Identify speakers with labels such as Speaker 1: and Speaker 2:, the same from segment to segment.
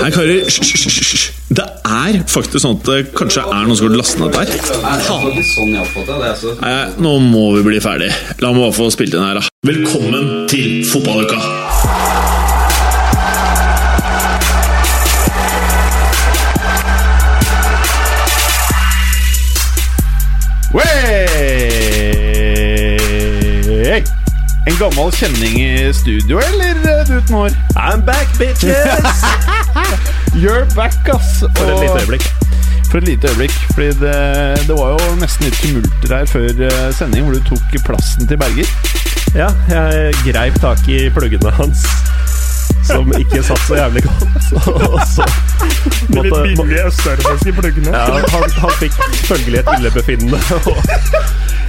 Speaker 1: Nei, karer, hysj, hysj, hysj, hysj. Det er faktisk sånn at det kanskje er noen som har lastet ned dette her. Nei, nå må vi bli ferdig. La meg bare få spilt inn her, da. Velkommen til fotballuka!
Speaker 2: Wey! En gammel kjenning i studio, eller eh, du, Tnor?
Speaker 3: I'm back, bitches!
Speaker 2: You're back, ass!
Speaker 3: For et
Speaker 2: Og-
Speaker 3: lite øyeblikk.
Speaker 2: For et lite øyeblikk. Fordi det, det var jo nesten litt tumulter her før eh, sending, hvor du tok plassen til Berger.
Speaker 3: Ja, jeg greip tak i pluggene hans, som ikke satt så jævlig godt. Og så
Speaker 4: De litt
Speaker 3: måtte, må,
Speaker 4: billige østeuropeiske pluggene.
Speaker 3: ja, han, han fikk følgelig et illebefinnende, og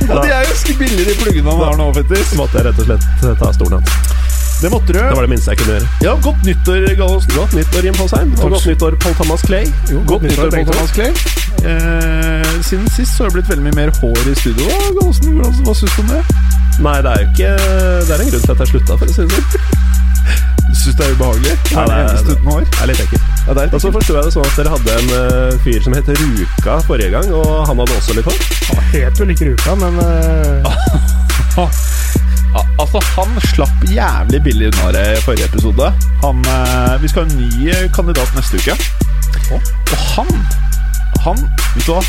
Speaker 2: Og de er jo ganske billige, de pluggene han har nå, Fettis.
Speaker 3: så måtte jeg rett og slett ta stolen hans.
Speaker 2: Det måtte
Speaker 3: Det
Speaker 2: du.
Speaker 3: var det minste jeg kunne gjøre.
Speaker 2: Ja, godt nyttår, Gallosen.
Speaker 3: Godt nyttår, Jim Fosheim. Og godt nyttår, Paul Thomas Clay.
Speaker 2: Godt nyttår, Paul
Speaker 3: Thomas
Speaker 2: Thomas Clay. Eh, siden sist så har det blitt veldig mye mer hår i studio. da, Gallosen, Hvordan- hva syns du om det?
Speaker 3: Nei, det er jo ikke Det er en grunn til at jeg slutta, for å si det sånn.
Speaker 2: Syns det er ubehagelig?
Speaker 3: Ja, det er-
Speaker 2: eneste uten hår.
Speaker 3: Det er litt ekkelt.
Speaker 2: Ja, det er
Speaker 3: Og så forsto jeg det sånn at dere hadde en eh, fyr som het Ruka forrige gang, og han hadde også litt hår.
Speaker 4: Han het vel ikke Ruka, men eh,
Speaker 2: Al- Altså, han slapp jævlig billig unna det i forrige episode. Han, eh, vi skal ha en ny eh, kandidat neste uke. Og han Han, vet du hva?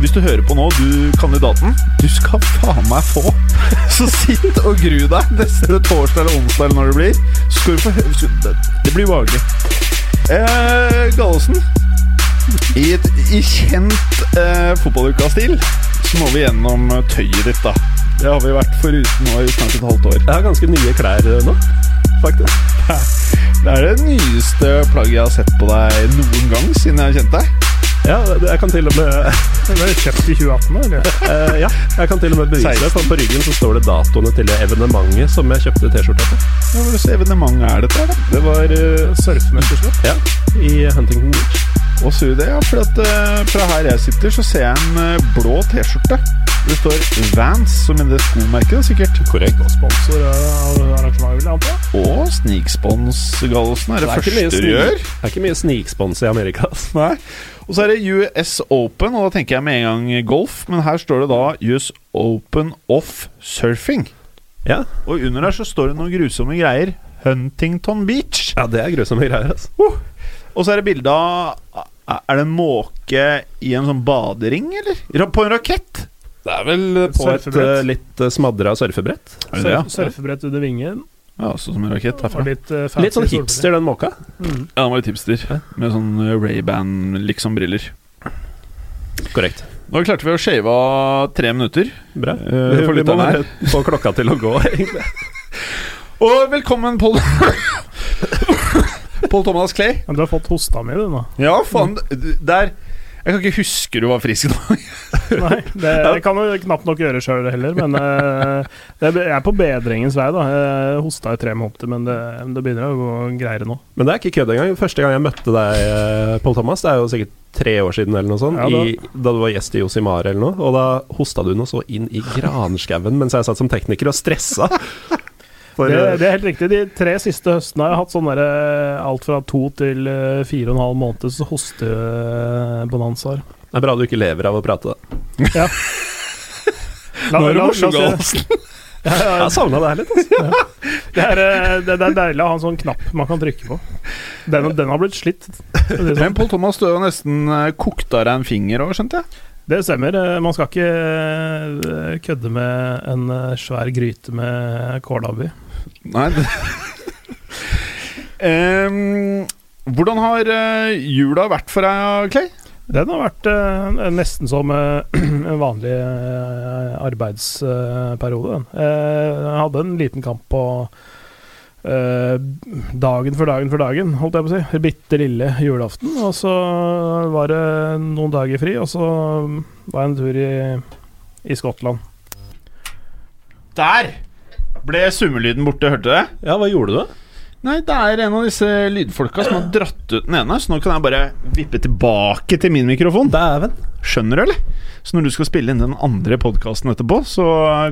Speaker 2: Hvis du hører på nå, du kandidaten, du skal faen meg få. Så sitt og gru deg neste torsdag eller onsdag eller når det blir. Så skal du få hø- så- det- Det blir ubehagelig. Eh, Gallosen, i, et, i kjent eh, fotballuka-stil så må vi gjennom eh, tøyet ditt, da. Det har vi vært foruten nå i snart et halvt år.
Speaker 3: Jeg har ganske nye klær eh, nå, faktisk.
Speaker 2: Det er det nyeste plagget jeg har sett på deg noen gang siden jeg kjente deg.
Speaker 3: Ja, det- jeg kan til og med
Speaker 4: det ble kjøpt i 2018, eller?
Speaker 3: eh, Ja, jeg kan til og med bevise det. For på ryggen så står det datoene til det evenementet som jeg kjøpte T-skjorta på.
Speaker 2: Hva slags evenement er dette? her, da?
Speaker 3: Det var eh,
Speaker 4: Surfmesterskap.
Speaker 3: ja, i Huntington Beach.
Speaker 2: Og så det, ja, for at eh, Fra her jeg sitter, så ser jeg en eh, blå T-skjorte. Det står Vans, som i det skomerket, da, sikkert. Korrekt.
Speaker 4: Sponsor av arrangementet, vil jeg anta.
Speaker 2: Og snikspons-gallosen er det,
Speaker 3: ikke mye
Speaker 2: første du
Speaker 3: snik-
Speaker 2: gjør.
Speaker 3: det er ikke mye snikspons i Amerika. ass.
Speaker 2: Nei. Og så er det US Open, og da tenker jeg med en gang golf. Men her står det da US Open off surfing.
Speaker 3: Ja,
Speaker 2: Og under der så står det noen grusomme greier. Huntington Beach.
Speaker 3: ja det er grusomme greier. ass.
Speaker 2: Uh. Og så er det bilde av Er det en måke i en sånn badering, eller? Ra- På en rakett?
Speaker 3: Det er vel på et
Speaker 4: Surfebrett.
Speaker 3: eh, litt eh, smadra surfebrett.
Speaker 2: Er det det, ja?
Speaker 4: Surf- Surfebrett under vingen.
Speaker 2: Ja, også som en rakett
Speaker 4: Og
Speaker 2: herfra.
Speaker 4: litt, eh, fancy
Speaker 3: Litt sånn
Speaker 4: solbriller.
Speaker 3: hipster, den måka.
Speaker 4: Mm.
Speaker 2: Ja, han var litt hipster. Med sånn Ray-Ban-liksom briller.
Speaker 3: Korrekt.
Speaker 2: Nå klarte vi å shave av tre minutter.
Speaker 3: Bra.
Speaker 2: Eh, for
Speaker 3: vi må
Speaker 2: lytterne her.
Speaker 3: bare få klokka til å gå, egentlig.
Speaker 2: Og velkommen, Pål Pål Thomas Clay.
Speaker 4: Men du har fått hosta mi, du, nå.
Speaker 2: Ja, faen. d- Der Jeg kan ikke huske du var frisk nå.
Speaker 4: Nei, det, det kan du knapt nok gjøre sjøl heller, men eh, det er, jeg er på bedringens vei, da. Jeg hosta i tre måneder, men det, det begynner å gå greiere nå.
Speaker 3: Men det er ikke kødd engang. Første gang jeg møtte deg, eh, Pål Thomas, det er jo sikkert tre år siden, eller noe sånt,
Speaker 4: Ja, da.
Speaker 3: I, da du var gjest i Josimar eller noe, og da hosta du noe så inn i granskauen mens jeg satt som tekniker og stressa. For,
Speaker 4: Det,
Speaker 3: eh,
Speaker 4: det er helt riktig. De tre siste høstene har jeg hatt sånn derre alt fra to til eh, fire og en halv måneds hostebonanzaer.
Speaker 3: det er bra du ikke lever av å prate, da.
Speaker 4: La- la- la oss- Ja, ja,
Speaker 3: Jeg savna deg litt, altså.
Speaker 4: Det er, eh, det, det er deilig å ha en sånn knapp man kan trykke på. Den, den har blitt slitt. Det, er
Speaker 2: Men
Speaker 4: sånn.
Speaker 2: Pål Thomas, du har jo nesten eh, kokt av deg en finger òg, skjønte jeg.
Speaker 4: det stemmer. Eh, Man skal ikke eh, kødde med en eh, svær gryte med kålabbi.
Speaker 2: Nei Em, Hvordan har eh, jula vært for deg, Clay?
Speaker 4: Den har vært eh, nesten som eh, en vanlig eh, arbeidsperiode. den. Eh, jeg hadde en liten kamp på eh, dagen for dagen for dagen, holdt jeg på å si. Bitte lille julaften. Og så var det noen dager fri, og så var jeg en tur i, i Skottland.
Speaker 2: Der ble summelyden borte, hørte du det?
Speaker 3: Ja, hva gjorde du, da?
Speaker 2: Nei, det er en av disse lydfolka som har dratt ut den ene, så nå kan jeg bare vippe tilbake til min mikrofon.
Speaker 3: Dæven.
Speaker 2: Skjønner du, eller? Så når du skal spille inn den andre podkasten etterpå, så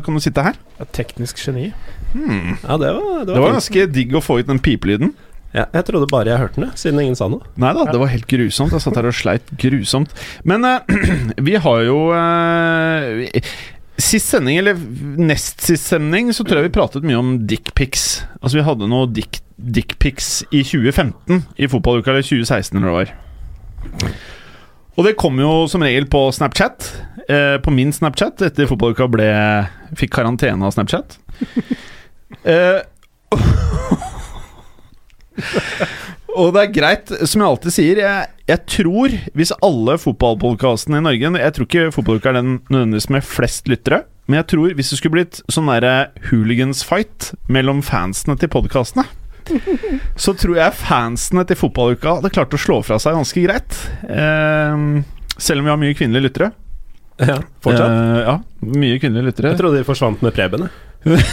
Speaker 2: kan du sitte her.
Speaker 4: Et teknisk geni.
Speaker 3: Ja, det var,
Speaker 2: Det
Speaker 3: det var
Speaker 2: var
Speaker 3: fint.
Speaker 2: ganske digg å få ut den pipelyden.
Speaker 3: Ja, jeg trodde bare jeg hørte den, jeg, siden ingen sa noe.
Speaker 2: Nei da, det var helt grusomt. Jeg satt her og sleit grusomt. Men eh, vi har jo eh, vi- Sist sending, eller nest sist sending, så tror jeg vi pratet mye om dickpics. Altså, vi hadde noe dick- dickpics i 2015 i fotballuka, eller 2016 eller hva det var. Og det kom jo som regel på Snapchat. Eh, på min Snapchat, etter fotballuka ble fikk karantene av Snapchat. eh, Og det er greit, som jeg alltid sier Jeg, jeg tror, hvis alle fotballpodkastene i Norge Jeg tror ikke fotballuka er den nødvendigvis med flest lyttere Men jeg tror hvis det skulle blitt sånn derre hooligans-fight mellom fansene til podkastene så tror jeg fansene til fotballuka hadde klart å slå fra seg ganske greit. Eh, selv om vi har mye kvinnelige lyttere.
Speaker 3: Ja, fortsatt.
Speaker 2: Eh, ja, mye kvinnelige lyttere.
Speaker 3: Jeg trodde de forsvant med Preben. jeg.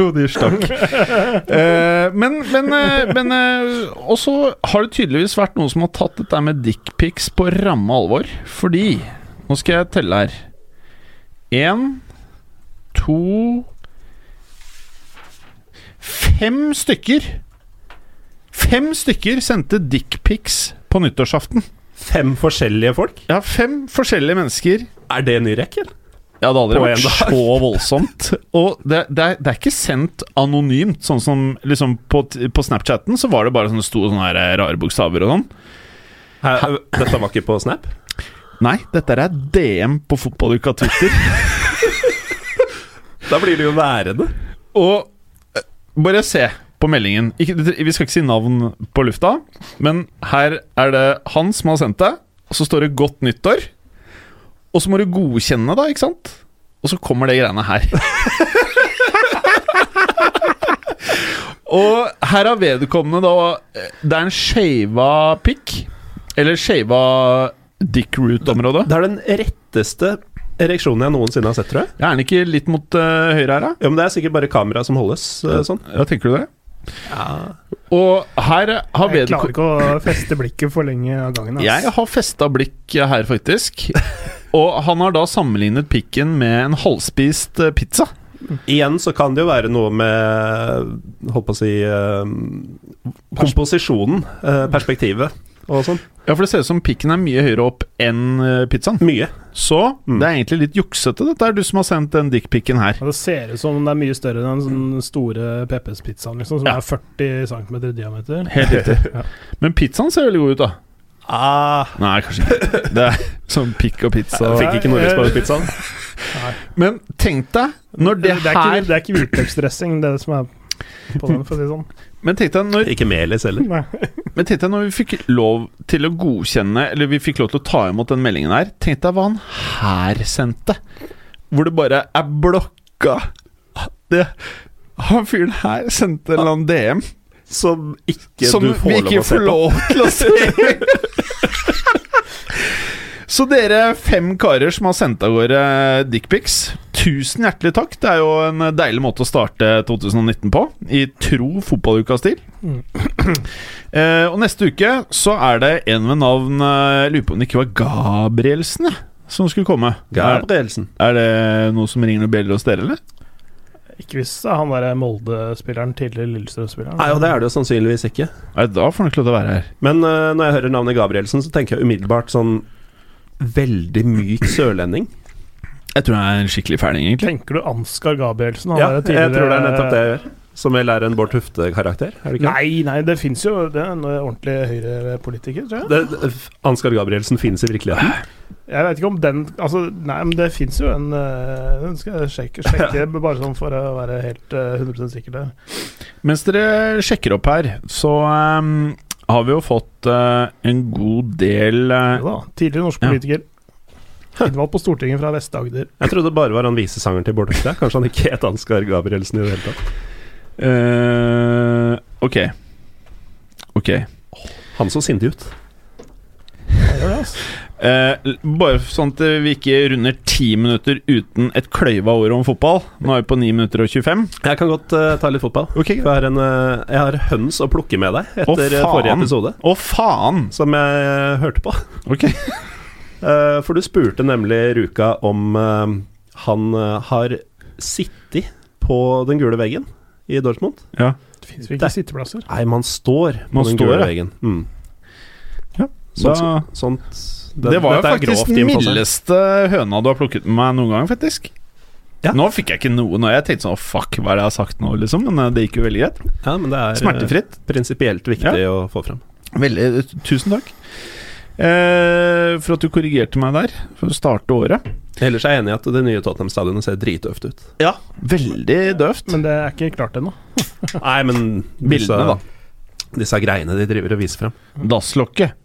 Speaker 2: Jo, de stakk. Eh, men men, eh, men eh, også har det tydeligvis vært noen som har tatt dette med dickpics på ramme alvor. Fordi Nå skal jeg telle her. Én, to Fem stykker! Fem stykker sendte dickpics på nyttårsaften.
Speaker 3: Fem forskjellige folk?
Speaker 2: Ja, fem forskjellige mennesker
Speaker 3: Er det ny rekk, eller?
Speaker 2: ja, det har aldri
Speaker 3: På
Speaker 2: vært
Speaker 3: en dag.
Speaker 2: så voldsomt. Og det, det, er, det er ikke sendt anonymt, sånn som liksom på, t- på Snapchatten så var det bare sånne store sånne her, eh, rare bokstaver og sånn.
Speaker 3: Hæ? Dette var ikke på Snap?
Speaker 2: Nei, dette er DM på fotballuka Twitter.
Speaker 3: Da blir det jo værende.
Speaker 2: og eh, bare se på meldingen. Ikke, vi skal ikke si navn på lufta, men her er det han som har sendt det. Og så står det 'Godt nyttår'. Og så må du godkjenne, da, ikke sant? Og så kommer det greiene her. og her har vedkommende da eh, Det er en skeiva pikk. Eller skeiva dick root-område.
Speaker 3: Det er den retteste ereksjonen jeg noensinne har sett, tror jeg.
Speaker 2: Er den ikke litt mot eh, høyre her, da?
Speaker 3: Ja, men Det er sikkert bare kameraet som holdes eh, sånn.
Speaker 2: Ja, tenker du det? Og her har
Speaker 4: Jeg klarer
Speaker 2: vedkommende
Speaker 4: ikke å feste blikket for lenge av gangen. ass.
Speaker 2: Jeg har festa blikk her, faktisk. Og han har da sammenlignet pikken med en halvspist eh, pizza.
Speaker 3: Igjen så kan det jo være noe med Holdt på å si eh, Komposisjonen, eh, perspektivet og sånn.
Speaker 2: Ja, for det ser ut som pikken er mye høyere opp enn eh, pizzaen.
Speaker 3: Mye.
Speaker 2: Så
Speaker 3: Mm.
Speaker 2: det er egentlig litt juksete, dette er du som har sendt den dickpicken her.
Speaker 4: Og Det ser ut som det er mye større enn den store Peppes pizzaen, liksom, som
Speaker 2: Ja.
Speaker 4: er 40 cm i diameter.
Speaker 2: Helt riktig. Men pizzaen ser veldig god ut, da.
Speaker 3: Ah,
Speaker 2: Nei, kanskje ikke. Det er sånn pikk og pizza
Speaker 3: fikk ikke noe respons på pizzaen.
Speaker 2: Men tenk deg, når
Speaker 4: Det,
Speaker 2: det,
Speaker 4: er
Speaker 2: her
Speaker 4: ikke, det er ikke hvitløksdressing, det er det som er på den, for å si det sånn.
Speaker 2: Men tenk deg når
Speaker 3: Ikke melis heller.
Speaker 4: Nei.
Speaker 2: Men tenkte jeg når vi fikk lov til å godkjenne Eller vi fikk lov til å ta imot den meldingen her Tenkte jeg hva han her sendte Hvor det bare er blokka det, Han fyren her sendte en eller annen DM
Speaker 3: Som ikke
Speaker 2: Som
Speaker 3: du
Speaker 2: vi
Speaker 3: får lov
Speaker 2: ikke
Speaker 3: å se
Speaker 2: får
Speaker 3: på.
Speaker 2: lov til å se Så dere fem karer som har sendt av gårde dickpics, tusen hjertelig takk. Det er jo en deilig måte å starte 2019 på, i tro fotballuka-stil.
Speaker 4: Mm.
Speaker 2: Eh, og neste uke så er det en ved navn eh, Jeg lurer på om det ikke var Gabrielsen jeg, som skulle komme. Er,
Speaker 3: Gabrielsen.
Speaker 2: er det noe som ringer noen bjeller hos dere, eller?
Speaker 4: Ikke hvis det er han derre Molde-spilleren, tidligere Lillestrøm-spilleren.
Speaker 3: Nei, og det er det jo sannsynligvis ikke.
Speaker 2: Nei, da får han ikke lov til å være her.
Speaker 3: Men eh, når jeg hører navnet Gabrielsen, så tenker jeg umiddelbart sånn Veldig myk sørlending.
Speaker 2: Jeg tror han er en skikkelig fæling, egentlig.
Speaker 4: Tenker du Ansgar Gabrielsen? Han
Speaker 3: Ja,
Speaker 4: der
Speaker 3: jeg tror det er nettopp det jeg gjør. Som vel er en Bård Tufte-karakter, er det ikke?
Speaker 4: Nei, nei, det fins jo det er en ordentlig høyrepolitiker, tror jeg.
Speaker 3: Det, det- Ansgar Gabrielsen fins i virkeligheten.
Speaker 4: Jeg vet ikke om den Altså, nei, men det fins jo en eh, Den skal jeg sjekke, sjekke bare sånn for å være helt eh, 100 sikker der.
Speaker 2: Mens dere sjekker opp her, så ehm, har vi jo fått eh, en god del eh,
Speaker 4: Jo da, tidligere norsk
Speaker 2: Ja.
Speaker 4: politiker. Innvalgt på Stortinget fra Vest-Agder.
Speaker 3: Jeg trodde bare var han visesangeren til Bård Tufte. Kanskje han ikke het Ansgar Gabrielsen i det hele tatt.
Speaker 2: eh, Ok. Ok.
Speaker 3: Han så sindig ut.
Speaker 4: Jeg gjør det, altså.
Speaker 2: Eh, l- bare sånn at vi ikke runder ti minutter uten et kløyva ord om fotball. Nå er vi på 9 minutter og 25.
Speaker 3: Jeg kan godt eh, ta litt fotball.
Speaker 2: Ok,
Speaker 3: For jeg har, en, eh, jeg har høns å plukke med deg
Speaker 2: Å,
Speaker 3: etter eh,
Speaker 2: faen.
Speaker 3: forrige episode,
Speaker 2: Å, faen!
Speaker 3: som jeg eh, hørte på.
Speaker 2: Ok.
Speaker 3: Eh, for du spurte nemlig Ruka om eh, han eh, har sittet på den gule veggen i Dortmund.
Speaker 2: Ja.
Speaker 4: Det fins vel ikke sitteplasser?
Speaker 3: Nei, man står på
Speaker 2: Man
Speaker 3: den
Speaker 2: står,
Speaker 3: gule
Speaker 2: ja.
Speaker 3: veggen. Mm.
Speaker 2: Ja,
Speaker 3: Sånt,
Speaker 2: da-
Speaker 3: sånt
Speaker 2: Det, var jo
Speaker 3: Sånn dette er
Speaker 2: faktisk
Speaker 3: grovt altså.
Speaker 2: den
Speaker 3: innfallsvinkel.
Speaker 2: mildeste høna du har plukket med meg noen gang, faktisk.
Speaker 3: Ja.
Speaker 2: Nå fikk jeg ikke noe nå. Jeg tenkte sånn «Å, Fuck, hva er det jeg har sagt nå, liksom? Men eh, det gikk jo veldig greit.
Speaker 3: Ja, men det er eh,
Speaker 2: Smertefritt.
Speaker 3: prinsipielt viktig å få fram.
Speaker 2: Veldig, eh, tusen takk. Eh, for at du korrigerte meg der, for å starte året.
Speaker 3: Ellers er jeg enig i at det nye Tottenham-stadionet ser dritøft ut.
Speaker 2: Ja, veldig døvt.
Speaker 4: Men det er ikke klart ennå.
Speaker 3: Nei, men disse,
Speaker 2: Bildene, da.
Speaker 3: Disse greiene de driver og viser frem.
Speaker 2: dasslokket.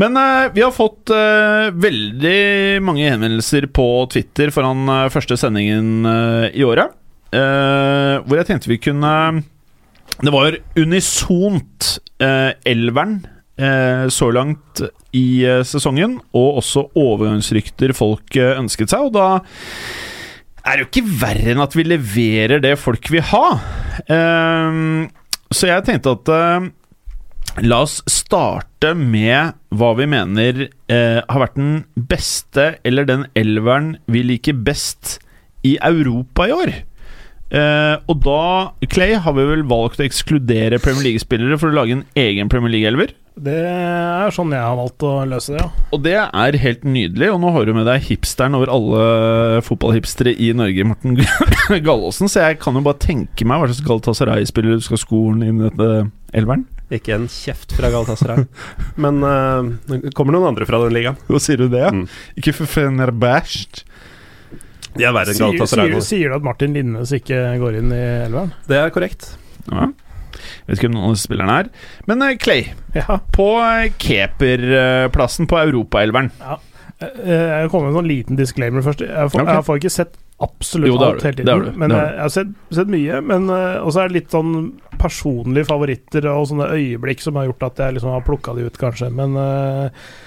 Speaker 2: Men eh, vi har fått eh, veldig mange henvendelser på Twitter foran eh, første sendingen eh, i året. Eh, hvor jeg tenkte vi kunne Det var unisont uh, elveren eh, så langt i eh, sesongen, og også overgangsrykter folk eh, ønsket seg. Og da er det jo ikke verre enn at vi leverer det folk vil ha. Eh, så jeg tenkte at eh, La oss starte med hva vi mener eh, har vært den beste, eller den elveren vi liker best i Europa i år. Eh, og da, Clay, har vi vel valgt å ekskludere Premier League-spillere for å lage en egen Premier League-elver.
Speaker 4: Det er sånn jeg har valgt å løse det, ja.
Speaker 2: Og det er helt nydelig, og nå har du med deg hipsteren over alle fotballhipstere i Norge, Morten Gallaasen, så jeg kan jo bare tenke meg hva slags Galatasaray-spiller du skal skolen inn i dette elveren.
Speaker 3: Ikke en kjeft fra Galatasaray. men eh, det kommer noen andre fra den ligaen.
Speaker 2: Hva sier du det? ja?
Speaker 3: Mm.
Speaker 2: Ikke for Fenerbahçe.
Speaker 3: De er verre enn
Speaker 4: Sier, sier,
Speaker 3: Galatasaray. nå.
Speaker 4: sier du at Martin Linnes ikke går inn i elveren?
Speaker 3: Det er korrekt.
Speaker 2: Ja. Vet ikke hvem noen av disse spillerne er. Men eh, Clay,
Speaker 4: Ja.
Speaker 2: på eh, keeperplassen på Europaelveren
Speaker 4: Eh, Jeg kommer med en sånn liten disclaimer først. Jeg får,
Speaker 2: Ok.
Speaker 4: jeg får ikke sett absolutt
Speaker 2: Jo, det har
Speaker 4: alt
Speaker 2: du.
Speaker 4: hele
Speaker 2: Det har du.
Speaker 4: tiden. Men
Speaker 2: Det
Speaker 4: jeg,
Speaker 2: har du.
Speaker 4: jeg har sett, sett mye. Men eh, også er det litt sånn personlige favoritter og sånne øyeblikk som har gjort at jeg liksom har plukka de ut, kanskje. Men eh, eh,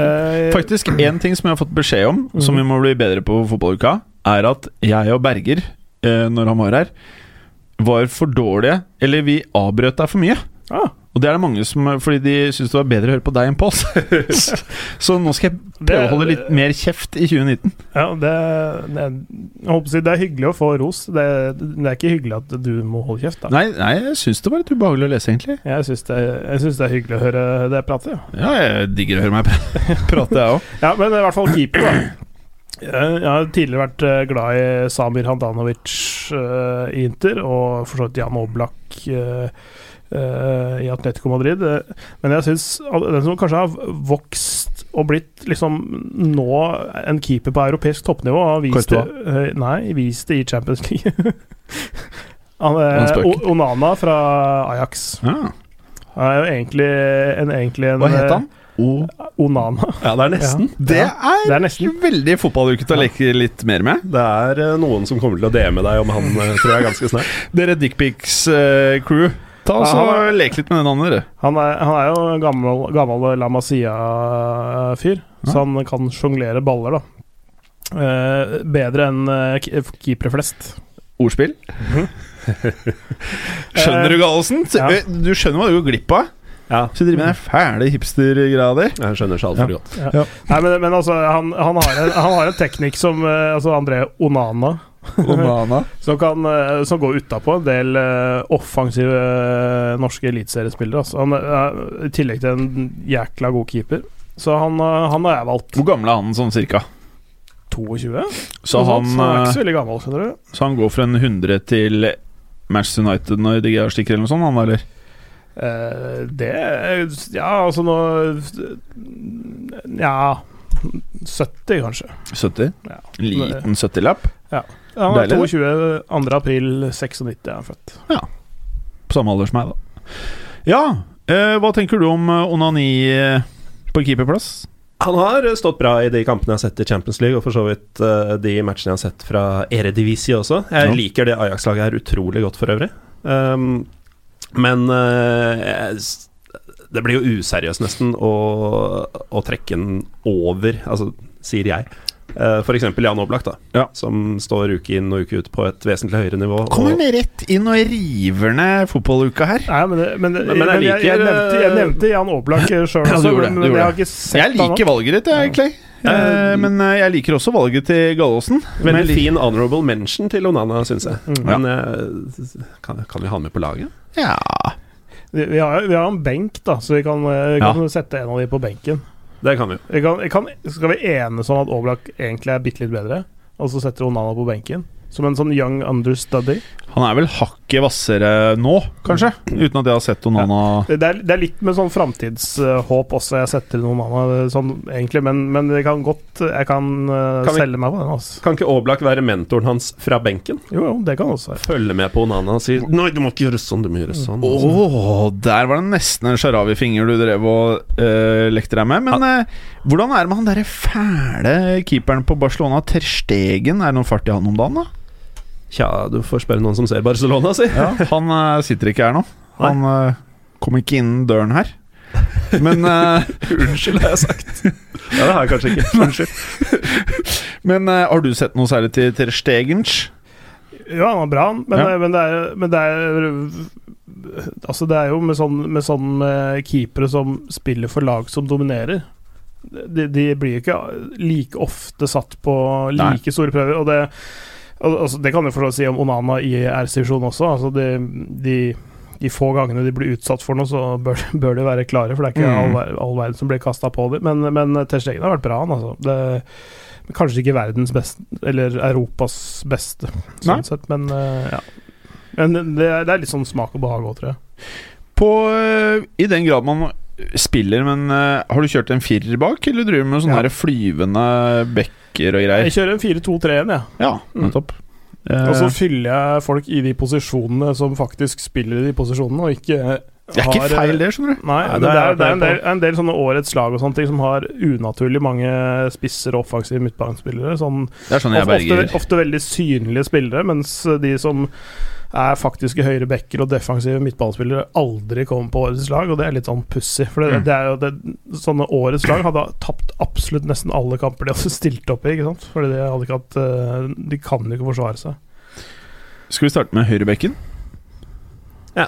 Speaker 4: Mhm.
Speaker 2: Faktisk én ting som jeg har fått beskjed om, som vi må bli bedre på fotballuka, er at jeg og Berger, eh, når han var her, var for dårlige Eller vi avbrøt deg for mye.
Speaker 4: Ah.
Speaker 2: Og det er det mange som eh, Fordi de syns det var bedre å høre på deg enn på oss. Så nå skal jeg prøve å
Speaker 4: Det-
Speaker 2: holde litt mer kjeft i 2019.
Speaker 4: Ja, det, det, jeg håper å si, det er hyggelig å få ros. Det, det er ikke hyggelig at du må holde kjeft, da.
Speaker 2: Nei, nei jeg syns det var litt ubehagelig å lese, egentlig.
Speaker 4: Jeg syns det, jeg synes det er hyggelig å høre det pratet, ja.
Speaker 2: Ja, jeg digger å høre meg prate, jeg òg.
Speaker 4: Ja, men i hvert fall keeper, da. Eh, Jeg jeg har tidligere vært eh, glad i Samir Handanovic eh, i Inter, og for så vidt Jan Oblak eh, eh, i Atletico Madrid. Eh, Men jeg syns den som kanskje har vokst og blitt liksom nå en keeper på europeisk toppnivå har vist det, eh, Nei, vist det i Champions League. Han, eh,
Speaker 2: Han spøker.
Speaker 4: O- Onana fra Ajax.
Speaker 2: Ja.
Speaker 4: Han er jo egentlig en, egentlig en
Speaker 2: Hva het han? O
Speaker 4: eh, Onana.
Speaker 3: Ja, det er nesten.
Speaker 2: Det
Speaker 4: Ja,
Speaker 2: er
Speaker 4: Det er nesten
Speaker 2: veldig fotballuke til å leke litt mer med.
Speaker 3: Det er eh, noen som kommer til å DM-e deg om han, eh, tror jeg, ganske snart.
Speaker 2: Dere eh, Dickpics-crew, ta og så
Speaker 4: Ja.
Speaker 2: lek litt med den andre. dere.
Speaker 4: Han er, han er jo en gammel, gammel La Masia-fyr, så han kan sjonglere baller, da. Eh, bedre enn eh, k- keepere flest.
Speaker 2: Ordspill. skjønner du, Gallosen? Eh,
Speaker 4: ja.
Speaker 2: Du skjønner hva du går glipp av.
Speaker 3: Ja,
Speaker 2: Så driver med den fæle hipstergreia di.
Speaker 3: jeg skjønner så altfor godt.
Speaker 4: Nei, men, men altså, han, han, har en, han har en teknikk som eh, altså André Onana,
Speaker 2: Onana.
Speaker 4: som, kan, eh, som går utapå en del eh, offensive eh, norske eliteseriespillere. Altså. Han er i tillegg til en jækla god keeper. Så han, eh, han har jeg valgt.
Speaker 2: Hvor gammel er han sånn cirka?
Speaker 4: 22?
Speaker 2: Så
Speaker 4: Noe sånt,
Speaker 2: han,
Speaker 4: så han er ikke
Speaker 2: eh,
Speaker 4: så veldig gammel, skjønner du.
Speaker 2: så han går fra en 100 til Manchester United når De Gea stikker, eller noe sånt? Han, eller?
Speaker 4: Eh, det Ja, altså nå Ja 70, kanskje.
Speaker 2: 70?
Speaker 4: Ja.
Speaker 2: En liten 70-lapp?
Speaker 4: Han var
Speaker 2: Deilig, det.
Speaker 4: 22. 2. april 96 er han født.
Speaker 2: På samme alder som meg, da. Ja, eh, hva tenker du om eh, onani eh, på keeperplass?
Speaker 3: Han har eh, stått bra i de kampene jeg har sett i Champions League, og for så vidt eh, de matchene jeg har sett fra Eredivisie også. Jeg
Speaker 2: Ja.
Speaker 3: liker det Ajax-laget her utrolig godt for øvrig. Um, men eh, jeg s- det blir jo useriøst nesten å, å trekke den over, altså, sier jeg. Uh, F.eks. Jan Oblak, da,
Speaker 2: Ja.
Speaker 3: som står uke inn og uke ut på et vesentlig høyere nivå.
Speaker 2: Kommer
Speaker 3: og,
Speaker 2: han rett inn og river ned fotballuka her?
Speaker 4: Nei, men, det- men, det-
Speaker 3: Men- men jeg
Speaker 4: jeg,
Speaker 3: liker-
Speaker 4: nevnte, jeg nevnte Jan Oblak sjøl
Speaker 2: du
Speaker 4: også,
Speaker 2: gjorde det, du
Speaker 4: men, men
Speaker 2: gjorde
Speaker 4: jeg har ikke sett
Speaker 2: Jeg
Speaker 4: han
Speaker 2: liker
Speaker 4: nå.
Speaker 2: valget ditt, jeg, Clay. Eh, men eh, jeg liker også valget til Gallåsen. Men jeg
Speaker 3: Veldig
Speaker 2: liker-
Speaker 3: fin honorable mention til Onana, syns jeg.
Speaker 2: Mm. Ja.
Speaker 3: Men eh, kan, kan vi ha han med på laget?
Speaker 2: Ja
Speaker 4: Vi, vi, har, vi har en benk, da, så vi kan, eh, vi kan sette en av de på benken.
Speaker 3: Det kan vi jo.
Speaker 4: Vi kan, vi kan, skal vi enes om at Oblak egentlig er bitte litt bedre, og så setter Onana på benken? Som en sånn young understudy.
Speaker 2: Han er vel hakket hvassere nå, kanskje? Uten at jeg har sett Onana
Speaker 4: Det det er, det er litt med sånn framtidshåp også jeg setter inn Onana, sånn, egentlig, men, men det kan godt Jeg kan, eh,
Speaker 3: Kan vi-
Speaker 4: selge meg på den. Altså.
Speaker 3: Kan ikke Aablak være mentoren hans fra benken?
Speaker 4: Jo, jo, det kan også være.
Speaker 3: Følge med på Onana og si 'Nei, du må ikke gjøre sånn, du må gjøre sånn'.
Speaker 2: Åh, der var det nesten en sharawi-finger du drev og eh, lekte deg med. Men eh, hvordan er det med han derre fæle keeperen på Barcelona, Ter Stegen? Er det noen fart i han om dagen, da?
Speaker 3: Tja, du får spørre noen som ser Barcelona, si.
Speaker 2: Han eh, sitter ikke her nå. Han eh, kom ikke innen døren her. Men eh,
Speaker 3: Unnskyld, har jeg sagt. ja, det har jeg kanskje ikke. Unnskyld.
Speaker 2: Men eh, har du sett noe særlig til Ter Stegens?
Speaker 4: Ja, han var bra, han. Men, eh,
Speaker 2: Ja.
Speaker 4: men, det er, men det er Altså, det er jo med sånn, med sånn eh, keepere som spiller for lag som dominerer. De, de blir jo ikke like ofte satt på
Speaker 2: Nei.
Speaker 4: like store prøver. Og det, al- altså, det kan du forstå si om Onana i R-sesjonen også. Altså, de, de, de få gangene de blir utsatt for noe, så bør, bør de være klare. For det er ikke
Speaker 2: Mm.
Speaker 4: all, ver- all verden som blir kasta på dem. Men, men eh, Ter Stegen har vært bra, han altså. Det, men Kanskje ikke verdens beste, eller Europas beste,
Speaker 2: Nei.
Speaker 4: sånn sett, men eh, ja. Men det er, det er litt sånn smak og behag òg, tror jeg.
Speaker 2: På eh, I den grad man spiller, men eh, har du kjørt en firer bak, eller driver du med sånne
Speaker 4: Ja.
Speaker 2: her flyvende bekker og greier?
Speaker 4: Jeg kjører en 4-2-3-1, jeg.
Speaker 2: Ja,
Speaker 4: Mm.
Speaker 2: nettopp. Eh,
Speaker 4: Og så fyller jeg folk i de posisjonene som faktisk spiller i de posisjonene, og ikke har eh,
Speaker 2: det er ikke feil, det, skjønner du.
Speaker 4: Nei,
Speaker 3: Nei,
Speaker 4: det,
Speaker 3: det er-
Speaker 4: er, det er en,
Speaker 3: det er
Speaker 4: del, en del sånne årets lag og sånne ting som har unaturlig mange spisser og offensive midtbanespillere. Sånn,
Speaker 2: Det er sånn jeg
Speaker 4: ofte,
Speaker 2: berger.
Speaker 4: ofte veldig synlige spillere, mens de som er faktiske høyre backer og defensive midtbanespillere, aldri kommer på årets lag, og det er litt sånn pussig. For det,
Speaker 2: Mm.
Speaker 4: det er jo det, sånne årets lag hadde tapt absolutt nesten alle kamper de hadde stilt opp i, ikke sant? Fordi de hadde ikke hatt eh, De kan jo ikke forsvare seg.
Speaker 2: Skal vi starte med høyrebekken?
Speaker 3: Ja.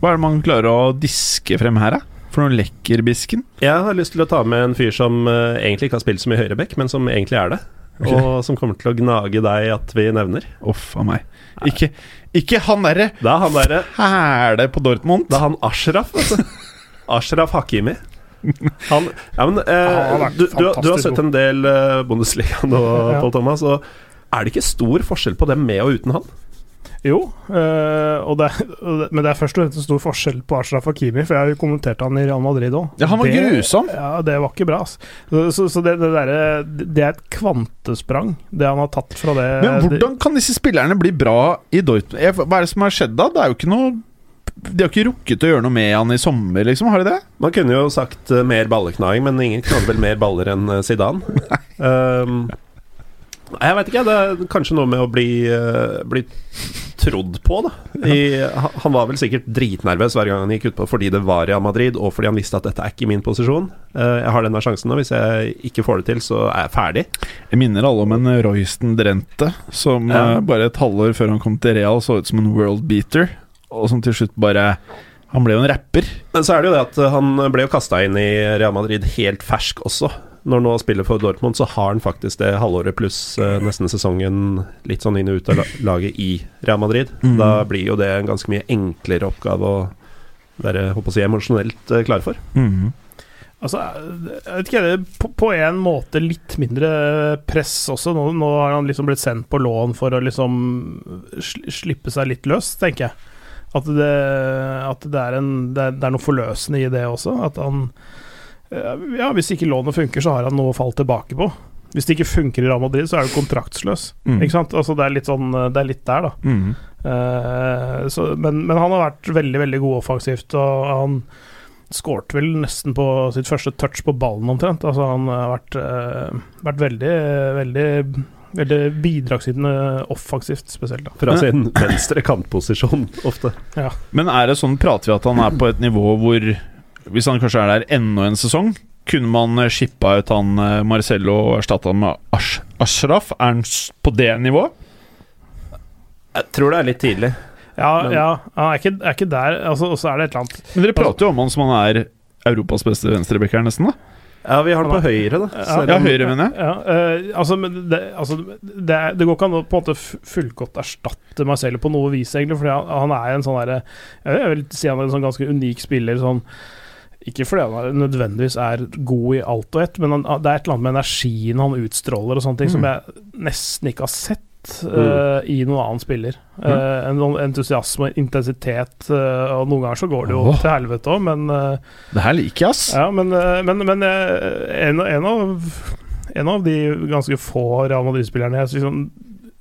Speaker 2: Hva er det man klarer å diske frem her, da? For noen lekkerbisken?
Speaker 3: Jeg har lyst til å ta med en fyr som eh, egentlig ikke har spilt så mye høyrebekk, men som egentlig er det.
Speaker 2: Ok.
Speaker 3: Og som kommer til å gnage deg at vi nevner.
Speaker 2: Uff a meg. Ikke, ikke han derre
Speaker 3: Det er han derre
Speaker 2: hæle på Dortmund.
Speaker 3: Det er han Ashraf, altså. Ashraf Hakimi. Han, ja, men,
Speaker 4: Han
Speaker 3: eh,
Speaker 4: har vært
Speaker 3: du, du, har- du har
Speaker 4: fantastisk
Speaker 3: sett en del eh, Bundesliga nå,
Speaker 4: Ja.
Speaker 3: Pål Thomas, og er det ikke stor forskjell på dem med og uten han?
Speaker 4: Jo, eh, og det, er- og det, men det er først og fremst en stor forskjell på Ashraf Hakimi, for jeg har jo kommentert han i Real Madrid òg.
Speaker 2: Ja, han var grusom.
Speaker 4: Ja, det var ikke bra, altså. Så, så, så det, det derre Det er et kvantesprang, det han har tatt fra det
Speaker 2: Men hvordan kan disse spillerne bli bra i Dortmund? Jeg- Hva er det som har skjedd da? Det er jo ikke noe De har ikke rukket å gjøre noe med han i sommer, liksom? Har de det?
Speaker 3: Man kunne jo sagt eh, mer balleknaging, men ingen knagde vel mer baller enn eh, Zidane. Um, Nei, jeg veit ikke. Det er kanskje noe med å bli, eh, bli trodd på, da. I, ha- han var vel sikkert dritnervøs hver gang han gikk utpå fordi det var Real Madrid, og fordi han visste at dette er ikke min posisjon. Eh, jeg har denne sjansen nå. Hvis jeg ikke får det til, så er jeg ferdig.
Speaker 2: Jeg minner alle om en eh, Royston Drente som
Speaker 3: Ja.
Speaker 2: eh, bare et halvår før han kom til Real, så ut som en world beater, og som til slutt bare Han ble jo en rapper.
Speaker 3: Men så er det jo det at eh, han ble jo kasta inn i Real Madrid helt fersk også. Når han nå spiller for Dortmund, så har han faktisk det halvåret pluss eh, nesten sesongen litt sånn inn og ut av la- laget i Real Madrid.
Speaker 4: Mhm.
Speaker 2: Mm.
Speaker 3: Da blir jo det en ganske mye enklere oppgave å være håper å si, emosjonelt eh, klar for.
Speaker 2: Mhm.
Speaker 4: Altså, jeg vet ikke, det er på, på en måte litt mindre press også. Nå, nå har han liksom blitt sendt på lån for å liksom sli- slippe seg litt løs, tenker jeg. At det, at det, er, en, det, er, det er noe forløsende i det også. At han eh, Ja, hvis ikke lånet funker, så har han noe å falle tilbake på. Hvis det ikke funker i Real Madrid, så er du kontraktsløs.
Speaker 2: Mm.
Speaker 4: Ikke sant? Altså, det er litt sånn eh, Det er litt der, da.
Speaker 2: Mm.
Speaker 4: Eh, så, men, men han har vært veldig veldig god offensivt, og han skårte vel nesten på sitt første touch på ballen, omtrent. Altså, han har vært, eh, vært veldig, veldig Veldig bidragsytende offensivt, spesielt. da
Speaker 3: Fra sin venstre kantposisjon ofte.
Speaker 2: Men er det sånn, prater vi at han er på et nivå hvor Hvis han kanskje er der enda en sesong Kunne man eh, shippa ut han eh, Marcello og erstatta han med Ash Ashraf? Er han s- på det nivået?
Speaker 3: Jeg tror det er litt tidlig.
Speaker 4: Ja,
Speaker 3: Men-
Speaker 4: ja han er ikke, er ikke der. Altså, og så er det et eller annet
Speaker 2: Men Dere prater jo om han som han er Europas beste venstrebacker, nesten. da
Speaker 3: Ja, vi har den på høyre, da.
Speaker 4: Ja.
Speaker 2: Ja, høyre, mener jeg.
Speaker 4: Ja, eh, altså, men det, altså det, er- det går ikke an å på en måte f- fullgodt erstatte Marcello på noe vis, egentlig. Fordi han, han er en sånn derre Jeg vil si han er en sånn ganske unik spiller. Sånn, ikke fordi han er, nødvendigvis er god i alt og ett, men han, det er et eller annet med energien han utstråler og sånne ting, som jeg nesten ikke har sett. eh, I noen annen spiller. Eh, en sånn entusiasme, intensitet eh, Og noen ganger så går det jo
Speaker 2: Åh.
Speaker 4: til helvete òg, men eh,
Speaker 2: Det her liker jeg, ass.
Speaker 4: ja, men, eh, men, men eh, en, en, av, en av de ganske få Real Madrid-spillerne jeg liksom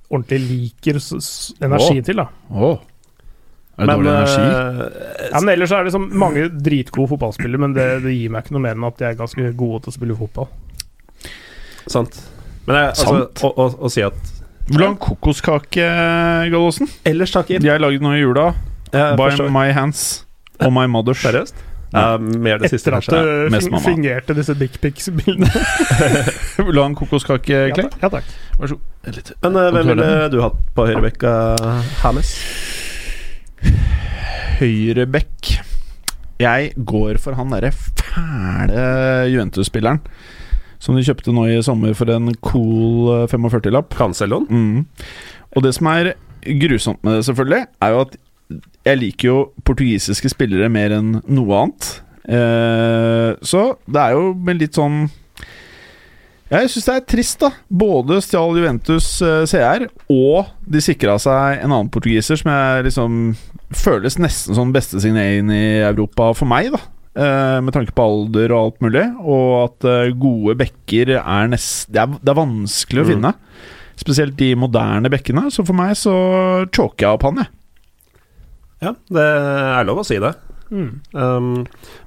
Speaker 4: ordentlig liker s- s- energien til. da
Speaker 2: Åh. Er det
Speaker 3: Men
Speaker 2: dårlig energi?
Speaker 3: eh,
Speaker 4: ja, men Ellers er det liksom mange dritgode fotballspillere, men det, det gir meg ikke noe mer enn at de er ganske gode til å spille fotball.
Speaker 3: Sant. Men jeg, altså,
Speaker 2: Sant.
Speaker 3: Å, å, å si at
Speaker 2: Vil du ha en kokoskake, eh, Gallosen?
Speaker 3: Ellers, takker.
Speaker 2: Jeg lagde noe i jula.
Speaker 3: Eh,
Speaker 2: By
Speaker 3: forstår-
Speaker 2: my hands og my mothers.
Speaker 3: Seriøst? Ja, mer det siste,
Speaker 4: Etter at
Speaker 3: kanskje.
Speaker 4: du
Speaker 2: mest
Speaker 4: fing-
Speaker 2: mamma.
Speaker 4: fingerte disse dickpics-bildene.
Speaker 2: Vil du ha en kokoskake,
Speaker 4: Ja,
Speaker 2: Clay?
Speaker 4: takk. ja takk.
Speaker 3: Men eh, hvem
Speaker 2: Kontroll,
Speaker 3: ville du hatt på høyrebekka, Hermes?
Speaker 2: Høyrebekk. Jeg går for han derre fæle Juventus-spilleren som de kjøpte nå i sommer for en cool eh, 45-lapp.
Speaker 3: Cancelloen?
Speaker 2: Mm. Og det som er grusomt med det, selvfølgelig, er jo at jeg liker jo portugisiske spillere mer enn noe annet. Eh, så det er jo med litt sånn Ja, Jeg syns det er trist, da. Både stjal Juventus eh, CR, og de sikra seg en annen portugiser som jeg liksom føles nesten som den beste signeringen i Europa for meg, da. Eh, med tanke på alder og alt mulig, og at eh, gode bekker er nest... Det er, det er vanskelig å
Speaker 3: Mm.
Speaker 2: finne. Spesielt de moderne bekkene. Så for meg så choker jeg opp han, jeg.
Speaker 3: Ja, det er lov å si det.
Speaker 4: Mm.
Speaker 3: Um,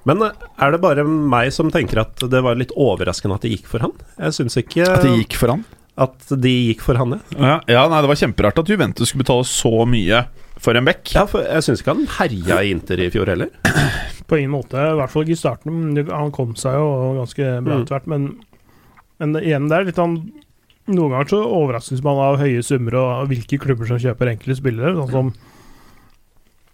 Speaker 3: men eh, er det bare meg som tenker at det var litt overraskende at det gikk for han? Jeg syns ikke
Speaker 2: At det gikk for han.
Speaker 3: at de gikk for han, jeg.
Speaker 2: Ja, ja, nei, det var kjemperart at Juventus skulle betale så mye for en bekk.
Speaker 3: Ja, for jeg syns ikke han herja i Inter i fjor heller.
Speaker 4: På ingen måte, i hvert fall ikke i starten. men det- Han kom seg jo ganske bra
Speaker 3: Mm.
Speaker 4: etter hvert, men, men det- igjen, det er litt han Noen ganger så overraskes man av høye summer og hvilke klubber som kjøper enkle spillere. Sånn som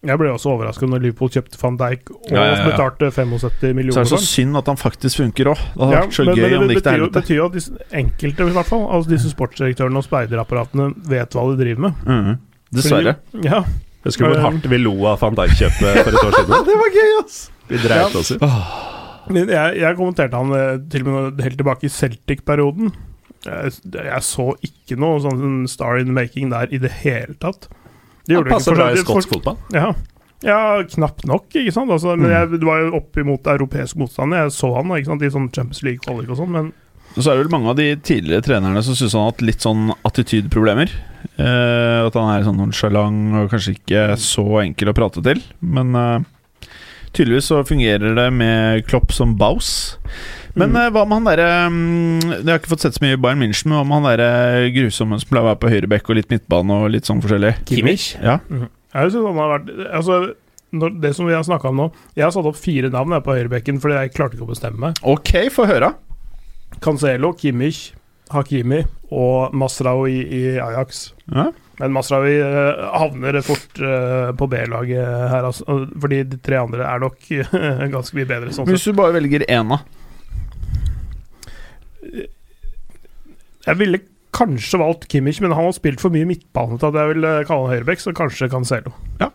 Speaker 4: Jeg ble også overrasket når Liverpool kjøpte van Dijk og
Speaker 2: Ja, ja, ja.
Speaker 4: betalte 75
Speaker 2: Så
Speaker 4: millioner.
Speaker 2: er det
Speaker 4: for
Speaker 2: så
Speaker 4: han.
Speaker 2: synd at han faktisk funker òg. Det hadde
Speaker 4: Ja,
Speaker 2: vært så
Speaker 4: men-
Speaker 2: gøy
Speaker 4: men det
Speaker 2: om det gikk til
Speaker 4: betyr jo-
Speaker 2: helvete.
Speaker 4: betyr jo at disse enkelte, i hvert fall, altså
Speaker 2: Mm.
Speaker 4: disse sportsdirektørene og speiderapparatene, vet hva de driver med.
Speaker 2: Mhm. Dessverre.
Speaker 4: Fordi- Ja,
Speaker 3: Husker du hvor hardt vi lo av van Dijk-kjøpet for et år siden? det var gøy, ass! Vi dreit oss ut.
Speaker 4: Men jeg, jeg kommenterte han eh, til og med helt tilbake i Celtic-perioden. Jeg, jeg så ikke noe sånn star in the making der i det hele tatt. Det
Speaker 3: Det
Speaker 4: gjorde det ikke
Speaker 3: passer
Speaker 4: for
Speaker 3: bra i
Speaker 4: så-
Speaker 3: skotsk Mm. fotball.
Speaker 4: for- Ja. ja, knapt nok, ikke sant. Altså, men jeg det var jo opp imot europeisk motstand. Jeg så han ikke sant? i sånn Champions League-kvalik og sånn, men
Speaker 2: Så er det vel mange av de tidligere trenerne som syns han har hatt litt sånn attitydproblemer. Eh, at han er sånn nonsjalant og kanskje ikke så enkel å prate til. Men eh, tydeligvis så fungerer det med Klopp som baus. Men eh, hva med han derre mm, Jeg har ikke fått sett så mye i Bayern München, men hva med han derre grusomme som pleier å være på høyrebekk og litt midtbane og litt sånn forskjellig?
Speaker 3: Kimmich?
Speaker 2: Ja.
Speaker 4: Jeg synes han har vært altså, når, Det som vi har snakka om nå Jeg har satt opp fire navn jeg, på høyrebekken fordi jeg klarte ikke å bestemme meg.
Speaker 2: Ok, få høre.
Speaker 4: Cancelo, Kimmich, Hakimi og Masraoui i Ajax.
Speaker 2: Ja.
Speaker 4: Men Masraoui eh, havner fort eh, på B-laget her, altså, og- fordi de tre andre er nok ganske mye bedre. Sånn
Speaker 2: Men
Speaker 4: sett.
Speaker 2: Hvis du bare velger én, da.
Speaker 4: Jeg ville kanskje valgt Kimmich, men han har spilt for mye midtbane til at jeg vil eh, kalle han høyrebekk, så kanskje Cancelo.
Speaker 3: Ja,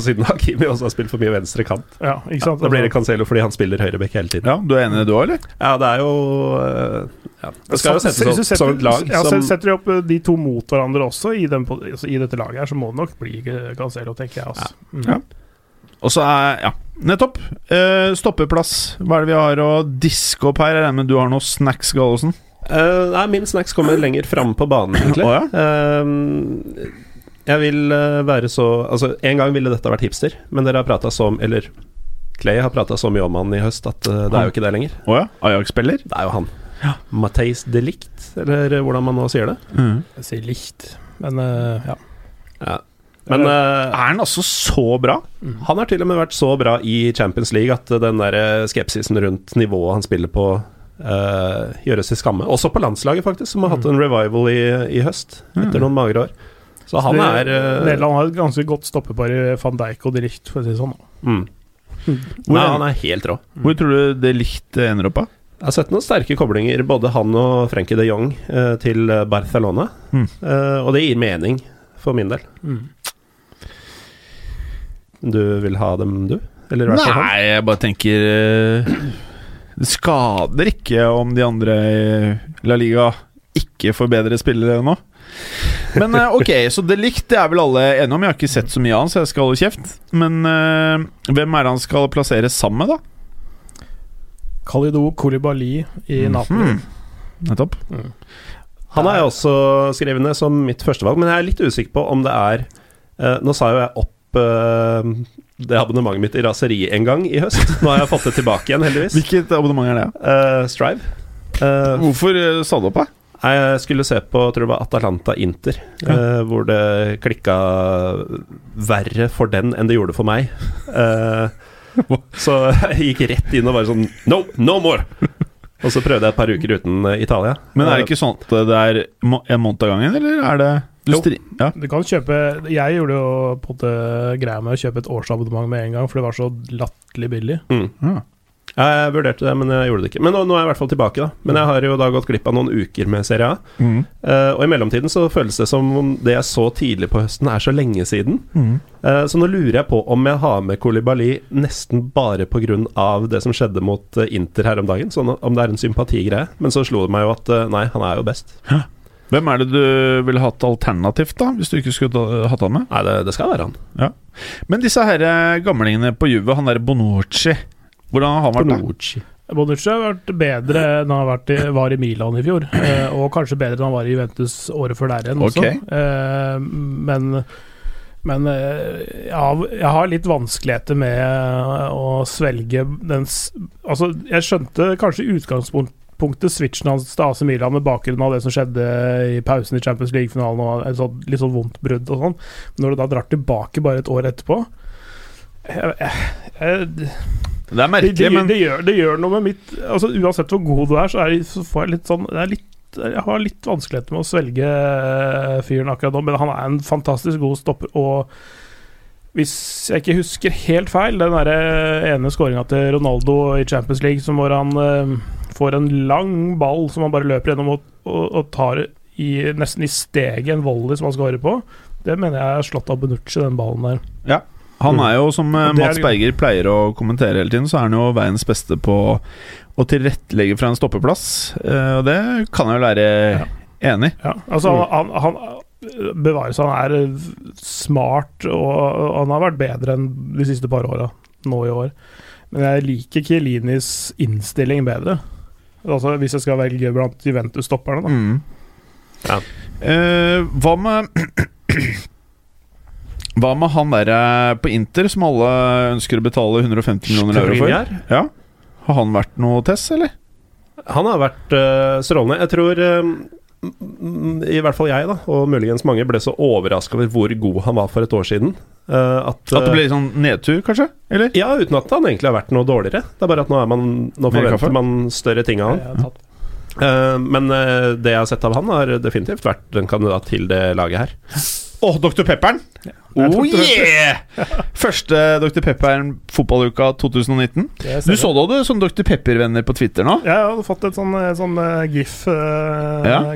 Speaker 3: siden Hakimi også har spilt for mye venstre kant.
Speaker 4: Ja, ikke
Speaker 3: Ja,
Speaker 4: sant?
Speaker 3: da blir det Cancelo fordi han spiller høyrebekk hele tiden.
Speaker 2: Ja, Du er enig i det, du òg, eller?
Speaker 3: Ja, det er jo eh, ja. Det skal jo
Speaker 4: Så-
Speaker 3: settes
Speaker 4: hvis
Speaker 3: opp
Speaker 4: du
Speaker 3: som
Speaker 4: setter-
Speaker 3: et lag
Speaker 4: ja,
Speaker 3: som
Speaker 4: så Setter de opp eh, de to mot hverandre også i, den, po- altså, i dette laget, her, så må det nok bli eh, Cancelo, tenker jeg. Altså. Mm.
Speaker 2: Ja. Og så er Ja, nettopp. Eh, stoppeplass. Hva er det vi har å diske opp her? Jeg regner med du har noe snacks, Gallosen?
Speaker 3: Eh, Nei, min snacks kommer lenger fram på banen, egentlig.
Speaker 2: Å,
Speaker 3: Eh, jeg vil eh, være så Altså, en gang ville dette vært hipster, men dere har prata så om Eller Clay har prata så mye om han i høst at eh, det er jo ikke det lenger.
Speaker 2: Å ja. Ajax-spiller?
Speaker 3: Det er jo han. Mateis Delict, eller eh, hvordan man nå sier det.
Speaker 2: Mm.
Speaker 4: Jeg sier likt, men eh, ja.
Speaker 3: Men
Speaker 2: Er han altså så bra?
Speaker 3: eh, han har til og med vært så bra i Champions League at eh, den der eh, skepsisen rundt nivået han spiller på, eh, gjøres til skamme. Også på landslaget, faktisk, som har hatt en revival i, i høst, etter noen magre år. Så han
Speaker 4: Det-
Speaker 3: er eh,
Speaker 4: Nederland har et ganske godt stoppepar i van Dijk og de Ligt, for å si det sånn.
Speaker 3: Mm.
Speaker 2: Hvor,
Speaker 3: Nei, han er helt rå.
Speaker 2: Mm. hvor tror du det likt ender opp, da?
Speaker 3: Jeg har sett noen sterke koblinger, både han og Frenkie de Jong, eh, til Barcelona.
Speaker 2: Mm.
Speaker 3: Eh, og det gir mening, for min del. Du vil ha dem, du? Eller i hvert fall han?
Speaker 2: Nei, jeg bare tenker eh, Det skader ikke om de andre i La Liga ikke får bedre spillere nå. Men eh, ok, så det likt det er vel alle enige om. Jeg har ikke sett så mye av han, så jeg skal holde kjeft. Men eh, hvem er det han skal plassere sammen med, da?
Speaker 4: Kalido Kolibali i Napoli.
Speaker 2: Hmm. Nettopp.
Speaker 3: Han har jeg også skrevet ned som mitt førstevalg, men jeg er litt usikker på om det er eh, Nå sa jo jeg opp eh, det abonnementet mitt i raseri en gang i høst. Nå har jeg fått det tilbake igjen, heldigvis.
Speaker 2: Hvilket abonnement er det?
Speaker 3: Eh, Strive. Eh,
Speaker 2: Hvorfor eh, sa du opp, da?
Speaker 3: Nei, Jeg skulle se på tror det var Atalanta-Inter, eh, hvor det klikka verre for den enn det gjorde for meg. Eh, så jeg gikk rett inn og bare sånn No, no more! Og så prøvde jeg et par uker uten eh, Italia.
Speaker 2: Men er det ikke sånn at det er må- en måned av gangen, eller er det du
Speaker 3: Jo.
Speaker 2: stri ja.
Speaker 4: Du kan kjøpe Jeg gjorde jo på en måte greia med å kjøpe et årsabonnement med en gang, for det var så latterlig billig.
Speaker 2: Ja.
Speaker 3: Eh, Jeg vurderte det, men jeg gjorde det ikke. Men nå, nå er jeg i hvert fall tilbake, da. Men jeg har jo da gått glipp av noen uker med Serie A.
Speaker 2: Mm.
Speaker 3: Eh, og i mellomtiden så føles det som om det jeg så tidlig på høsten, er så lenge siden.
Speaker 2: Mm.
Speaker 3: Eh, Så nå lurer jeg på om jeg har med Kolibali nesten bare pga. det som skjedde mot eh, Inter her om dagen. Sånn om det er en sympatigreie. Men så slo det meg jo at eh, nei, han er jo best.
Speaker 2: Hvem er det du ville hatt alternativt, da? Hvis du ikke skulle ta- hatt han med?
Speaker 3: Nei, det, det skal være han.
Speaker 2: Men disse her eh, gamlingene på Juve, han der Bonucci Hvordan har han vært da?
Speaker 3: Bonucci.
Speaker 4: Bonucci har vært bedre enn han har vært i, var i Milan i fjor, eh, og kanskje bedre enn han var i Juventus året før der igjen også.
Speaker 2: Ok.
Speaker 4: Eh, men men eh, jeg, har, jeg har litt vanskeligheter med eh, å svelge den s- Altså, jeg skjønte kanskje i utgangspunktet switchen hans til AC Milan med bakgrunn av det som skjedde i pausen i Champions League-finalen og et sånt, litt sånn vondt brudd og sånn. Men Når du da drar tilbake bare et år etterpå jeg, jeg, jeg,
Speaker 2: Det er
Speaker 4: det, det,
Speaker 2: merkelig, men
Speaker 4: det, gjør, det gjør noe med mitt altså, Uansett hvor god du er, så, er, så får jeg litt sånn det er litt, Jeg har litt vanskeligheter med å svelge eh, fyren akkurat nå, men han er en fantastisk god stopper. Og hvis jeg ikke husker helt feil, den der eh, ene skåringa til Ronaldo i Champions League som hvor han eh, får en lang ball som han bare løper gjennom og, og, og tar i, nesten i steget en volley som han skårer på. Det mener jeg er slått av Benucci, den ballen der.
Speaker 2: han er jo, som eh,
Speaker 4: Og det er
Speaker 2: Mats
Speaker 4: det-
Speaker 2: Berger pleier å kommentere hele tiden, så er han jo veiens beste på å tilrettelegge fra en stoppeplass. Eh, Og det kan jeg vel være enig i.
Speaker 4: Ja, altså
Speaker 2: Mm.
Speaker 4: han, han, han bevares, han er eh, smart, og og han har vært bedre enn de siste par åra, nå i år. Men jeg liker Kielinis innstilling bedre. Altså Hvis jeg skal velge blant Juventus-stopperne, da.
Speaker 2: Mm.
Speaker 3: Ja.
Speaker 2: Eh, hva med Hva med han derre på Inter som alle ønsker å betale 150 millioner euro for?
Speaker 3: Skriniar?
Speaker 2: Ja. Har han vært noe test, eller?
Speaker 3: Han har vært eh, strålende. Jeg tror eh, m- m- i hvert fall jeg, da, og muligens mange, ble så overraska over hvor god han var for et år siden. eh, at,
Speaker 2: At det
Speaker 3: eh,
Speaker 2: ble litt sånn nedtur, kanskje? Eller?
Speaker 3: Ja, uten at han egentlig har vært noe dårligere. Det er bare at nå, er man, nå
Speaker 2: Mer kaffe?
Speaker 3: forventer man større ting av han.
Speaker 4: Jeg har tatt-
Speaker 3: Eh, men eh, det jeg har sett av han, har definitivt vært en kandidat til det laget her.
Speaker 2: Å, Dr. Pepperen! Oh yeah! Første Dr. Pepperen fotballuka 2019.
Speaker 4: det ser
Speaker 2: Mm. Du
Speaker 4: jeg.
Speaker 2: så det, du, som Dr. Pepper-venner på Twitter nå.
Speaker 4: Ja, jeg hadde fått et sånn, eh, sånn
Speaker 2: Ja.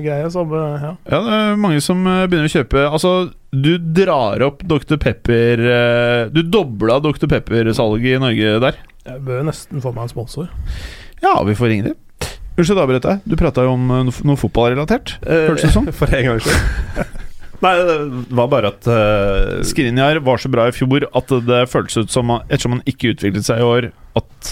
Speaker 4: GIF-greie. som, eh, ja.
Speaker 2: Ja, det er mange som eh, begynner å kjøpe Altså, du drar opp Dr. Pepper eh, Du dobla Dr. Pepper-salget i Norge der.
Speaker 4: Jeg bør nesten få meg en sponsor.
Speaker 2: Ja, vi får ringe dem. Unnskyld, avbrøt deg. Du prata jo om eh, noe f- noe fotballrelatert.
Speaker 3: Eh,
Speaker 2: Føles det som?
Speaker 3: For en gangs skyld. Nei, det var bare at eh,
Speaker 2: Skriniar var så bra i fjor at det føltes ut som han- Ettersom han ikke utviklet seg i år, at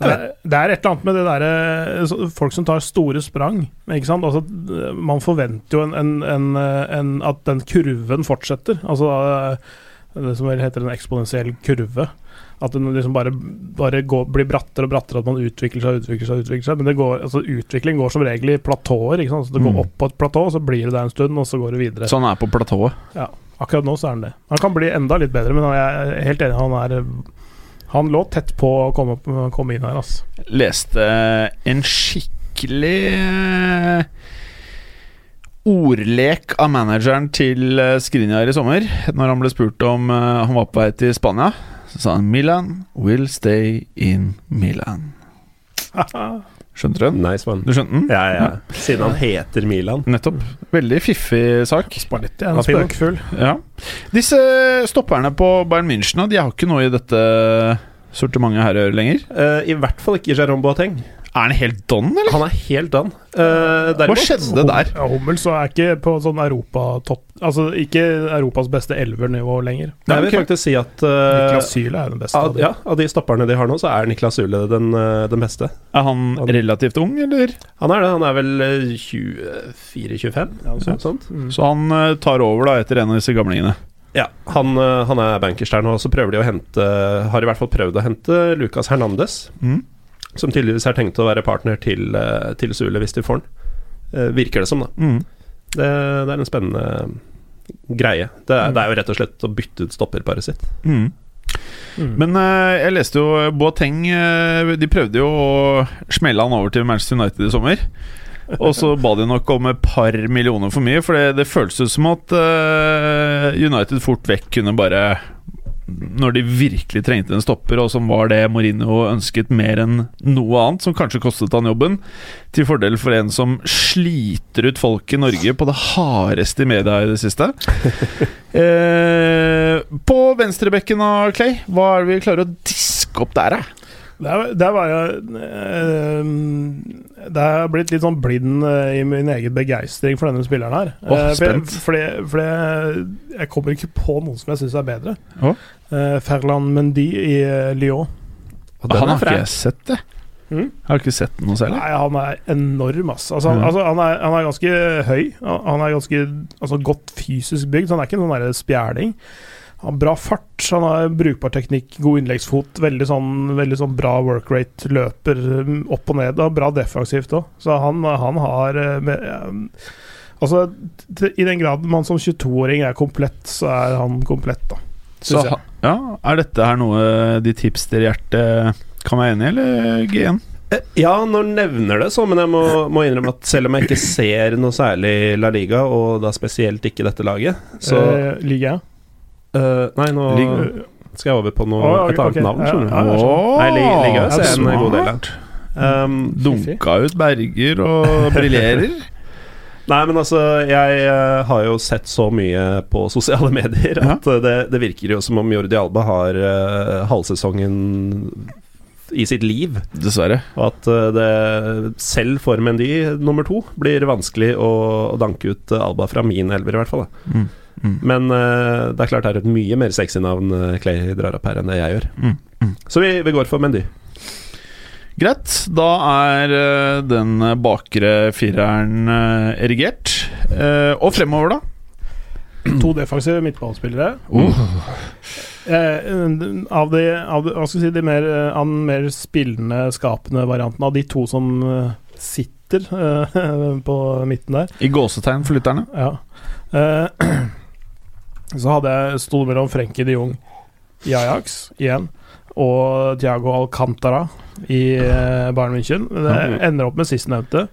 Speaker 4: Det er, det er et eller annet med det derre så- Folk som tar store sprang. Ikke sant? Altså, d- man forventer jo en, en, en, eh, en, at den kurven fortsetter. Altså eh, det som vel heter en eksponentiell kurve. At den liksom bare, bare går, blir brattere og brattere, at man utvikler seg og utvikler seg. utvikler seg Men det går, altså, utvikling går som regel i platåer. ikke sant? Så det
Speaker 2: Mm.
Speaker 4: går opp på et platå, så blir det der en stund, og så går det videre.
Speaker 2: Så han er på platået.
Speaker 4: Akkurat nå så er han det. Han kan bli enda litt bedre, men jeg er helt enig, han er Han lå tett på å komme, opp- komme inn her, altså.
Speaker 2: leste eh, en skikkelig eh, ordlek av manageren til eh, Skriniar i sommer, når han ble spurt om eh, han var på vei til Spania. Så sa han 'Milan will stay in Milan'. Skjønte du den?
Speaker 3: Nice one.
Speaker 2: Du skjønte den?
Speaker 3: Ja, ja. Siden han heter Milan.
Speaker 2: Nettopp. Veldig fiffig sak.
Speaker 4: Spalletti er en
Speaker 3: Ja, fin, da.
Speaker 4: spøkfugl.
Speaker 2: Ja. Disse stopperne på Bayern München da, De har ikke noe i dette sortimentet her å gjøre lenger.
Speaker 3: Eh, I hvert fall ikke Jérôme Boateng.
Speaker 2: Er han helt don, eller?
Speaker 3: Han er helt done. Eh,
Speaker 2: Hva
Speaker 3: derimot
Speaker 2: skjedde der?
Speaker 4: Ja, Hummel så er ikke på sånn europatopp Altså ikke Europas beste elvernivå lenger.
Speaker 2: Nei,
Speaker 3: Jeg vil
Speaker 2: ok.
Speaker 3: faktisk si at eh,
Speaker 4: Niklas Syle er jo den beste. av
Speaker 3: av,
Speaker 4: dem.
Speaker 3: ja, av de stopperne de har nå, så er Niklas Sule den, eh, den beste.
Speaker 2: Er han relativt ung, eller?
Speaker 3: Han er det. Han er vel eh, 24-25?
Speaker 4: Ja,
Speaker 2: sånn.
Speaker 3: noe sånt.
Speaker 4: Mm.
Speaker 2: Så han eh, tar over da etter en av disse gamlingene.
Speaker 3: Ja, han, eh, han er bankers der nå, og så prøver de å hente Har i hvert fall prøvd å hente Lucas Hernandez,
Speaker 2: Mm.
Speaker 3: som tydeligvis er tenkt å være partner til, eh, til Sule hvis de får han. Eh, Virker det som, da.
Speaker 2: Mm.
Speaker 3: Det, det er en spennende greie. Det er, det er jo rett og slett å bytte ut stopperparet sitt.
Speaker 2: Mm.
Speaker 4: Mm.
Speaker 2: Men eh, jeg leste jo Boateng eh, De prøvde jo å smelle han over til Manchester United i sommer. Og så ba de nok om et par millioner for mye, for det, det føles ut som at eh, United fort vekk kunne bare Når de virkelig trengte en stopper, og som var det Mourinho ønsket mer enn noe annet, som kanskje kostet han jobben, til fordel for en som sliter ut folk i Norge på det hardeste i media i det siste. Eh, på venstrebekken av Clay, hva er det vi klarer å diske opp der, da?
Speaker 4: Der, der var jeg eh, Det har blitt litt sånn blind eh, i min egen begeistring for denne spilleren her.
Speaker 2: Åh,
Speaker 4: Eh, for jeg-
Speaker 2: spent.
Speaker 4: for jeg- for jeg, jeg kommer ikke på noen som jeg syns er bedre.
Speaker 2: Åh.
Speaker 4: Eh, Ferland Mendy i eh, Lyon.
Speaker 2: Han har ikke jeg sett, det.
Speaker 4: Mm.
Speaker 2: Jeg har ikke sett noe særlig.
Speaker 4: Nei, han er enorm, ass. Altså, han,
Speaker 2: Ja.
Speaker 4: altså, han, er, han er ganske høy. Han han er ganske altså, godt fysisk bygd, så han er ikke noen der spjæling. Han har bra fart, han har brukbar teknikk, god innleggsfot, veldig sånn, veldig sånn bra work rate, løper mm, opp og ned, og bra defensivt òg. Så han, han har eh, med, eh, Altså, t- i den grad man som 22-åring er komplett, så er han komplett, da.
Speaker 2: Så,
Speaker 4: Synes jeg.
Speaker 2: ha- ja, er dette her noe eh, ditt hipsterhjerte kan være enig i, eller G1?
Speaker 3: Eh, Ja, nå nevner det så, men jeg må, må innrømme at selv om jeg ikke ser noe særlig La Liga, og da spesielt ikke dette laget, så
Speaker 4: Eh, Ligaen.
Speaker 3: eh, Nei, nå
Speaker 2: Liga-
Speaker 3: skal jeg over på noe,
Speaker 4: Å, ja,
Speaker 3: et annet
Speaker 4: ok.
Speaker 3: navn, skjønner du.
Speaker 4: Ja, jeg skjønner.
Speaker 3: Nei, Li- Liga
Speaker 4: så
Speaker 3: ser jeg en
Speaker 2: smart.
Speaker 3: god del av. Um,
Speaker 2: Dunka ut Berger og briljerer.
Speaker 3: nei, men altså, jeg eh, har jo sett så mye på sosiale medier at eh, det, det virker jo som om Jordi Alba har eh, halvsesongen i sitt liv.
Speaker 2: Dessverre.
Speaker 3: Og at eh, det selv for Mendy nummer to blir vanskelig å, å danke ut eh, Alba fra min elver, i hvert fall. Da.
Speaker 2: Mm. Mm.
Speaker 3: Men eh, det er klart det er et mye mer sexy navn eh, Clay drar opp her, enn det jeg gjør.
Speaker 2: Mm. Mm.
Speaker 3: Så vi, vi går for Mendy.
Speaker 2: Greit, da er eh, den bakre fireren eh, erigert. Eh, Og fremover, da?
Speaker 4: To defensive midtballspillere.
Speaker 2: Uh.
Speaker 4: Eh, av de, av de, hva skal jeg si, de mer, eh, av den mer spillende, skapende varianten av de to som eh, sitter eh, på midten der,
Speaker 2: I gåsetegn for lytterne.
Speaker 4: ja. eh, så hadde jeg stått mellom Frenkie de Jong i Ajax igjen og Thiago Alcantara i eh, Bayern München. Men Det ender opp med sistnevnte.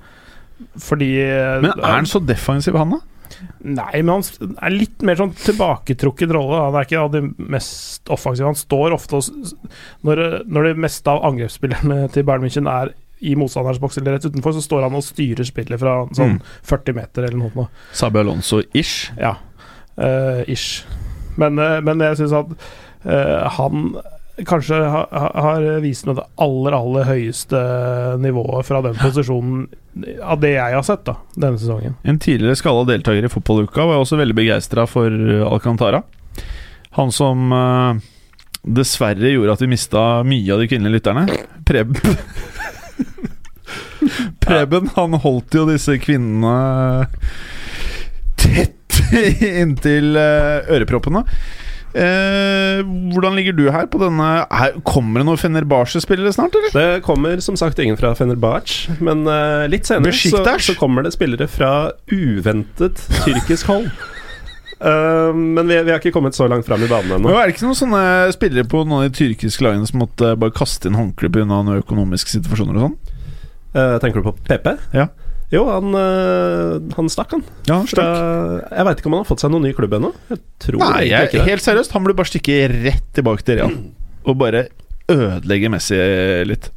Speaker 4: Fordi eh,
Speaker 2: Men er han så defensiv, han, da?
Speaker 4: Nei, men han s- er litt mer sånn tilbaketrukket rolle. da. Han er ikke av de mest offensive. Han står ofte og s- s- Når, når det meste av angrepsspillerne til Bayern München er i motstanderens boks eller rett utenfor, så står han og styrer spillet fra sånn
Speaker 3: Mm.
Speaker 4: 40 meter eller noe. sånt nå.
Speaker 2: Sabi Alonso-ish.
Speaker 4: Ja. Eh, ish. Men, eh, men jeg syns at eh, han kanskje ha, ha- har vist noe av det aller, aller høyeste nivået fra den posisjonen av det jeg har sett da, denne sesongen.
Speaker 2: En tidligere skalla deltaker i fotballuka var jeg også veldig begeistra for eh, Alcantara. Han som eh, dessverre gjorde at vi mista mye av de kvinnelige lytterne. Preben. Preben, han holdt jo disse kvinnene eh, tett inntil eh, øreproppene. Eh, hvordan ligger du her på denne her, Kommer det noen Fenerbahçe-spillere snart, eller?
Speaker 3: Det kommer som sagt ingen fra Fenerbahçe, men eh, litt senere så,
Speaker 2: Besiktas?
Speaker 3: så kommer det spillere fra uventet tyrkisk hold. Eh, men vi, vi har ikke kommet så langt fram i banen ennå.
Speaker 2: Men er det ikke noen sånne spillere på noen av de tyrkiske lagene som måtte bare kaste inn håndkle pga. noen økonomiske situasjoner og sånn?
Speaker 3: Eh, tenker du på PP?
Speaker 2: Ja.
Speaker 3: Jo, han, eh, han stakk, han.
Speaker 2: Ja,
Speaker 3: Fra, jeg veit ikke om han har fått seg noen ny klubb ennå. Jeg tror
Speaker 2: Nei,
Speaker 3: egentlig
Speaker 2: jeg,
Speaker 3: ikke det.
Speaker 2: helt seriøst, han burde bare stikke rett tilbake til Real og bare ødelegge Messi litt.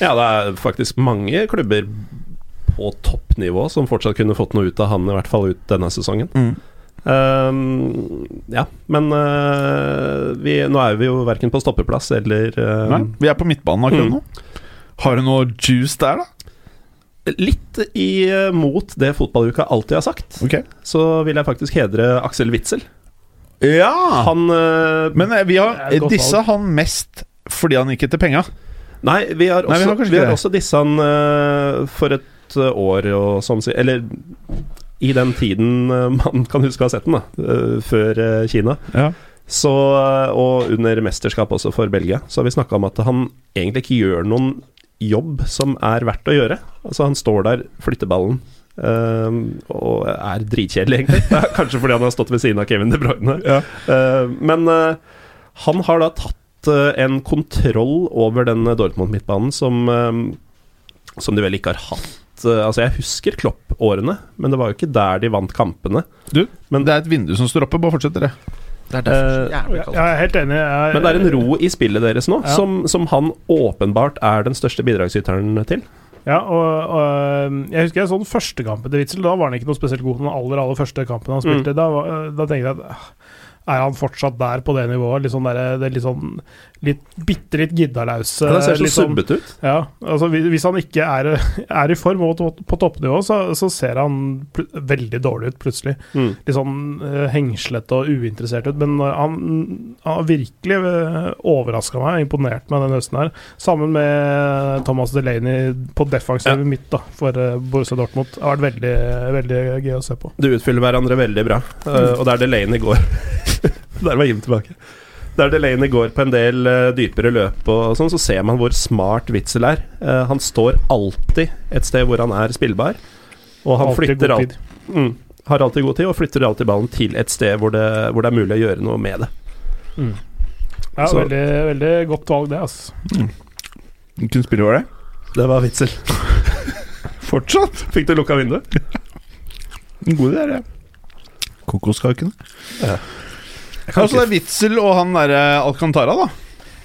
Speaker 3: Ja, det er faktisk mange klubber på toppnivå som fortsatt kunne fått noe ut av han, i hvert fall ut denne sesongen.
Speaker 2: Mm.
Speaker 3: Ehm, ja, men eh, vi, nå er vi jo verken på stoppeplass eller eh,
Speaker 2: Nei, vi er på midtbanen akkurat
Speaker 3: Mm.
Speaker 2: nå. Har du noe juice der, da?
Speaker 3: Litt imot det fotballuka alltid har sagt,
Speaker 2: Ok
Speaker 3: så vil jeg faktisk hedre Aksel Witzel.
Speaker 2: Ja!
Speaker 3: Han eh,
Speaker 2: Men eh, vi har,
Speaker 4: Det er et godt
Speaker 2: disse har han mest fordi han gikk etter penga.
Speaker 3: Nei, vi har
Speaker 2: Nei, vi
Speaker 3: også,
Speaker 2: har kanskje
Speaker 3: vi
Speaker 2: ikke
Speaker 3: har
Speaker 2: det.
Speaker 3: også disse han eh, for et eh, år og sånn si- Eller i den tiden eh, man kan huske å ha sett den, da. eh, før eh, Kina.
Speaker 2: Ja.
Speaker 3: Så, eh, og under mesterskap også for Belgia, så har vi snakka om at han egentlig ikke gjør noen jobb som er verdt å gjøre. Altså, han står der, flytter ballen. eh, og er dritkjedelig, egentlig. Det er Kanskje fordi han har stått ved siden av Kevin De Bruyne.
Speaker 2: Ja.
Speaker 3: Eh, men eh, han har da tatt eh, en kontroll over den eh, Dortmund-midtbanen som, eh, som de vel ikke har hatt. Eh, altså, jeg husker Klopp-årene, men det var jo ikke der de vant kampene.
Speaker 2: Du,
Speaker 3: Men-
Speaker 2: det er et vindu som står oppe. Bare fortsett, dere.
Speaker 5: Det er derfor
Speaker 3: Eh,
Speaker 5: så jævlig
Speaker 4: Jeg
Speaker 5: kaldt.
Speaker 4: er helt enig. Jeg,
Speaker 3: Men det er en ro i spillet deres nå,
Speaker 4: Ja.
Speaker 3: som, som han åpenbart er den største bidragsyteren til.
Speaker 4: Ja, og, og øhm, jeg husker jeg så den første kampen til Witzel. Da var han ikke noe spesielt god. Den aller aller første kampen han spilte.
Speaker 3: Mm.
Speaker 4: Da, var- øh, da tenkte jeg at øh, er han fortsatt der på det nivået? Litt sånn der, det er litt sånn litt, bitte litt giddalause.
Speaker 3: Det ser så
Speaker 4: litt sånn-
Speaker 3: subbete ut.
Speaker 4: ja, altså hvis, hvis han ikke er, eh, er i form og på- på toppnivå, så, så ser han pl veldig dårlig ut plutselig.
Speaker 3: Mm.
Speaker 4: Litt sånn eh, hengslete og uinteressert ut. Men når han har virkelig uh, overraska meg, imponert meg den høsten her. Sammen med Thomas Delaney på defensivet mitt da, for eh, Borussia Dortmund. Det har vært veldig, veldig gøy å se på.
Speaker 3: Du utfyller hverandre veldig bra,
Speaker 4: Mm.
Speaker 3: Eh, og der Delaney går Der var Jim tilbake. Der Delaney går på en del eh, dypere løp og sånn, så ser man hvor smart Witzel er. Eh, han står alltid et sted hvor han er spillbar, og han
Speaker 4: Alltid
Speaker 3: flytter
Speaker 4: god
Speaker 3: alt,
Speaker 4: tid.
Speaker 3: mm, har alltid god tid og flytter alltid ballen til et sted hvor det, hvor det er mulig å gjøre noe med det.
Speaker 4: Ja,
Speaker 3: Så-
Speaker 4: veldig, veldig godt valg, det. Altså.
Speaker 2: Kunne spille over det.
Speaker 3: Det var Witzel.
Speaker 2: Fortsatt.
Speaker 3: Fikk du lukka vinduet?
Speaker 2: En god idé, er det. Kokoskakene. Altså,
Speaker 3: Ja.
Speaker 2: Og så det er Witzel og han derre Alcantara, da.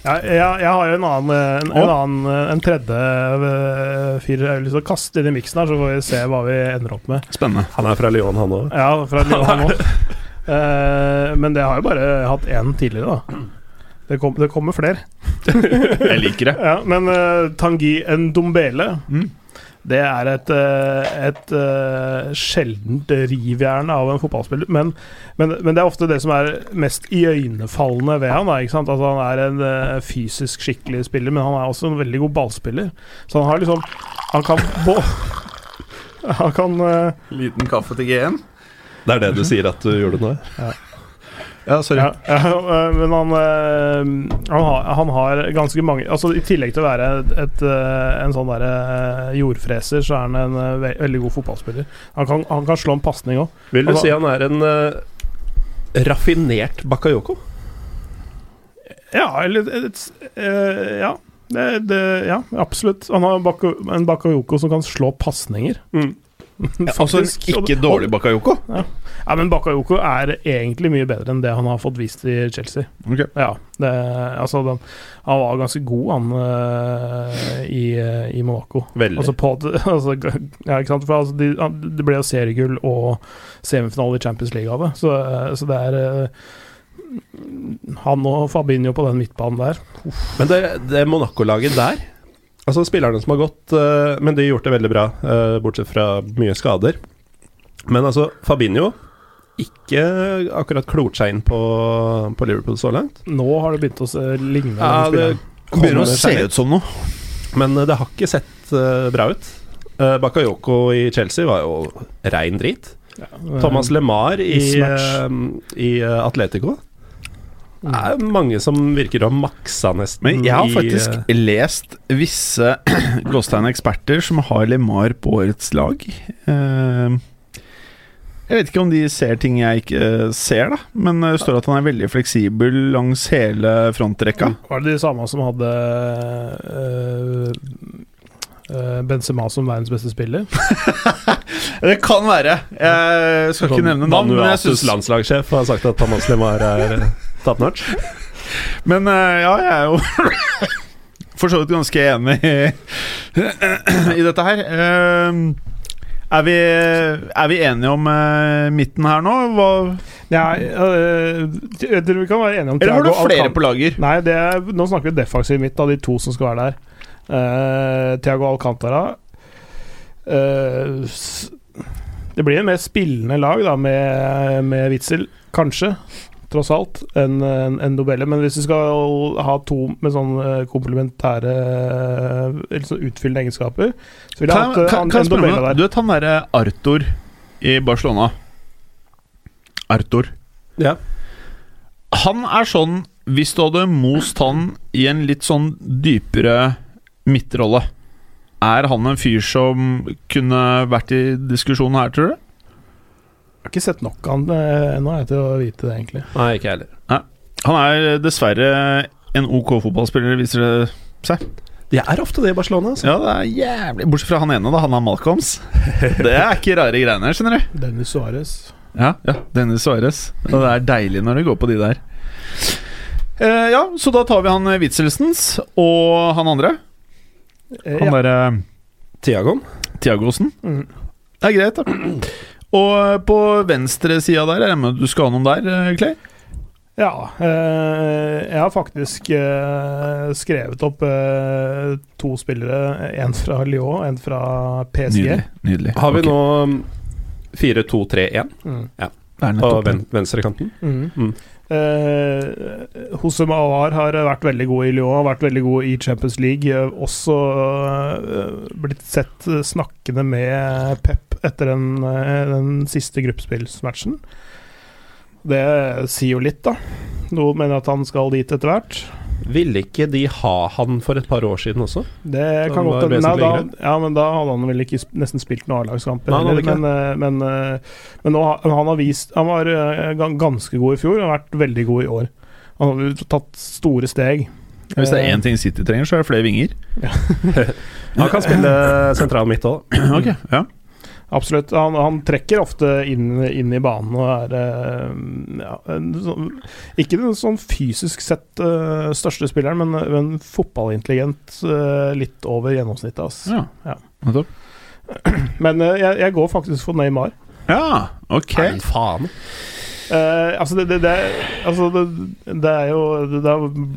Speaker 4: Ja, jeg, jeg har jo en annen eh, En, en,
Speaker 2: Å.
Speaker 4: annen, eh, en tredje eh, fyr jeg har lyst til å kaste inn i miksen her, så får vi se hva vi ender opp med.
Speaker 2: Spennende.
Speaker 3: Han er fra Lyon, han òg.
Speaker 4: Ja, fra Lyon òg. Men det har jo bare hatt én tidligere, da. Det, kom, det kommer flere.
Speaker 2: Jeg liker det.
Speaker 4: Ja, men eh, Tanguy Ndombele Det er et, eh, et eh, sjeldent rivjern av en fotballspiller. Men, men, men det er ofte det som er mest iøynefallende ved han. Da, ikke sant? Altså, han er en eh, fysisk skikkelig spiller, men han er også en veldig god ballspiller. Så han har liksom Han kan bå... Han kan eh,
Speaker 2: Liten kaffe til G1.
Speaker 3: Det er det du sier at du gjorde nå? ja.
Speaker 2: Ja, sorry.
Speaker 4: ja, ja, eh, Men han, eh, han, har, han har ganske mange Altså I tillegg til å være et, et, eh, en sånn der eh, jordfreser, så er han en eh, ve veldig god fotballspiller. Han kan, han kan slå en pasning òg.
Speaker 3: Vil du
Speaker 4: Altså-
Speaker 3: si han er en eh, raffinert Bakayoko?
Speaker 4: Ja, eller et, et, eh, Ja. Det, det, ja, absolutt. Han har Bako, en Bakayoko som kan slå pasninger.
Speaker 2: Altså en
Speaker 4: Faktisk.
Speaker 2: ikke dårlig Bakayoko.
Speaker 4: Ja, men Bakayoko er egentlig mye bedre enn det han har fått vist i Chelsea.
Speaker 2: Ok.
Speaker 4: Ja, det, altså den, Han var ganske god, han, eh, i, eh, i Monaco.
Speaker 3: Veldig.
Speaker 4: Altså på, at- altså, ja, ikke sant? For altså, de, han- det ble jo seriegull og semifinale i Champions League av det. Så, eh, så det er eh, Han og Fabinho på den midtbanen der.
Speaker 3: Men det, det Monaco-laget der Altså spillerne som har gått eh, Men de har gjort det veldig bra, eh, bortsett fra mye skader. Men altså, Fabinho ikke akkurat klort seg inn på, på Liverpool så langt.
Speaker 4: Nå har det begynt å se ligne
Speaker 3: Ja,
Speaker 4: på den
Speaker 3: det
Speaker 4: spilleren.
Speaker 2: Begynner å
Speaker 3: kommer
Speaker 2: se
Speaker 3: seg litt.
Speaker 2: ut som noe.
Speaker 3: Men eh, det har ikke sett eh, bra ut. Eh, Bakayoko i Chelsea var jo rein drit. Thomas LeMar i, eh,
Speaker 4: mismatch.
Speaker 3: i eh, Atletico Det er mange som virker å ha maksa nesten
Speaker 2: Men jeg har
Speaker 3: i,
Speaker 2: faktisk
Speaker 3: eh,
Speaker 2: lest visse Gåstein-eksperter som har LeMar på årets lag. Eh, Jeg vet ikke om de ser ting jeg ikke eh, ser, da. Men det står at han er veldig fleksibel langs hele frontrekka.
Speaker 4: Var det de samme som hadde eh, eh, Benzema som verdens beste spiller?
Speaker 2: Det kan være. Jeg skal ikke nevne navn, men jeg
Speaker 3: Vanuatus
Speaker 2: synes-
Speaker 3: landslagssjef har sagt at Thomas LeMar er eh, top notch.
Speaker 2: Men eh, ja, jeg er jo for så vidt ganske enig i, i dette her. Ehm, er, vi, er vi enige om eh, midten her nå? Hva,
Speaker 4: Ja, øh, jeg tror vi kan være enige om
Speaker 2: eller har du
Speaker 4: Thiago
Speaker 2: flere
Speaker 4: Alcant-
Speaker 2: på lager?
Speaker 4: Nei, det er, nå snakker vi defensiv midt av de to som skal være der. Uh, Tiago Alcantara Eh, s- Det blir en mer spillende lag da, med, med Witzel, kanskje, tross alt, enn en, en Dobelle. Men hvis du skal ha to med sånn eh, komplementære eh, Eller sånn utfyllende egenskaper, så vil jeg
Speaker 2: Kan,
Speaker 4: ha hatt eh,
Speaker 2: kan,
Speaker 4: en
Speaker 2: kan jeg
Speaker 4: en
Speaker 2: spørre om
Speaker 4: Dobelle
Speaker 2: noe?
Speaker 4: der.
Speaker 2: Du vet han derre Arthur i Barcelona? Arthur.
Speaker 3: Ja.
Speaker 2: Han er sånn Hvis du hadde most han i en litt sånn dypere midtrolle, er han en fyr som kunne vært i diskusjonen her, tror du?
Speaker 4: Jeg har ikke sett nok av han eh, ennå jeg, til å vite det, egentlig.
Speaker 3: Nei, ikke jeg heller.
Speaker 2: Han er dessverre en OK fotballspiller, viser det seg.
Speaker 3: De er ofte det i Barcelona. Altså.
Speaker 2: Ja, det er jævlig Bortsett fra han ene, da. Han er Malcolms. Det er ikke rare greiene, skjønner du.
Speaker 4: Dennis Suárez.
Speaker 2: Ja, ja Dennis Suárez. Og det er deilig når det går på de der. Eh, ja, så da tar vi han eh, Witzelsens og han andre.
Speaker 4: Eh,
Speaker 2: Han
Speaker 4: ja.
Speaker 2: derre
Speaker 3: Tiagon.
Speaker 2: Tiagosen.
Speaker 4: Mm.
Speaker 2: Det er greit, da. Og eh, på venstre sida der, jeg regner med at du skal ha noen der, eh, Clay?
Speaker 4: Ja. eh, jeg har faktisk eh, skrevet opp eh, to spillere. En fra Lyon, en fra PSG.
Speaker 2: Nydelig. nydelig
Speaker 3: Har vi
Speaker 2: Ok.
Speaker 3: nå mm, 4-2-3-1
Speaker 4: Mm.
Speaker 2: Det er
Speaker 3: på
Speaker 2: nettopp det.
Speaker 3: ven venstrekanten?
Speaker 4: Mm.
Speaker 3: Mm.
Speaker 4: Eh, Jose Mawar har vært veldig god i Lyon, har vært veldig god i Champions League. eh, Også eh, blitt sett eh, snakkende med Pep etter den, eh, den siste gruppespillsmatchen. Det sier jo litt, da. Noen mener at han skal dit etter hvert.
Speaker 3: Ville ikke de ha han for et par år siden også?
Speaker 4: Det
Speaker 3: Da var
Speaker 4: kan godt
Speaker 3: det
Speaker 4: hende. Nei,
Speaker 3: vesentlig
Speaker 4: da- Ja, men da hadde han vel ikke sp- nesten spilt noen A-lagskamp.
Speaker 3: Nei, han hadde
Speaker 4: heller, Men, eh, men, eh, men nå, har- han har vist Han var eh, gan- ganske god i fjor og har vært veldig god i år. Han har jo tatt store steg.
Speaker 2: Hvis det er én ting City trenger, så er det flere vinger.
Speaker 3: Han kan spille sentral midt òg.
Speaker 2: Ok, ja
Speaker 4: Absolutt. Han, han trekker ofte inn, inn i banen og er eh, ja, en sånn, Ikke den sånn fysisk sett eh, største spilleren, men, men fotballintelligent eh, litt over gjennomsnittet. ass.
Speaker 2: Ja,
Speaker 4: Ja.
Speaker 2: nettopp.
Speaker 4: Men eh, jeg, jeg går faktisk for Neymar.
Speaker 2: Ja, ok.
Speaker 3: Nei, faen.
Speaker 4: Eh, altså, det, det, det, altså det, det er jo Det, det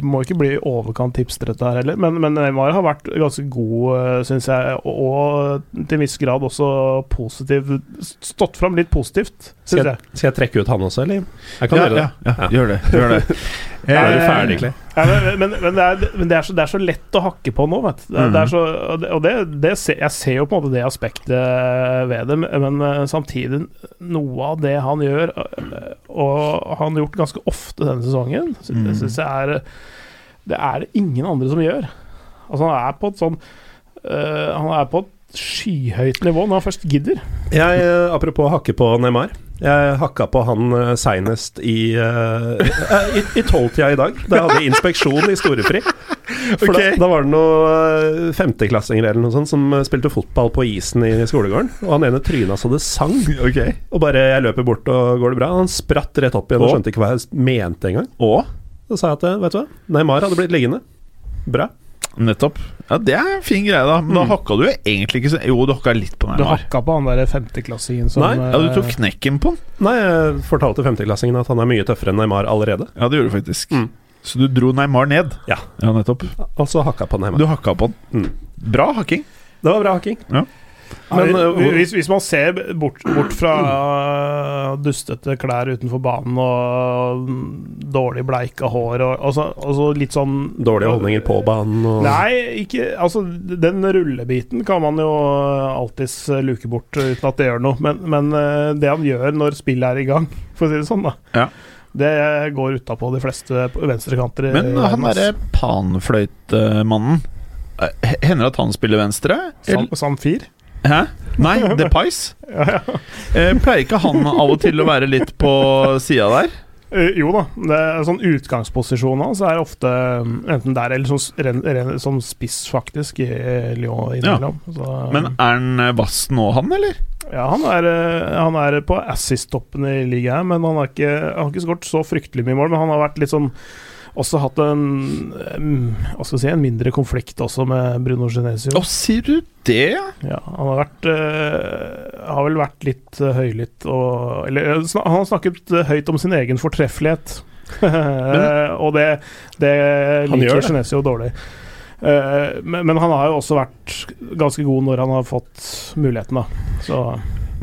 Speaker 4: må ikke bli i overkant tipster, dette her heller. Men, men Neymar har vært ganske god, syns jeg. Og, og til en viss grad også positiv. Stått fram litt positivt, syns
Speaker 3: Skal
Speaker 4: jeg.
Speaker 3: jeg, skal jeg trekke ut han også, eller? Jeg kan
Speaker 2: Ja,
Speaker 3: gjøre det.
Speaker 2: ja, ja, gjør det. Gjør det.
Speaker 3: Da er du
Speaker 2: Eh,
Speaker 3: ferdig, Clay.
Speaker 4: Ja, men men, men, det, er, men det, er så, det er så lett å hakke på nå, vet du. Det, er- det er så, og det, og det, det ser, jeg ser jo på en måte det aspektet ved det, men eh, samtidig Noe av det han gjør, eh, og han har gjort ganske ofte denne sesongen, sy-
Speaker 2: Mm.
Speaker 4: det syns jeg er Det er det ingen andre som gjør. Altså, han er på et sånn eh, Han er på et skyhøyt nivå når han først gidder.
Speaker 3: Jeg, eh, apropos hakke på Neymar. Jeg hakka på han eh, seinest i eh, eh, I, i tolvtida i dag, da jeg hadde inspeksjon i storefri. For
Speaker 2: Ok.
Speaker 3: da, da var det noen femteklassinger eller noe sånt som eh, spilte fotball på isen i skolegården. Og han ene tryna så det sang.
Speaker 2: Ok.
Speaker 3: Og bare jeg løper bort og går det bra. Han spratt rett opp igjen og
Speaker 2: Å.
Speaker 3: skjønte ikke hva jeg mente engang.
Speaker 2: Og
Speaker 3: Da sa jeg at eh, vet du hva, Neymar hadde blitt liggende. Bra.
Speaker 2: nettopp. Ja, Det er en fin greie, da.
Speaker 3: Mm.
Speaker 2: Men da hakka du jo egentlig ikke så Jo, du hakka litt på den.
Speaker 4: Du
Speaker 2: her.
Speaker 4: hakka på han der femteklassingen som
Speaker 3: Nei,
Speaker 2: Ja, du
Speaker 4: eh,
Speaker 2: tok knekken på den.
Speaker 3: Nei, jeg fortalte femteklassingen at han er mye tøffere enn Neymar allerede.
Speaker 2: Ja, det gjorde du faktisk.
Speaker 3: Mm.
Speaker 2: Så du dro Neymar ned.
Speaker 3: Ja. Mm.
Speaker 2: ja nettopp.
Speaker 3: Og så hakka Altså på Neymar.
Speaker 2: Du hakka på den. Bra hakking.
Speaker 3: Det var bra hakking.
Speaker 2: Ja.
Speaker 3: Men
Speaker 4: Men,
Speaker 3: eh, hvor-
Speaker 4: hvis, hvis man ser bort, bort fra øh, dustete klær utenfor banen og mm, dårlig bleika hår og, og, så, og så litt sånn
Speaker 3: Dårlige holdninger på banen og
Speaker 4: Nei, ikke Altså, den rullebiten kan man jo alltids luke bort uten at det gjør noe, men, men øh, det han gjør når spillet er i gang, for å si det sånn, da,
Speaker 2: Ja.
Speaker 4: det går utapå de fleste på venstrekanter. i
Speaker 2: Men han
Speaker 3: Eh,
Speaker 4: verden, altså. ass.
Speaker 2: derre panfløytemannen eh, h- Hender det at han spiller venstre?
Speaker 4: Sam, Samfir?
Speaker 2: Hæ? Nei, The Pies. Eh, pleier ikke han av og til å være litt på sida der?
Speaker 4: Eh, jo da. Det er sånn Utgangsposisjonen hans er ofte mm, enten der eller som, s- ren, ren, som spiss, faktisk, i eh, Lyon innimellom. Så, mm,
Speaker 2: Men er han eh, vass nå, han, eller?
Speaker 4: ja, han er, eh, han er på assist-toppen i ligaen, men han, er ikke, han har ikke skåret så fryktelig mye mål. Men han har vært litt sånn også hatt en, eh, hva skal jeg si, en mindre konflikt også med Bruno Genesio.
Speaker 2: Å, sier du det?
Speaker 4: Ja, han har, vært, eh, har vel vært litt eh, høylytt og Eller eh, sna- han har snakket eh, høyt om sin egen fortreffelighet. Eh, og det, det
Speaker 3: Han gjør
Speaker 4: liker
Speaker 3: det.
Speaker 4: Genesio dårlig. Eh, men, men han har jo også vært ganske god når han har fått muligheten, da. Så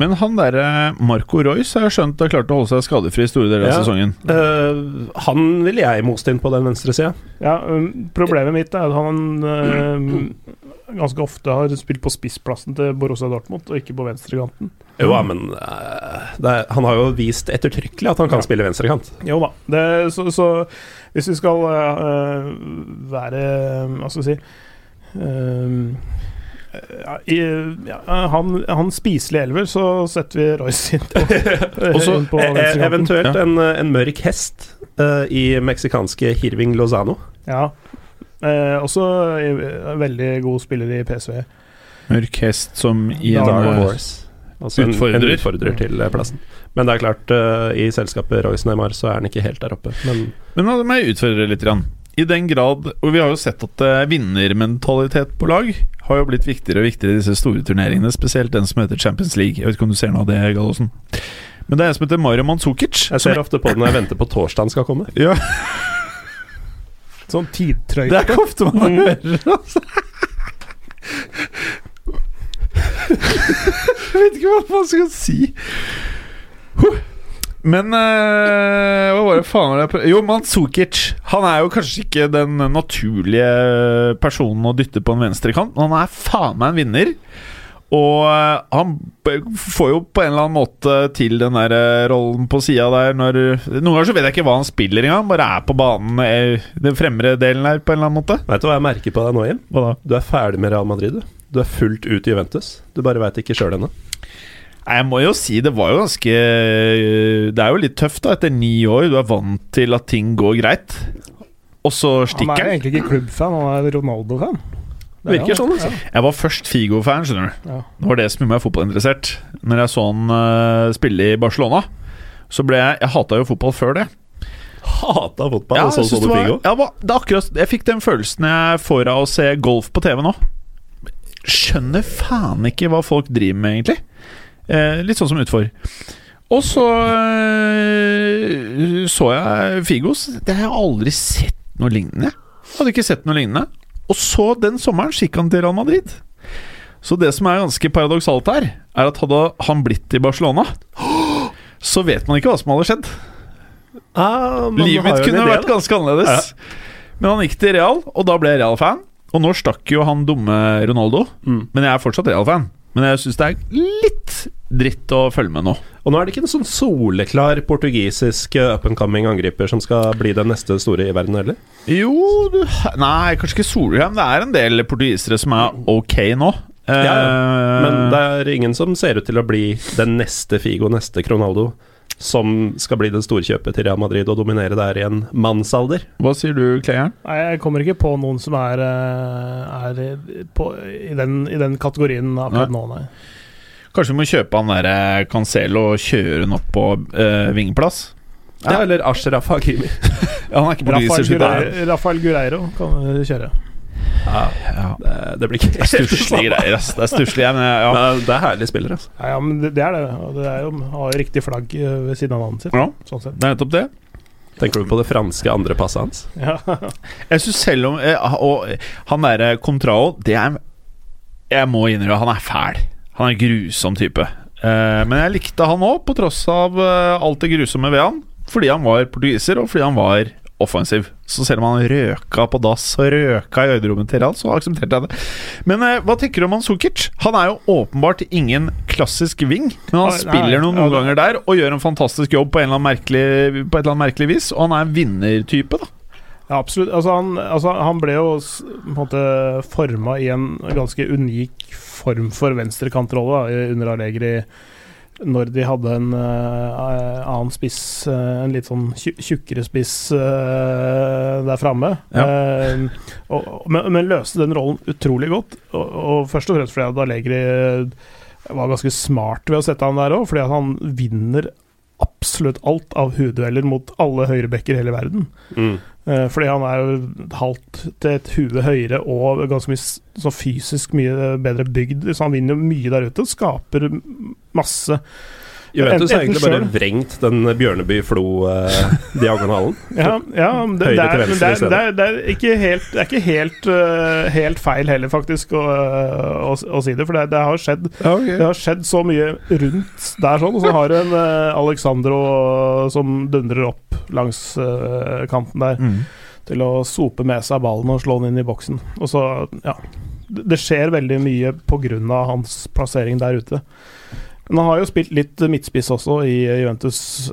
Speaker 2: Men han derre Marco Royce har jeg skjønt har klart å holde seg skadefri i store deler av
Speaker 3: Ja.
Speaker 2: sesongen.
Speaker 3: Eh, han ville jeg most inn på den venstre sida.
Speaker 4: ja, um, problemet mitt er at han eh, ganske ofte har spilt på spissplassen til Borussia Dortmund, og ikke på venstrekanten.
Speaker 3: Jo, ja, men eh, det er, han har jo vist ettertrykkelig at han kan spille venstrekant.
Speaker 4: Jo da. Det, så, så hvis vi skal eh, være Hva skal vi si eh, ja, i, ja, han, han spiselig elver, så setter vi Royce inn på,
Speaker 3: Og så
Speaker 4: inn på
Speaker 3: e- e-
Speaker 4: venstrekanten.
Speaker 3: eventuelt en, eh, en mørk hest eh, i meksikanske Hirving Lozano.
Speaker 4: Ja. Eh, også eh, veldig god spiller i PSV.
Speaker 2: Mørk hest som i en
Speaker 4: Dark
Speaker 2: eh,
Speaker 3: Horse. Altså en, en
Speaker 2: Utfordrer.
Speaker 3: utfordrer til eh, plassen. Men det er klart, eh, i selskapet Royce Neymar så er han ikke helt der oppe. Men
Speaker 2: Men da må jeg utfordre litt. Grann. I den grad Og vi har jo sett at eh, vinnermentalitet på lag har jo blitt viktigere og viktigere i disse store turneringene, spesielt den som heter Champions League. Jeg vet ikke om du ser noe av det, Gallosen. Men det er en som heter Mario Manzukic.
Speaker 3: jeg ser ofte på det når jeg venter på torsdagen skal komme.
Speaker 2: Ja,
Speaker 4: Sånn
Speaker 2: det
Speaker 4: tidtrøyte.
Speaker 2: er ikke ofte man hører, altså. Jeg vet ikke hva man skal si. Huh. Men eh, hva var det faen var det jeg prøvde Jo, Manzukic. Han er jo kanskje ikke den naturlige personen å dytte på en venstrekant, men han er faen meg en vinner. Og eh, han b- får jo på en eller annen måte til den der eh, rollen på sida der når Noen ganger så vet jeg ikke hva han spiller engang, bare er på banen eh, den fremre delen her på en eller annen måte.
Speaker 3: Vet du hva jeg merker på deg nå, Jim?
Speaker 2: Hva da?
Speaker 3: Du er ferdig med Real Madrid, du. Du er fullt ut Juventus. Du bare veit ikke sjøl ennå.
Speaker 2: Nei, Jeg må jo si det var jo ganske øh, Det er jo litt tøft da, etter ni år. Du er vant til at ting går greit, og så
Speaker 4: Han er
Speaker 2: stikker han.
Speaker 4: egentlig ikke klubbfan, han er Ronaldo-fan. Det er
Speaker 3: Virker
Speaker 4: han.
Speaker 3: sånn, altså.
Speaker 2: Jeg var først Figo-fan, skjønner du.
Speaker 4: Ja.
Speaker 2: Det var det som gjorde meg fotballinteressert. Når jeg så han eh, spille i Barcelona, så ble jeg Jeg hata jo fotball før det.
Speaker 3: Hata fotball. og så
Speaker 2: jeg
Speaker 3: så
Speaker 2: synes
Speaker 3: du
Speaker 2: det var-
Speaker 3: Figo.
Speaker 2: Ja, hva- det er akkurat Jeg fikk den følelsen jeg får av å se golf på TV nå. Skjønner faen ikke hva folk driver med, egentlig. Eh, litt sånn som utfor. Og så eh, så jeg Figos. Det har jeg aldri sett noe lignende. Jeg hadde ikke sett noe lignende. Og så den sommeren så gikk han til Real Madrid. Så det som er ganske paradoksalt her, er at hadde han blitt i Barcelona, så vet man ikke hva som hadde skjedd.
Speaker 3: Ah, man
Speaker 2: Livet
Speaker 3: har
Speaker 2: mitt
Speaker 3: jo en
Speaker 2: kunne
Speaker 3: idé,
Speaker 2: vært
Speaker 3: da.
Speaker 2: ganske annerledes. Men han gikk til Real, og da ble jeg Real-fan. Og nå stakk jo han dumme Ronaldo,
Speaker 3: Mm.
Speaker 2: men jeg er fortsatt Real-fan. Men jeg syns det er litt dritt å følge med nå.
Speaker 3: Og nå er det ikke en sånn soleklar portugisisk eh, up and coming angriper som skal bli den neste store i verden heller.
Speaker 2: Jo, du Nei, kanskje ikke Solheim. Det er en del portugisere som er ok nå. Eh,
Speaker 3: Ja, Men det er ingen som ser ut til å bli den neste Figo, neste Cronaldo, som skal bli det storkjøpet til Real Madrid og dominere der i en mannsalder.
Speaker 2: Hva sier du, Klejern?
Speaker 4: Nei, jeg kommer ikke på noen som er, eh, er på, i, den, i den kategorien akkurat nå, nei.
Speaker 2: Kanskje vi må kjøpe han derre Cancelo og kjøre han opp på eh, vingeplass? Ja.
Speaker 3: Ja, eller Ashraf Hakimi.
Speaker 2: Ja, han er ikke
Speaker 4: Rafael
Speaker 2: portugiser. så det er-
Speaker 4: Guerreiro, Rafael Guerreiro kan eh, kjøre.
Speaker 2: Ja,
Speaker 3: Det, det blir ikke
Speaker 2: det er stusslige greier, ass. Det er stusslige, men jeg- ja.
Speaker 3: Men Det er herlige spillere, altså.
Speaker 4: Ja, ja, men det, det er det. og Det er jo, har jo riktig flagg eh, ved siden av navnet sitt.
Speaker 2: Ja.
Speaker 4: Sånn sett.
Speaker 2: Det er nettopp det.
Speaker 3: Tenker du på det franske andre passet hans?
Speaker 4: Ja.
Speaker 2: Jeg synes selv om eh, Og han derre Contrao, det er Jeg må innrømme, han er fæl. Han er en grusom type. Eh, men jeg likte han òg, på tross av eh, alt det grusomme ved han. Fordi han var portugiser, og fordi han var offensiv. Så selv om han røka på dass og røka i øyderommet til Real, så aksepterte jeg det. Men eh, hva tenker du om han Sukic? Han er jo åpenbart ingen klassisk wing, men han
Speaker 4: Nei,
Speaker 2: spiller noen,
Speaker 4: ja,
Speaker 2: noen
Speaker 4: det-
Speaker 2: ganger der og gjør en fantastisk jobb på, en eller annen merkelig, på et eller annet merkelig vis. Og han er en vinnertype, da.
Speaker 4: ja, absolutt. Altså, han, altså, han ble jo s- på en måte forma i en ganske unik form for venstrekantrolle da, i- under Allegri. Når de hadde en eh, annen spiss, eh, en litt sånn tju- tjukkere spiss eh, der framme.
Speaker 2: Ja.
Speaker 4: Eh, og, og- men, men løste den rollen utrolig godt. Og, og først og fremst fordi at eh, Allegri var ganske smart ved å sette han der òg, fordi at han vinner absolutt alt av huedueller mot alle høyrebacker i hele verden.
Speaker 3: Mm.
Speaker 4: Eh, fordi han er jo et halvt til et hue høyere og ganske mye s- sånn fysisk mye bedre bygd, så han vinner jo mye der ute og skaper m- masse.
Speaker 3: Juventus har
Speaker 4: Enten-
Speaker 3: egentlig bare vrengt den eh, Bjørneby-Flo-diagonalen.
Speaker 4: Ja, ja men det,
Speaker 3: Høyre
Speaker 4: det,
Speaker 3: til
Speaker 4: er, men
Speaker 3: venstre i
Speaker 4: det, er,
Speaker 3: stedet.
Speaker 4: det, er, det er ikke helt, det er ikke helt, eh, helt feil heller, faktisk, å, eh, å, å si det. For det, det har skjedd Det har skjedd så mye rundt der sånn, og så har du en eh, Alexandro som dundrer opp langs eh, kanten der
Speaker 2: Mm.
Speaker 4: til å sope med seg ballen og slå den inn i boksen. Og så, ja Det det skjer veldig mye pga. hans plassering der ute. Men han har jo spilt litt midtspiss også i Juventus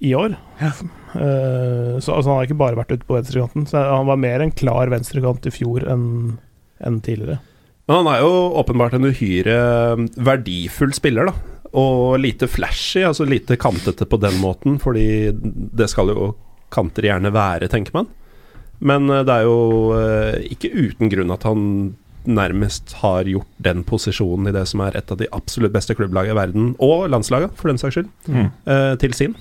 Speaker 4: i år.
Speaker 2: Ja.
Speaker 4: Eh, så altså, han har ikke bare vært ute på venstrekanten. Så han var mer en klar venstrekant i fjor enn enn tidligere.
Speaker 3: Men han er jo åpenbart en uhyre eh, verdifull spiller, da. Og lite flashy, altså lite kantete på den måten, fordi det skal jo kanter gjerne være, tenker man. Men eh, det er jo eh, ikke uten grunn at han nærmest har gjort den posisjonen i det som er et av de absolutt beste klubblaga i verden, og landslaga, for den saks skyld,
Speaker 2: Mm.
Speaker 3: eh, til sin.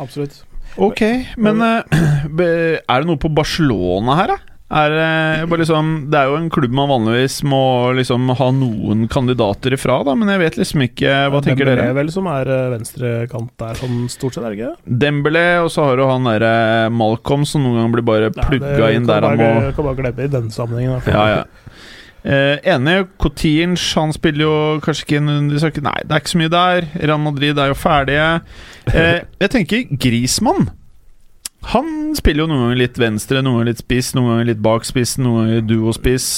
Speaker 4: Absolutt.
Speaker 2: Ok, men eh, be- er det noe på Barcelona her, da? Er, det bare liksom, det er jo en klubb man vanligvis må liksom ha noen kandidater ifra, da, men jeg vet liksom ikke Hva tenker
Speaker 4: Dembélé
Speaker 2: dere?
Speaker 4: vel som er eh, venstrekant der, som stort sett er det ikke?
Speaker 2: Dembélé, og så har du han derre Malcolm som noen ganger blir bare
Speaker 4: Nei, det
Speaker 2: plugga inn der
Speaker 4: kan
Speaker 2: han må
Speaker 4: bare, Kan bare glemme i den sammenhengen. i hvert fall.
Speaker 2: Ja, ja. Eh, enig. Cotinch, han spiller jo kanskje ikke en de skal ikke- Nei, det er ikke så mye der. Real Madrid er jo ferdige. Eh, jeg tenker Grismann. Han spiller jo noen ganger litt venstre, noen ganger litt spiss, noen ganger litt bak spissen, noen ganger duospiss.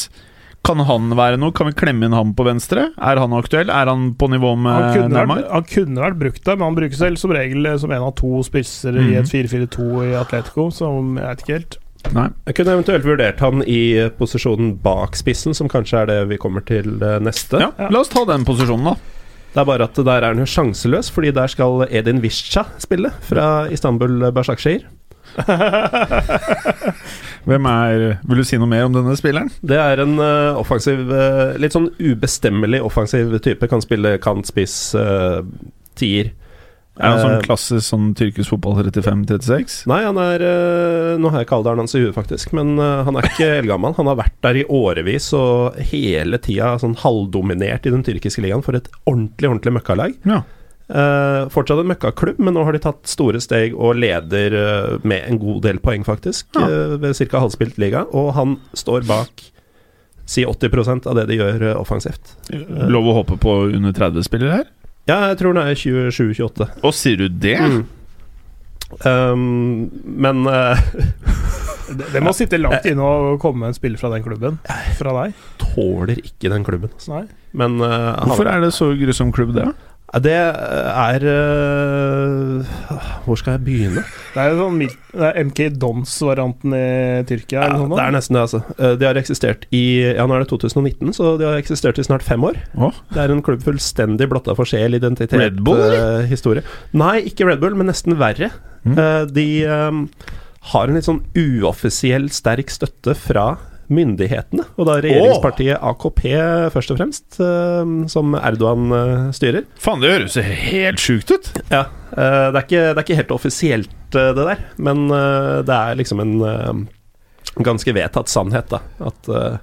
Speaker 2: Kan han være noe? Kan vi klemme inn ham på venstre? Er han aktuell? Er han på nivå
Speaker 3: Eh,
Speaker 4: Han
Speaker 2: med
Speaker 4: kunne,
Speaker 2: Neymar?
Speaker 4: vært, han kunne vært brukt der, men han brukes selv som regel eh, som en av to spisser i
Speaker 2: Mhm.
Speaker 4: et 4-4-2 i Atletico, som jeg vet ikke helt.
Speaker 2: Nei.
Speaker 3: Jeg kunne eventuelt vurdert han i eh, posisjonen bak spissen, som kanskje er det vi kommer til eh, neste.
Speaker 2: Ja, la oss ta den posisjonen, da.
Speaker 3: Det er bare at der er han jo sjanseløs, fordi der skal Edin Visca spille, fra Istanbul eh, Bashakshir.
Speaker 2: Hvem er Vil du si noe mer om denne spilleren?
Speaker 3: Det er en eh, offensiv eh, Litt sånn ubestemmelig offensiv type. Kan spille kant, spiss, eh, tier.
Speaker 2: Er han sånn
Speaker 3: Eh,
Speaker 2: klassisk sånn tyrkisk fotball 35-36?
Speaker 3: Nei, han er eh, Nå har jeg ikke alderen hans i huet, faktisk, men eh, han er ikke eldgammel. Han har vært der i årevis og hele tida sånn halvdominert i den tyrkiske ligaen for et ordentlig, ordentlig møkkalag.
Speaker 2: Ja.
Speaker 3: Eh, fortsatt en møkkaklubb, men nå har de tatt store steg og leder eh, med en god del poeng, faktisk,
Speaker 2: Ja.
Speaker 3: eh, ved ca. halvspilt liga. Og han står bak si 80 av det de gjør eh, offensivt.
Speaker 2: Lov å håpe på under 30-spillere her?
Speaker 3: Ja, jeg tror det er 27-28.
Speaker 2: Og sier du det?
Speaker 3: Mm. Um, men eh,
Speaker 4: Det, det må sitte langt inne å komme en spiller fra den klubben. Fra deg.
Speaker 3: tåler ikke den klubben. altså.
Speaker 4: Nei.
Speaker 3: Men eh, han-
Speaker 2: Hvorfor er det så grusom klubb, det?
Speaker 3: Ja, Det er eh, Hvor skal jeg begynne?
Speaker 4: Det er jo sånn mil- det er MK Dons-varianten i Tyrkia.
Speaker 3: Ja,
Speaker 4: eller noe
Speaker 3: det er
Speaker 4: sånt.
Speaker 3: nesten det, altså. Eh, De har eksistert i Ja, nå er det 2019, så de har eksistert i snart fem år.
Speaker 2: Åh.
Speaker 3: Det er en klubb fullstendig blotta for sjel, identitet,
Speaker 2: Red Bull,
Speaker 3: eh, historie. Nei, ikke Red Bull, men nesten verre.
Speaker 2: Mm.
Speaker 3: Eh, De eh, har en litt sånn uoffisiell sterk støtte fra myndighetene, og da regjeringspartiet AKP først og fremst, eh, som Erdogan eh, styrer.
Speaker 2: Faen, det høres jo helt sjukt ut!
Speaker 3: Ja, eh, det, er ikke, det er ikke helt offisielt, eh, det der, men eh, det er liksom en eh, ganske vedtatt sannhet, da. At eh,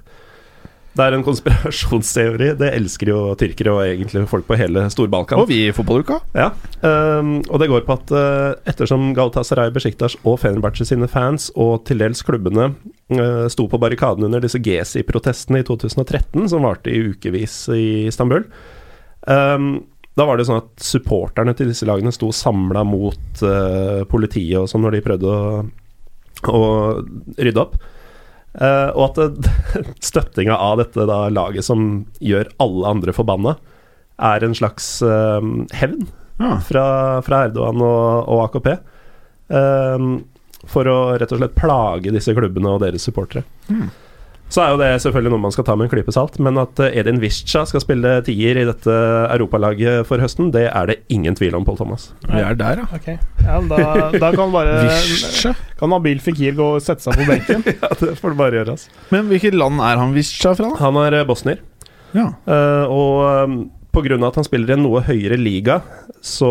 Speaker 3: det er en konspirasjonsteori. Det elsker jo tyrkere og egentlig folk på hele Stor-Balkan.
Speaker 2: Og vi i fotballuka.
Speaker 3: Ja, ehm, og det går på at eh, ettersom Galatasaray, Besiktas og Fenerbahçe sine fans, og til dels klubbene, eh, sto på barrikaden under disse Gezi-protestene i 2013, som varte i ukevis i Istanbul ehm, Da var det sånn at supporterne til disse lagene sto samla mot eh, politiet og sånn når de prøvde å, å rydde opp. Eh, og at uh, støttinga av dette da, laget som gjør alle andre forbanna, er en slags eh, hevn
Speaker 2: Ja.
Speaker 3: fra, fra Erdogan og, og AKP. ehm, for å rett og slett plage disse klubbene og deres supportere.
Speaker 2: Mm.
Speaker 3: Så er jo det selvfølgelig noe man skal ta med en klype salt, men at eh, Edin Visca skal spille tier i dette europalaget for høsten, det er det ingen tvil om, Pål Thomas.
Speaker 2: Vi er der, ja.
Speaker 4: Ok. ja men da, da kan
Speaker 2: Eh,
Speaker 4: bare
Speaker 2: Visja.
Speaker 4: Kan Abil Fikir gå og sette seg på benken.
Speaker 3: Ja, det får du bare gjøre, altså.
Speaker 2: Men hvilket land er han Visja fra, da?
Speaker 3: Han er eh, bosnier,
Speaker 2: Ja.
Speaker 3: eh, og eh, Pga. at han spiller i en noe høyere liga, så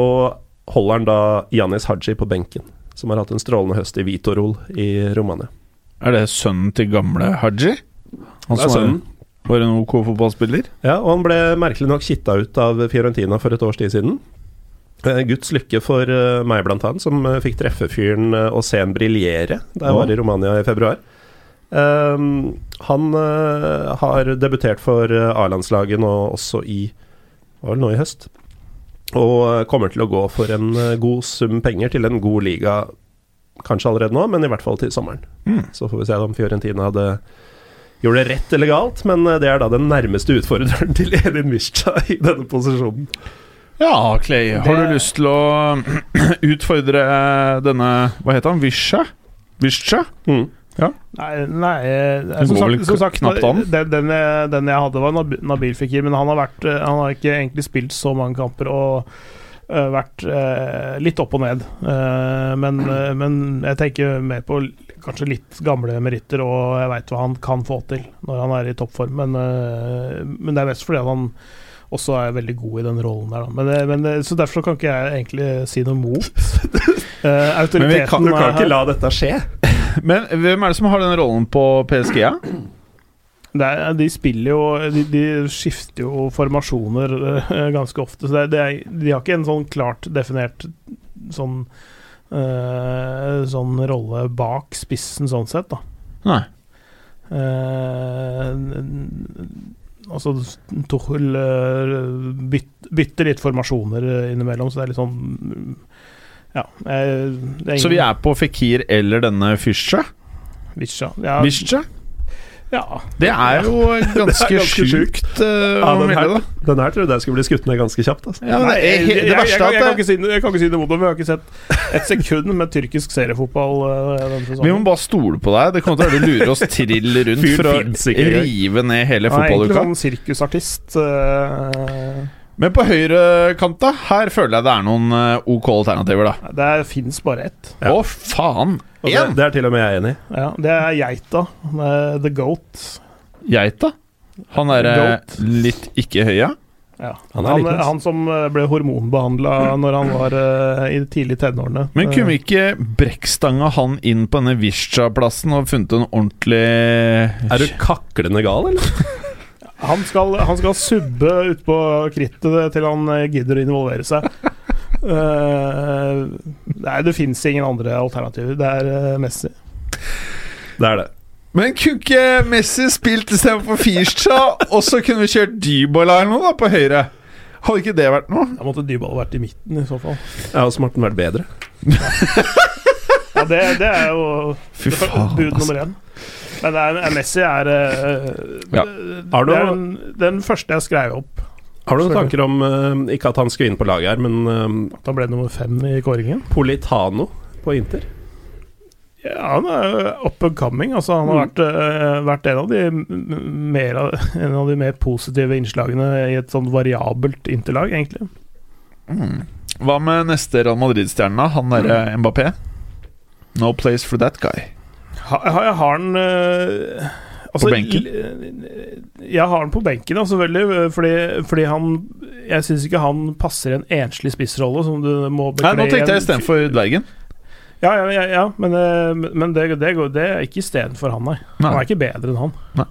Speaker 3: holder han da Janis Haji på benken. Som har hatt en strålende høst i Vitorol i Romania.
Speaker 2: Er det sønnen til gamle Haji? Han
Speaker 3: Det er
Speaker 2: som
Speaker 3: sønnen.
Speaker 2: er- var en OK fotballspiller?
Speaker 3: Ja, og han ble merkelig nok kitta ut av Fiorentina for et års tid siden. Eh, Guds lykke for eh, meg, blant annet, som eh, fikk treffe fyren eh, og se en briljere da
Speaker 2: Ja.
Speaker 3: jeg var i Romania i februar. Ehm, han eh, har debutert for eh, A-landslaget nå også i var vel nå i høst. Og eh, kommer til å gå for en eh, god sum penger til en god liga, kanskje allerede nå, men i hvert fall til sommeren. Så får vi se om Fiorentina hadde gjorde det rett eller galt, men eh, det er da den nærmeste utfordreren til Edin Mischa i denne posisjonen.
Speaker 2: Ja, Clay. Har
Speaker 4: Det-
Speaker 2: du lyst til å utfordre eh, denne Hva heter han? Visha? Visha?
Speaker 3: Mm.
Speaker 4: Nei, nei eh, som,
Speaker 2: går vel
Speaker 4: sagt, som sagt
Speaker 2: knapt an.
Speaker 4: Den, den, jeg, den jeg hadde, var Nab- Nabil Fikir, men han har, vært, eh, han har ikke egentlig spilt så mange kamper og eh, vært eh, litt opp og ned. Eh, men, eh, men jeg tenker mer på l- kanskje litt gamle meritter, og jeg veit hva han kan få til når han er i toppform, men, eh, men det er mest fordi at han også er veldig god i den rollen der, da. Men, eh, men, eh, så derfor kan ikke jeg egentlig si noe mot. Eh,
Speaker 2: Men vi kan-
Speaker 4: autoriteten
Speaker 3: Du kan
Speaker 4: er her.
Speaker 3: ikke la dette skje.
Speaker 2: Men hvem er det som har den rollen på PSG? Ja?
Speaker 4: Det er, de spiller jo de, de skifter jo formasjoner eh, ganske ofte, så det er, det er, de har ikke en sånn klart definert sånn eh, Sånn rolle bak spissen, sånn sett, da.
Speaker 2: Nei.
Speaker 4: Eh, n- altså Tuchel eh, byt, bytter litt formasjoner eh, innimellom, så det er litt sånn mm, Ja. eh, det
Speaker 2: Så vi er på Fikir eller denne Fischa?
Speaker 4: Visja. Ja,
Speaker 2: Visha?
Speaker 4: ja.
Speaker 2: Det er jo ganske,
Speaker 3: ganske sjukt.
Speaker 2: sjukt. eh,
Speaker 3: Ja,
Speaker 2: å
Speaker 3: den,
Speaker 2: melde,
Speaker 3: her,
Speaker 2: da.
Speaker 3: den her trodde jeg skulle bli skutt ned ganske kjapt. Altså.
Speaker 2: Ja, men det,
Speaker 4: Nei,
Speaker 2: er, he-
Speaker 4: jeg,
Speaker 2: det
Speaker 4: jeg,
Speaker 2: verste
Speaker 4: jeg, kan- jeg, kan
Speaker 2: er at det,
Speaker 4: ikke si, jeg kan ikke si noe mot det, for jeg har ikke sett et sekund med tyrkisk seriefotball eh, denne
Speaker 2: vi må
Speaker 4: sesongen.
Speaker 2: bare stole på deg. Det kommer til å lure oss trill rundt
Speaker 3: Fyren
Speaker 2: for å
Speaker 3: finnes ikke engang.
Speaker 2: rive ned hele
Speaker 4: Han er egentlig
Speaker 2: fotballuka.
Speaker 4: sånn sirkusartist. eh,
Speaker 2: Men på høyrekanta, her føler jeg det er noen eh, OK alternativer, da.
Speaker 4: det fins bare ett.
Speaker 2: Å, faen!
Speaker 3: Og det,
Speaker 2: Én!
Speaker 3: det er til og med jeg enig i.
Speaker 4: Ja, det er geita. eh, The Goat.
Speaker 2: Geita. Han er eh,
Speaker 4: Goat.
Speaker 2: litt ikke høya.
Speaker 4: Ja.
Speaker 3: Han
Speaker 4: Han,
Speaker 3: er liten, ass.
Speaker 4: han som eh, ble hormonbehandla når han var eh, i de tidlige tenårene.
Speaker 2: Men kunne
Speaker 4: Eh,
Speaker 2: vi ikke brekkstanga han inn på denne Vizca-plassen og funnet en ordentlig
Speaker 3: Er du kaklende gal, eller?
Speaker 4: Eh, han, skal, han skal subbe utpå krittet til han eh, gidder å involvere seg. Eh, nei, det fins ingen andre alternativer. Det er eh, Messi.
Speaker 3: Det er det.
Speaker 2: Men kunne ikke Messi spilt istedenfor Fischa, og så kunne vi kjørt Dybola eller noe da, på høyre? Hadde ikke det vært noe?
Speaker 4: Da måtte Dybala vært i midten, i så fall.
Speaker 3: Jeg har smarten vært bedre.
Speaker 4: Ja, det, det er jo
Speaker 2: Fy
Speaker 4: det er
Speaker 2: faen,
Speaker 4: bud
Speaker 2: altså.
Speaker 4: nummer én. Men det er, Messi er eh,
Speaker 2: Ja.
Speaker 3: Har du-
Speaker 4: det er den, den første jeg skrev opp.
Speaker 3: Har du noen
Speaker 4: Sorry.
Speaker 3: tanker om eh, Ikke at han skulle inn på laget her, men eh,
Speaker 4: Da ble det nummer fem i kåringen.
Speaker 3: Politano på Inter?
Speaker 4: Ja, han er jo up and coming. Altså, han
Speaker 2: Mm.
Speaker 4: har vært, eh, vært en, av de m- mer, av- en av de mer positive innslagene i et sånn variabelt interlag, egentlig.
Speaker 2: Mm. Hva med neste Real Madrid-stjerne? da? Han derre
Speaker 3: Mm.
Speaker 2: Mbappé? No place for that guy.
Speaker 4: Ha, ha, jeg har den eh,
Speaker 2: benken?
Speaker 4: l- Jeg har den på benken, ja, selvfølgelig. eh, Fordi, fordi han Jeg syns ikke han passer i en enslig spissrolle som du må bekle
Speaker 2: Nei, nå tenkte jeg
Speaker 4: i en-
Speaker 2: istedenfor Dvergen.
Speaker 4: Ja, ja, ja, ja men, eh, men det, det, går, det er ikke istedenfor han, nei. Han
Speaker 2: Nei,
Speaker 4: er ikke bedre enn han.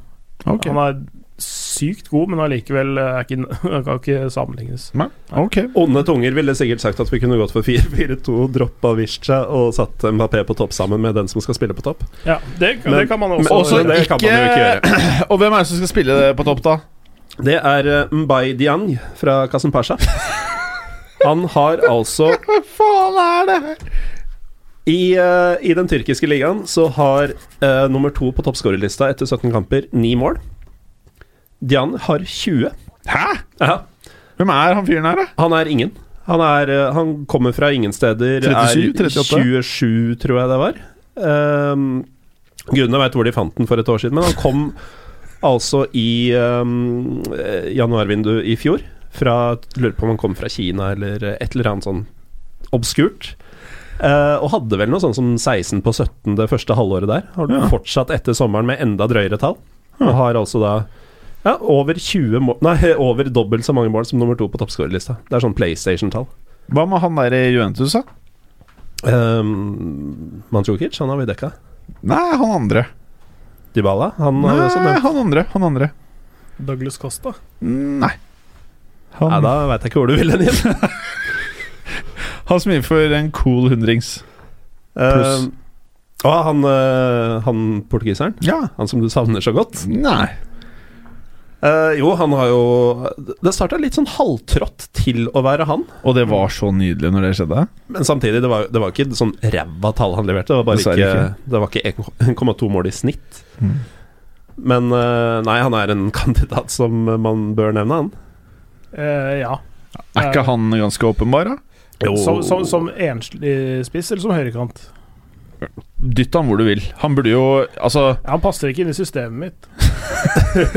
Speaker 2: ok.
Speaker 4: Han er sykt god, men allikevel eh, er ikke, han kan ikke sammenlignes.
Speaker 2: Nei, ok.
Speaker 3: Onde tunger ville sikkert sagt at vi kunne gått for 4-4-2, droppa Vizca og satt Mbappé på topp sammen med den som skal spille på topp.
Speaker 4: Ja, det,
Speaker 3: Men-
Speaker 4: det kan man også
Speaker 3: Men
Speaker 2: også
Speaker 3: det kan man jo ikke gjøre.
Speaker 2: Og hvem er det som skal spille det på topp, da?
Speaker 3: Det er eh, Mbai Diang fra Kasim Pasha. Han har altså
Speaker 2: Hva faen er det?
Speaker 3: I, eh, I den tyrkiske ligaen så har eh, nummer to på toppskårerlista etter 17 kamper ni mål. Dian har 20.
Speaker 2: Hæ?
Speaker 3: Ja,
Speaker 2: Hvem er han fyren her, da?
Speaker 3: han er ingen. Han, er, eh, han kommer fra ingen steder.
Speaker 2: 37,
Speaker 3: er
Speaker 2: 38?
Speaker 3: 27, tror jeg det var. Um, Grunnen veit hvor de fant den for et år siden, men han kom altså i um, eh, januarvinduet i fjor. Fra, lurer på om han kom fra Kina eller et eller annet sånn obskurt. Eh, og hadde vel noe sånn som 16 på 17 det første halvåret der. Har
Speaker 2: Ja.
Speaker 3: fortsatt etter sommeren med enda drøyere tall. Og har altså da Ja, over 20 mål Nei, over dobbelt så mange mål som nummer to på toppskårerlista. Det er sånn PlayStation-tall.
Speaker 2: Hva med han der i Juventus, da?
Speaker 3: Um, Mandzukic, han har vi dekka.
Speaker 2: Nei, han andre.
Speaker 3: Dybala, han
Speaker 2: Nei,
Speaker 3: har vi også nevnt.
Speaker 2: han andre. Han andre.
Speaker 4: Douglas Costa.
Speaker 2: Nei. Han,
Speaker 3: Nei, da veit jeg ikke hvor du vil hen igjen.
Speaker 2: han som gir for en cool hundrings. Pluss.
Speaker 3: Um, Å, han, eh, han portugiseren?
Speaker 2: Ja.
Speaker 3: Han som du savner så godt?
Speaker 2: Nei.
Speaker 3: Eh, jo, han har jo Det starta litt sånn halvtrått til å være han.
Speaker 2: Og det var så nydelig når det skjedde.
Speaker 3: Men samtidig, det var, det var ikke sånn ræva tall han leverte. Det var bare
Speaker 2: Dessverre
Speaker 3: ikke, Det var ikke 1,2 mål i snitt.
Speaker 2: Mm.
Speaker 3: Men eh, nei, han er en kandidat som man bør nevne, han.
Speaker 4: Eh, ja.
Speaker 2: Er ikke han ganske åpenbar, da?
Speaker 4: Som, som, som enslig spiss eller som høyrekant?
Speaker 2: Dytt han hvor du vil. Han burde jo Altså,
Speaker 4: Ja, han passer ikke inn i systemet mitt.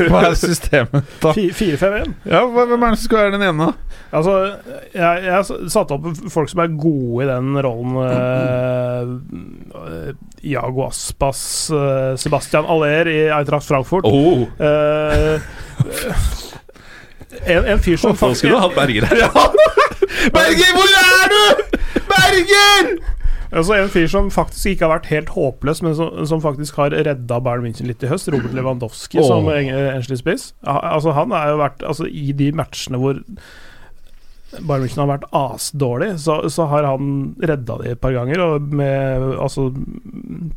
Speaker 2: hva er systemet, da?
Speaker 4: 4-5-1.
Speaker 2: Ja, hva- Hvem er det som skal være den ene, da?
Speaker 4: Altså, jeg, jeg s- satte opp folk som er gode i den rollen. eh, eh, Iago Aspas, eh, Sebastian Aller i Eintracht Frankfurt.
Speaker 3: Oh,
Speaker 4: Eh, en, en fyr som
Speaker 3: nå skulle du hatt Berger her, ja!
Speaker 2: Berger, hvor er du?! Berger!
Speaker 4: Altså En fyr som faktisk ikke har vært helt håpløs, men som, som faktisk har redda Bayern München litt i høst. Robert Lewandowski
Speaker 3: Åh.
Speaker 4: som eng- enslig spiss. Ja, Altså Han har jo vært altså I de matchene hvor Bayern München har vært asdårlig, så, så har han redda de et par ganger. Og med altså,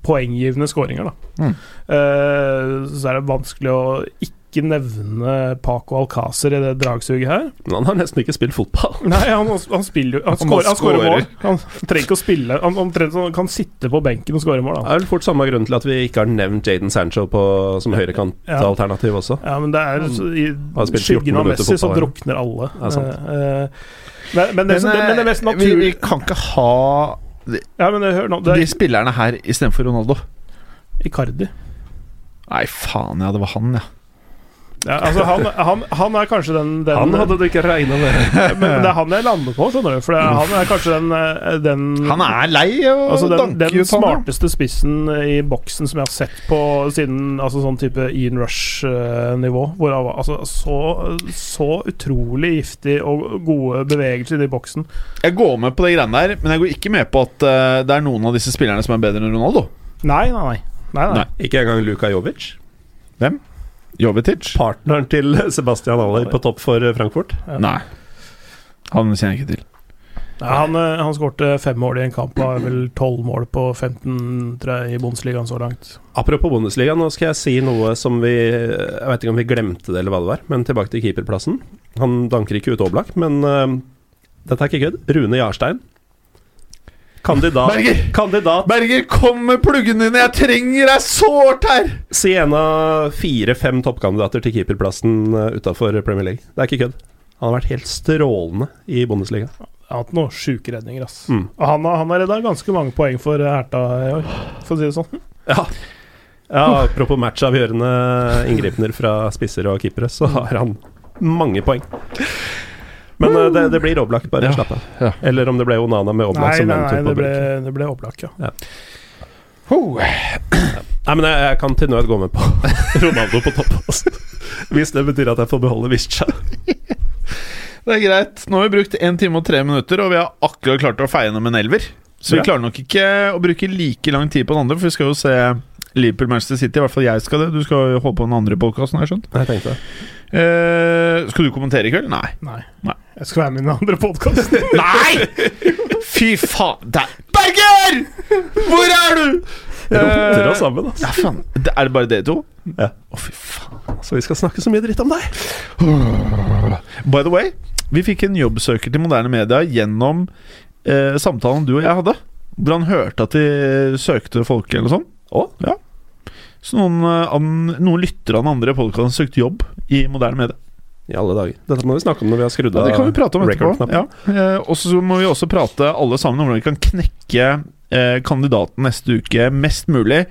Speaker 4: poenggivende skåringer, da.
Speaker 2: Mm.
Speaker 4: Eh, så er det vanskelig å ikke nevne Paco Alcácer i det dragsuget her.
Speaker 3: Men han har nesten ikke spilt fotball.
Speaker 4: Nei, han, han spiller jo Han
Speaker 2: Han bare
Speaker 4: skårer han skårer
Speaker 2: skårer.
Speaker 4: mål. Han trenger ikke å spille. Han omtrent sånn, kan sitte på benken og skåre mål.
Speaker 3: Det
Speaker 4: Da.
Speaker 3: er vel fort samme grunn til at vi ikke har nevnt Jaden Sancho på, som høyrekantalternativ også.
Speaker 4: Ja, men det er så,
Speaker 3: har
Speaker 4: I
Speaker 3: spilt 14
Speaker 4: skyggen av
Speaker 3: minutter
Speaker 4: Messi så
Speaker 3: fotball, ja.
Speaker 4: drukner alle.
Speaker 3: Ja, sant.
Speaker 4: Eh, eh, men, men, det, som- det, men det mest
Speaker 2: eh, vi, vi
Speaker 4: naturlige
Speaker 2: kan ikke ha
Speaker 4: ja, men eh, hør nå, det
Speaker 2: de
Speaker 4: er
Speaker 2: spillerne her istedenfor Ronaldo.
Speaker 4: Icardi.
Speaker 2: Nei, faen, ja, det var han, ja.
Speaker 4: Ja, altså, han, han, han er kanskje den, den
Speaker 3: Han hadde du ikke regna med.
Speaker 4: men, men det er han jeg lander på, skjønner du. For det, er- han er kanskje den, eh, den
Speaker 2: Han er lei og
Speaker 4: Altså den,
Speaker 2: danker ut
Speaker 4: den
Speaker 2: han, ja.
Speaker 4: smarteste spissen i boksen som jeg har sett på siden altså sånn type Ian Rush-nivå. Hvor han var altså, så, så utrolig giftig og gode bevegelser i boksen.
Speaker 2: Jeg går med på de greiene der, men jeg går ikke med på at eh, det er noen av disse spillerne som er bedre enn Ronaldo.
Speaker 4: Nei, nei, nei. nei, nei.
Speaker 2: Nei.
Speaker 3: Ikke engang Luka Jovic.
Speaker 2: Jovetic?
Speaker 3: Partneren til Sebastian Aller på topp for eh, Frankfurt.
Speaker 2: Nei. Han kjenner jeg ikke til.
Speaker 4: Nei, Han, eh, han skårte fem mål i en kamp og har vel tolv mål på 15 tror jeg, i Bundesligaen så langt.
Speaker 3: Apropos Bundesliga, nå skal jeg si noe som vi Jeg vet ikke om vi glemte det, eller hva det var, men tilbake til keeperplassen. Han danker ikke ut Oblak, men eh, dette er ikke kødd. Rune Jarstein. Kandidat,
Speaker 2: Berger!
Speaker 3: kandidat
Speaker 2: Berger, kom med pluggene dine! Jeg trenger deg sårt her!
Speaker 3: Siena fire-fem toppkandidater til keeperplassen uh, utafor Premier League. Det er ikke kødd. Han har vært helt strålende i Bundesliga.
Speaker 4: Han har hatt noen sjuke redninger, ass.
Speaker 3: Mm.
Speaker 4: Og han, har- han har redda ganske mange poeng for eh, Herta i år, for å si det sånn.
Speaker 3: Ja. Ja, Apropos matchavgjørende inngripener fra spisser og keepere, så har han mange poeng. Men eh, det, det blir Oblak, bare
Speaker 2: Ja,
Speaker 3: slapp av.
Speaker 2: ja.
Speaker 3: Eller om det ble Onana med Oblak
Speaker 4: Nei,
Speaker 3: som
Speaker 4: nei,
Speaker 3: mentor
Speaker 4: nei,
Speaker 3: på
Speaker 4: det ble,
Speaker 3: benken.
Speaker 4: det ble Oblak, ja.
Speaker 3: Nei, men jeg, jeg kan til nød gå med på Ronaldo på topp. Altså. Hvis det betyr at jeg får beholde Visca.
Speaker 2: Det er greit. Nå har vi brukt 1 time og 3 minutter, og vi har akkurat klart å feie gjennom en elver. Så vi
Speaker 3: Ja.
Speaker 2: klarer nok ikke å bruke like lang tid på den andre, for vi skal jo se Liverpool-Manchester City. I hvert fall jeg skal det. Du skal jo holde på den andre podkasten, har jeg skjønt.
Speaker 3: Jeg tenkte det.
Speaker 2: Eh, skal du kommentere i kveld? Nei.
Speaker 4: Nei.
Speaker 2: Nei.
Speaker 4: Jeg skal være med i den andre podkasten.
Speaker 2: Nei! Fy faen Der. Berger! Hvor er du?
Speaker 3: Roter
Speaker 2: Eh,
Speaker 3: oss sammen, altså.
Speaker 2: Ja, faen. Det- Er det bare dere to?
Speaker 3: Ja.
Speaker 2: Å, fy faen.
Speaker 3: Så vi skal snakke så mye dritt om deg.
Speaker 2: By the way, vi fikk en jobbsøker til moderne media gjennom eh, samtalen du og jeg hadde. Hvor han hørte at de søkte folk eller noe sånt.
Speaker 3: Å?
Speaker 2: Ja. Så noen, eh, an, noen lyttere av den andre podkasten søkte jobb i moderne media.
Speaker 3: I alle dager. Dette må vi snakke om når vi har skrudd
Speaker 2: Ja,
Speaker 3: av
Speaker 2: det kan vi prate om etterpå.
Speaker 3: record-knappen.
Speaker 2: Ja. Eh, Og så må vi også prate alle sammen om hvordan vi kan knekke eh, kandidaten neste uke mest mulig.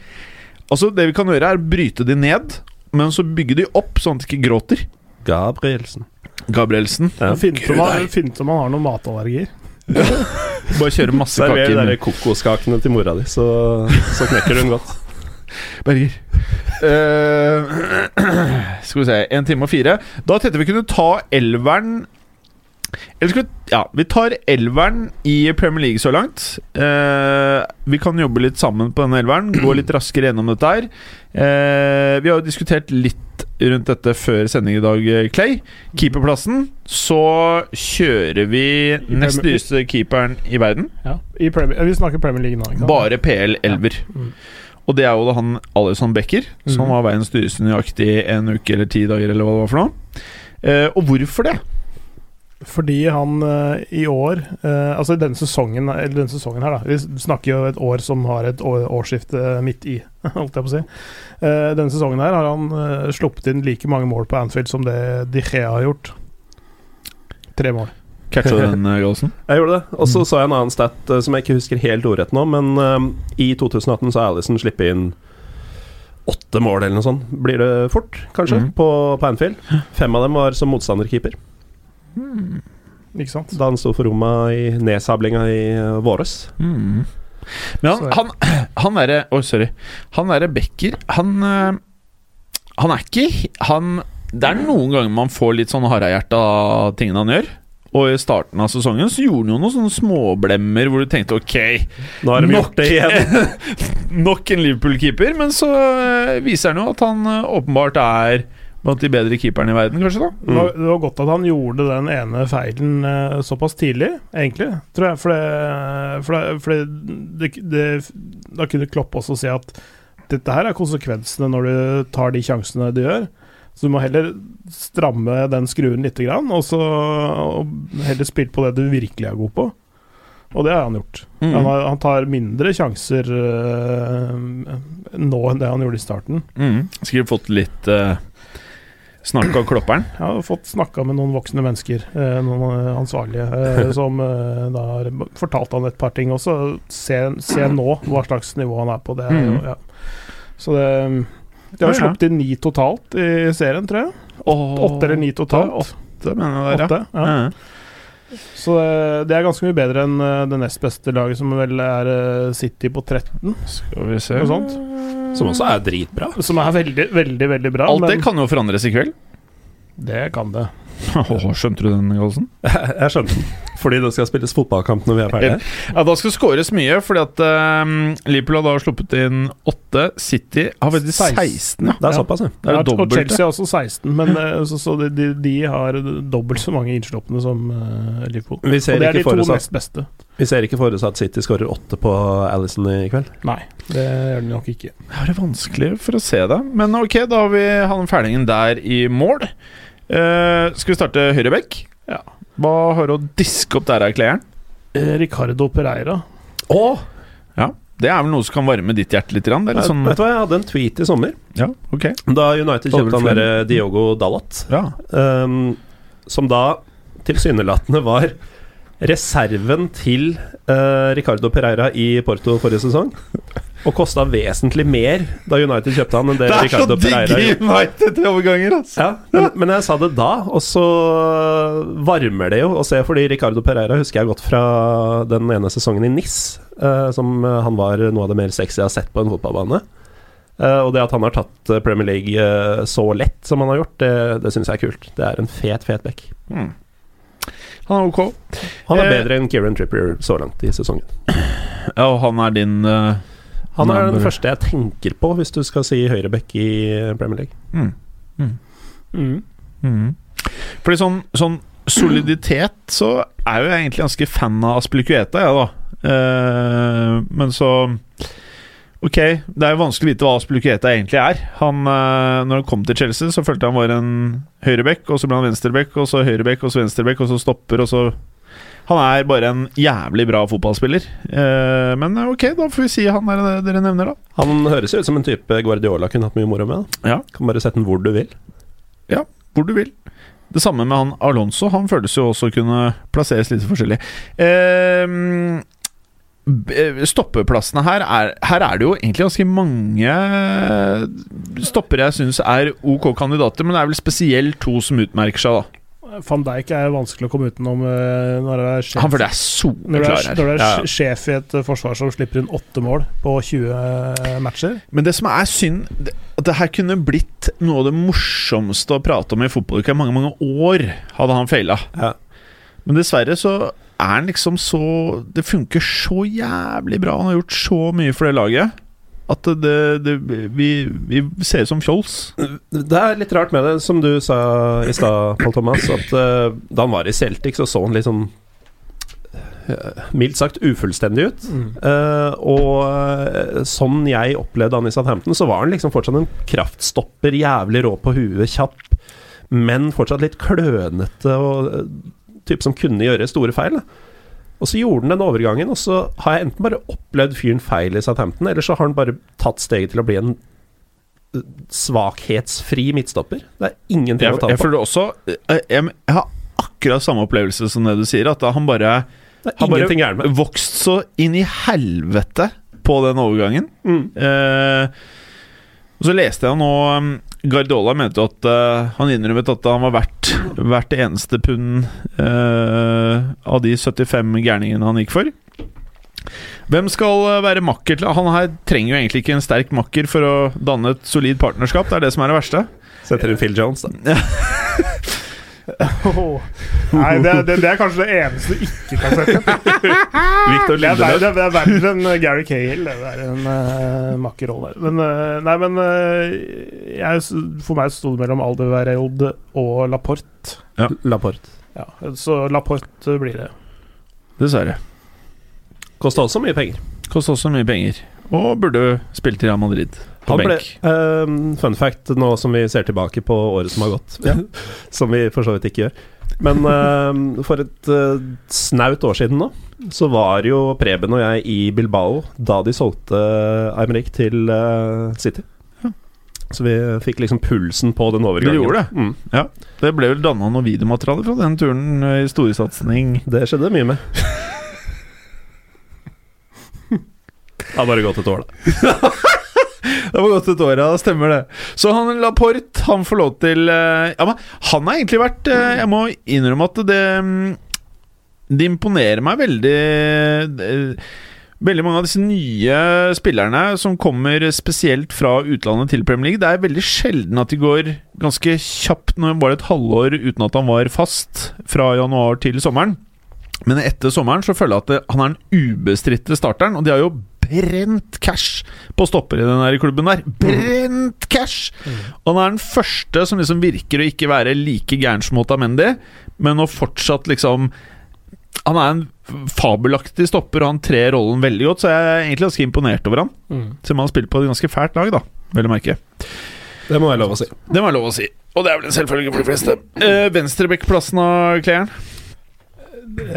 Speaker 2: Altså Det vi kan gjøre, er bryte de ned, men så bygge de opp, sånn at de ikke gråter.
Speaker 3: Gabrielsen.
Speaker 2: Gabrielsen.
Speaker 3: Ja.
Speaker 4: Finn ut om han- finn ut om han har noen matallergier.
Speaker 2: Bare kjøre masse
Speaker 3: Server
Speaker 2: kaker.
Speaker 3: de
Speaker 2: i
Speaker 3: der
Speaker 2: munnen.
Speaker 3: kokoskakene til mora di, så, så knekker hun godt.
Speaker 2: Berger. Eh, skal vi se En time og fire. Da tenkte vi kunne ta elveren eller skal vi, ja, vi tar elveren i Premier League så langt. Eh, vi kan jobbe litt sammen på denne elveren, gå litt raskere gjennom dette her. Eh, vi har jo diskutert litt rundt dette før sending i dag, eh, Clay. Keeperplassen. Så kjører vi nest dyreste keeperen i verden.
Speaker 4: Ja. I Premier, vi snakker Premier League nå. ikke sant?
Speaker 2: Bare PL Elver.
Speaker 4: Mm.
Speaker 2: Og det er jo da han Alison Becker, som
Speaker 4: Mhm.
Speaker 2: var verdens dyreste nøyaktig en uke eller ti dager, eller hva det var for noe. Eh, og hvorfor det?
Speaker 4: Fordi han eh, i år, eh, altså i denne sesongen, eller denne sesongen her, da Vi snakker jo et år som har et år, årsskifte midt i, holdt jeg på å si. Eh, denne sesongen her har han eh, sluppet inn like mange mål på Anfield som det De Gea har gjort. Tre mål.
Speaker 2: Catcha du den, eh, Gallosen?
Speaker 3: Jeg gjorde det. Og så
Speaker 4: Mm.
Speaker 3: så jeg en annen stat eh, som jeg ikke husker helt ordrett nå, men eh, i 2018 så har Alison sluppet inn åtte mål eller noe sånt. Blir det fort, kanskje,
Speaker 4: Mm.
Speaker 2: Mhm.
Speaker 3: på, på Anfield. Fem av dem var som motstanderkeeper
Speaker 4: Ikke sant?
Speaker 3: da han sto for Roma i nedsablinga i eh, våres.
Speaker 2: Mm. Men han,
Speaker 4: Sorry.
Speaker 2: han, han derre Oi, sorry. Han derre Becker, han eh, Han er ikke Han Det er noen ganger man får litt sånn harehjerte av tingene han gjør. Og i starten av sesongen så gjorde han jo noen sånne småblemmer hvor du tenkte OK,
Speaker 3: Nå har de
Speaker 2: nok,
Speaker 3: gjort det igjen.
Speaker 2: nok en Liverpool-keeper. Men så eh, viser han jo at han eh, åpenbart er blant de bedre keeperne i verden, kanskje, da.
Speaker 4: Det var, det var godt at han gjorde den ene feilen eh, såpass tidlig, egentlig. Tror jeg, for det, for det, for det, det, det Da kunne Klopp også si at dette her er konsekvensene når du tar de sjansene du gjør. Så du må heller stramme den skruen litt, grann, og, så, og heller spille på det du virkelig er god på. Og det har han gjort.
Speaker 2: Mm.
Speaker 4: Han, har, han tar mindre sjanser eh, nå enn det han gjorde i starten.
Speaker 2: Mm. Sikkert fått litt eh, snakk av klopperen.
Speaker 4: Jeg har fått snakka med noen voksne mennesker, eh, noen eh, ansvarlige, eh, som eh, da har fortalt han et par ting også. Se, se nå hva slags nivå han er på. Det, er jo-
Speaker 2: Mhm.
Speaker 4: ja. Så det De
Speaker 2: Ja,
Speaker 4: har
Speaker 2: ja.
Speaker 4: sluppet inn ni totalt i serien, tror jeg. Åtte eller ni totalt.
Speaker 2: Åtte, mener jeg det er.
Speaker 4: Åtte, ja.
Speaker 2: Ja.
Speaker 4: Så eh, det er ganske mye bedre enn eh, det nest beste laget, som vel er eh, City på 13,
Speaker 2: Skal vi se
Speaker 4: noe sånt.
Speaker 3: Som også er dritbra.
Speaker 4: Som er veldig, veldig veldig bra.
Speaker 2: Alt det
Speaker 4: men
Speaker 2: kan jo forandres i kveld.
Speaker 4: det kan det.
Speaker 2: Åh, skjønte du den, Galsen?
Speaker 3: Jeg skjønner. Fordi det skal spilles fotballkamp når vi er ferdige.
Speaker 2: Ja, Da skal skåres mye, fordi at eh, Liverpool har da sluppet inn åtte. City har faktisk 16. ja.
Speaker 3: Det er såpass, ja.
Speaker 2: Det er jo
Speaker 4: Ja,
Speaker 2: dobbelt.
Speaker 4: Og
Speaker 2: det.
Speaker 4: Chelsea har også 16, men eh, så, så de, de, de har dobbelt så mange innslupne som eh, Liverpool.
Speaker 3: Vi
Speaker 4: Og
Speaker 3: ser,
Speaker 4: det er
Speaker 3: ikke
Speaker 4: de to
Speaker 3: for oss at,
Speaker 4: nest beste.
Speaker 3: vi ser ikke for oss at City skårer åtte på Alison i kveld.
Speaker 4: Nei, det gjør de nok ikke.
Speaker 2: Jeg har det vanskelig for å se det. Men ok, da har vi han ferdingen der i mål. Eh, skal vi starte høyrebekk?
Speaker 4: Ja.
Speaker 2: Hva har du å diske opp der, Erklæren? Mm.
Speaker 4: Eh, Ricardo Pereira.
Speaker 2: Oh. Ja, det er vel noe som kan varme ditt hjerte litt? grann, Det er litt sånn,
Speaker 3: Vet du hva, jeg hadde en tweet i sommer.
Speaker 2: ja, ok.
Speaker 3: Da United
Speaker 2: Da var det
Speaker 3: kjøpte han
Speaker 2: flere.
Speaker 3: derre Diogo Dalot,
Speaker 2: Ja.
Speaker 3: ehm, som da tilsynelatende var reserven til eh, Ricardo Pereira i Porto forrige sesong. Og kosta vesentlig mer da United kjøpte han enn det,
Speaker 2: Det er så
Speaker 3: Ricardo Pereira
Speaker 2: digge
Speaker 3: gjorde.
Speaker 2: United-overganger, altså!
Speaker 3: Ja, men, men jeg sa det da, og så varmer det jo å se, fordi Ricardo Pereira husker jeg godt fra den ene sesongen i NIS, eh, som eh, han var noe av det mer sexy jeg har sett på en fotballbane. Eh, og det at han har tatt eh, Premier League eh, så lett som han har gjort, det, det syns jeg er kult. Det er en fet, fet back.
Speaker 2: Hmm. Han er ok.
Speaker 3: Han er
Speaker 2: Eh,
Speaker 3: bedre enn Kieran Trippier så langt i sesongen.
Speaker 2: Ja, og han er din eh,
Speaker 3: Han
Speaker 2: han
Speaker 3: er
Speaker 2: er
Speaker 3: den
Speaker 2: bare-
Speaker 3: første jeg tenker på, hvis du skal si høyreback i Premier League.
Speaker 2: mm,
Speaker 4: Mm.
Speaker 2: mm. Fordi sånn, sånn soliditet, så er jo jeg egentlig ganske fan av Aspilicueta, jeg, da. Eh, men så Ok, det er jo vanskelig å vite hva Aspilicueta egentlig er. Han, eh, når han kom til Chelsea, så følte jeg han var en høyrebekk, og så ble han venstrebekk, og så høyrebekk, og så venstrebekk, og så stopper, og så Han er bare en jævlig bra fotballspiller. Eh, men eh, ok, da får vi si han der dere nevner, da.
Speaker 3: Han høres jo ut som en type Guardiola kunne hatt mye moro med. da.
Speaker 2: Ja.
Speaker 3: Kan bare sette den hvor du vil.
Speaker 2: hvor du vil. Det samme med han Alonso. Han føles jo også å kunne plasseres litt forskjellig. Ehm, b- eh, stoppeplassene her er, her er det jo egentlig ganske eh, mange stoppere jeg syns er ok kandidater, men det er vel spesielt to som utmerker seg, da.
Speaker 4: Eh, Van Dijk er vanskelig å komme utenom eh, når du er
Speaker 2: Han
Speaker 4: sjef,
Speaker 2: for det er
Speaker 4: når du
Speaker 2: soleklar
Speaker 4: er,
Speaker 2: her.
Speaker 4: når du er
Speaker 2: Ja, ja.
Speaker 4: sjef i et eh, forsvar som slipper inn åtte mål på 20 matcher.
Speaker 2: Men det som er synd det- At det her kunne blitt noe av det morsomste å prate om i fotballuka i mange, mange år, hadde han feila.
Speaker 3: Ja.
Speaker 2: Men dessverre så er han liksom så Det funker så jævlig bra. Han har gjort så mye for det laget. At det, det vi, vi ser ut som fjols.
Speaker 3: Det er litt rart med det, som du sa i stad, Pål Thomas, at eh, da han var i Celtic, så så han litt sånn eh, mildt sagt ufullstendig ut. Eh, og eh, sånn jeg opplevde han i Southampton, så var han liksom fortsatt en kraftstopper, jævlig rå på huet, kjapp, men fortsatt litt klønete og eh, type som kunne gjøre store feil. Da. Og så gjorde han den overgangen, og så har jeg enten bare opplevd fyren feil i Southampton, eller så har han bare tatt steget til å bli en eh, svakhetsfri midtstopper. Det er ingenting
Speaker 2: Jeg,
Speaker 3: å ta
Speaker 2: jeg
Speaker 3: på.
Speaker 2: føler også jeg, jeg, jeg har akkurat samme opplevelse som det du sier. At han bare
Speaker 3: Det er
Speaker 2: har bare
Speaker 3: ingenting gærent med.
Speaker 2: vokst så inn i helvete på den overgangen.
Speaker 3: Mm.
Speaker 2: Eh, og så leste jeg nå um, Guardiola mente jo at eh, han innrømmet at han var verdt hvert eneste pund eh, av de 75 gærningene han gikk for. Hvem skal eh, være makker til Han her trenger jo egentlig ikke en sterk makker for å danne et solid partnerskap. Det er det som er det verste.
Speaker 3: Setter inn Phil Jones, da.
Speaker 4: Åh. Nei, det, det, det er kanskje det eneste du ikke kan sette.
Speaker 3: Victor
Speaker 4: Det er verre-
Speaker 3: Lindeløf.
Speaker 4: det er verre enn eh, Gary Cahill. Det er en uh, makkerrolle. Men, eh, nei, men eh, jeg, for meg sto det mellom Alderweireld og Laporte.
Speaker 3: Laporte.
Speaker 4: Ja, så Laporte blir det.
Speaker 2: Dessverre.
Speaker 3: Kosta også mye penger.
Speaker 2: Koster også mye penger. Og burde spilt i Real Madrid på
Speaker 3: Han ble,
Speaker 2: benk.
Speaker 3: ehm, fun fact, nå som vi ser tilbake på året som har gått, som vi for så vidt ikke gjør Men ehm, for et eh, snaut år siden nå, så var jo Preben og jeg i Bilbao da de solgte Eimerik til eh, City. Så vi fikk liksom pulsen på den overgangen.
Speaker 2: Dere gjorde det?
Speaker 3: Mm,
Speaker 2: Det ble vel danna noe videomateriale fra den turen eh, i storsatsing.
Speaker 3: det skjedde mye med. Det har bare gått et år, da.
Speaker 2: Det var godt et år, ja. det Stemmer det. Så han Laporte, han får lov til eh, Ja, men han har egentlig vært eh, Jeg må innrømme at det mm, Det imponerer meg veldig det- Veldig mange av disse nye spillerne som kommer spesielt fra utlandet til Premier League. Det er veldig sjelden at de går ganske kjapt når det var et halvår uten at han var fast, fra januar til sommeren. Men etter sommeren så føler jeg at det, han er den ubestridte starteren, og de har jo brent cash på stopper i den her klubben der. Brent cash! Og han er den første som liksom virker å ikke være like gæren som Otamendi, men å fortsatt liksom Han er en fabelaktig stopper, og han trer rollen veldig godt, så jeg er egentlig ganske imponert over han. Selv om han spiller på et ganske fælt lag, da, vel å merke.
Speaker 3: Det må være lov å si.
Speaker 2: Det må være lov å si. Og det er vel en selvfølge for de fleste. Eh, Venstrebekkplassen av Kleren?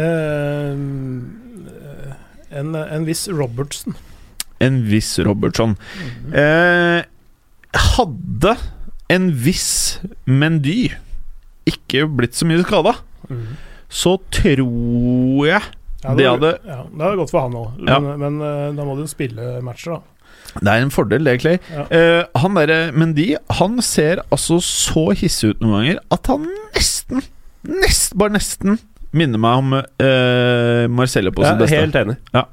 Speaker 4: Eh, en, en viss Robertsen.
Speaker 2: en viss Robertson. Eh, hadde en viss Mendy ikke blitt så mye skada,
Speaker 4: Mhm.
Speaker 2: så tror jeg
Speaker 4: Ja,
Speaker 2: Det
Speaker 4: var-
Speaker 2: hadde-
Speaker 4: ja, det hadde gått for han òg, men,
Speaker 2: Ja.
Speaker 4: men eh, da må du spille matcher, da.
Speaker 2: Det er en fordel, det, Clay.
Speaker 4: Ja.
Speaker 2: Eh, han derre Mendy, han ser altså så hissig ut noen ganger at han nesten, nest, bare nesten, minner meg om eh, Marcello på
Speaker 3: Ja,
Speaker 2: sitt beste.
Speaker 3: Helt enig.
Speaker 2: Ja.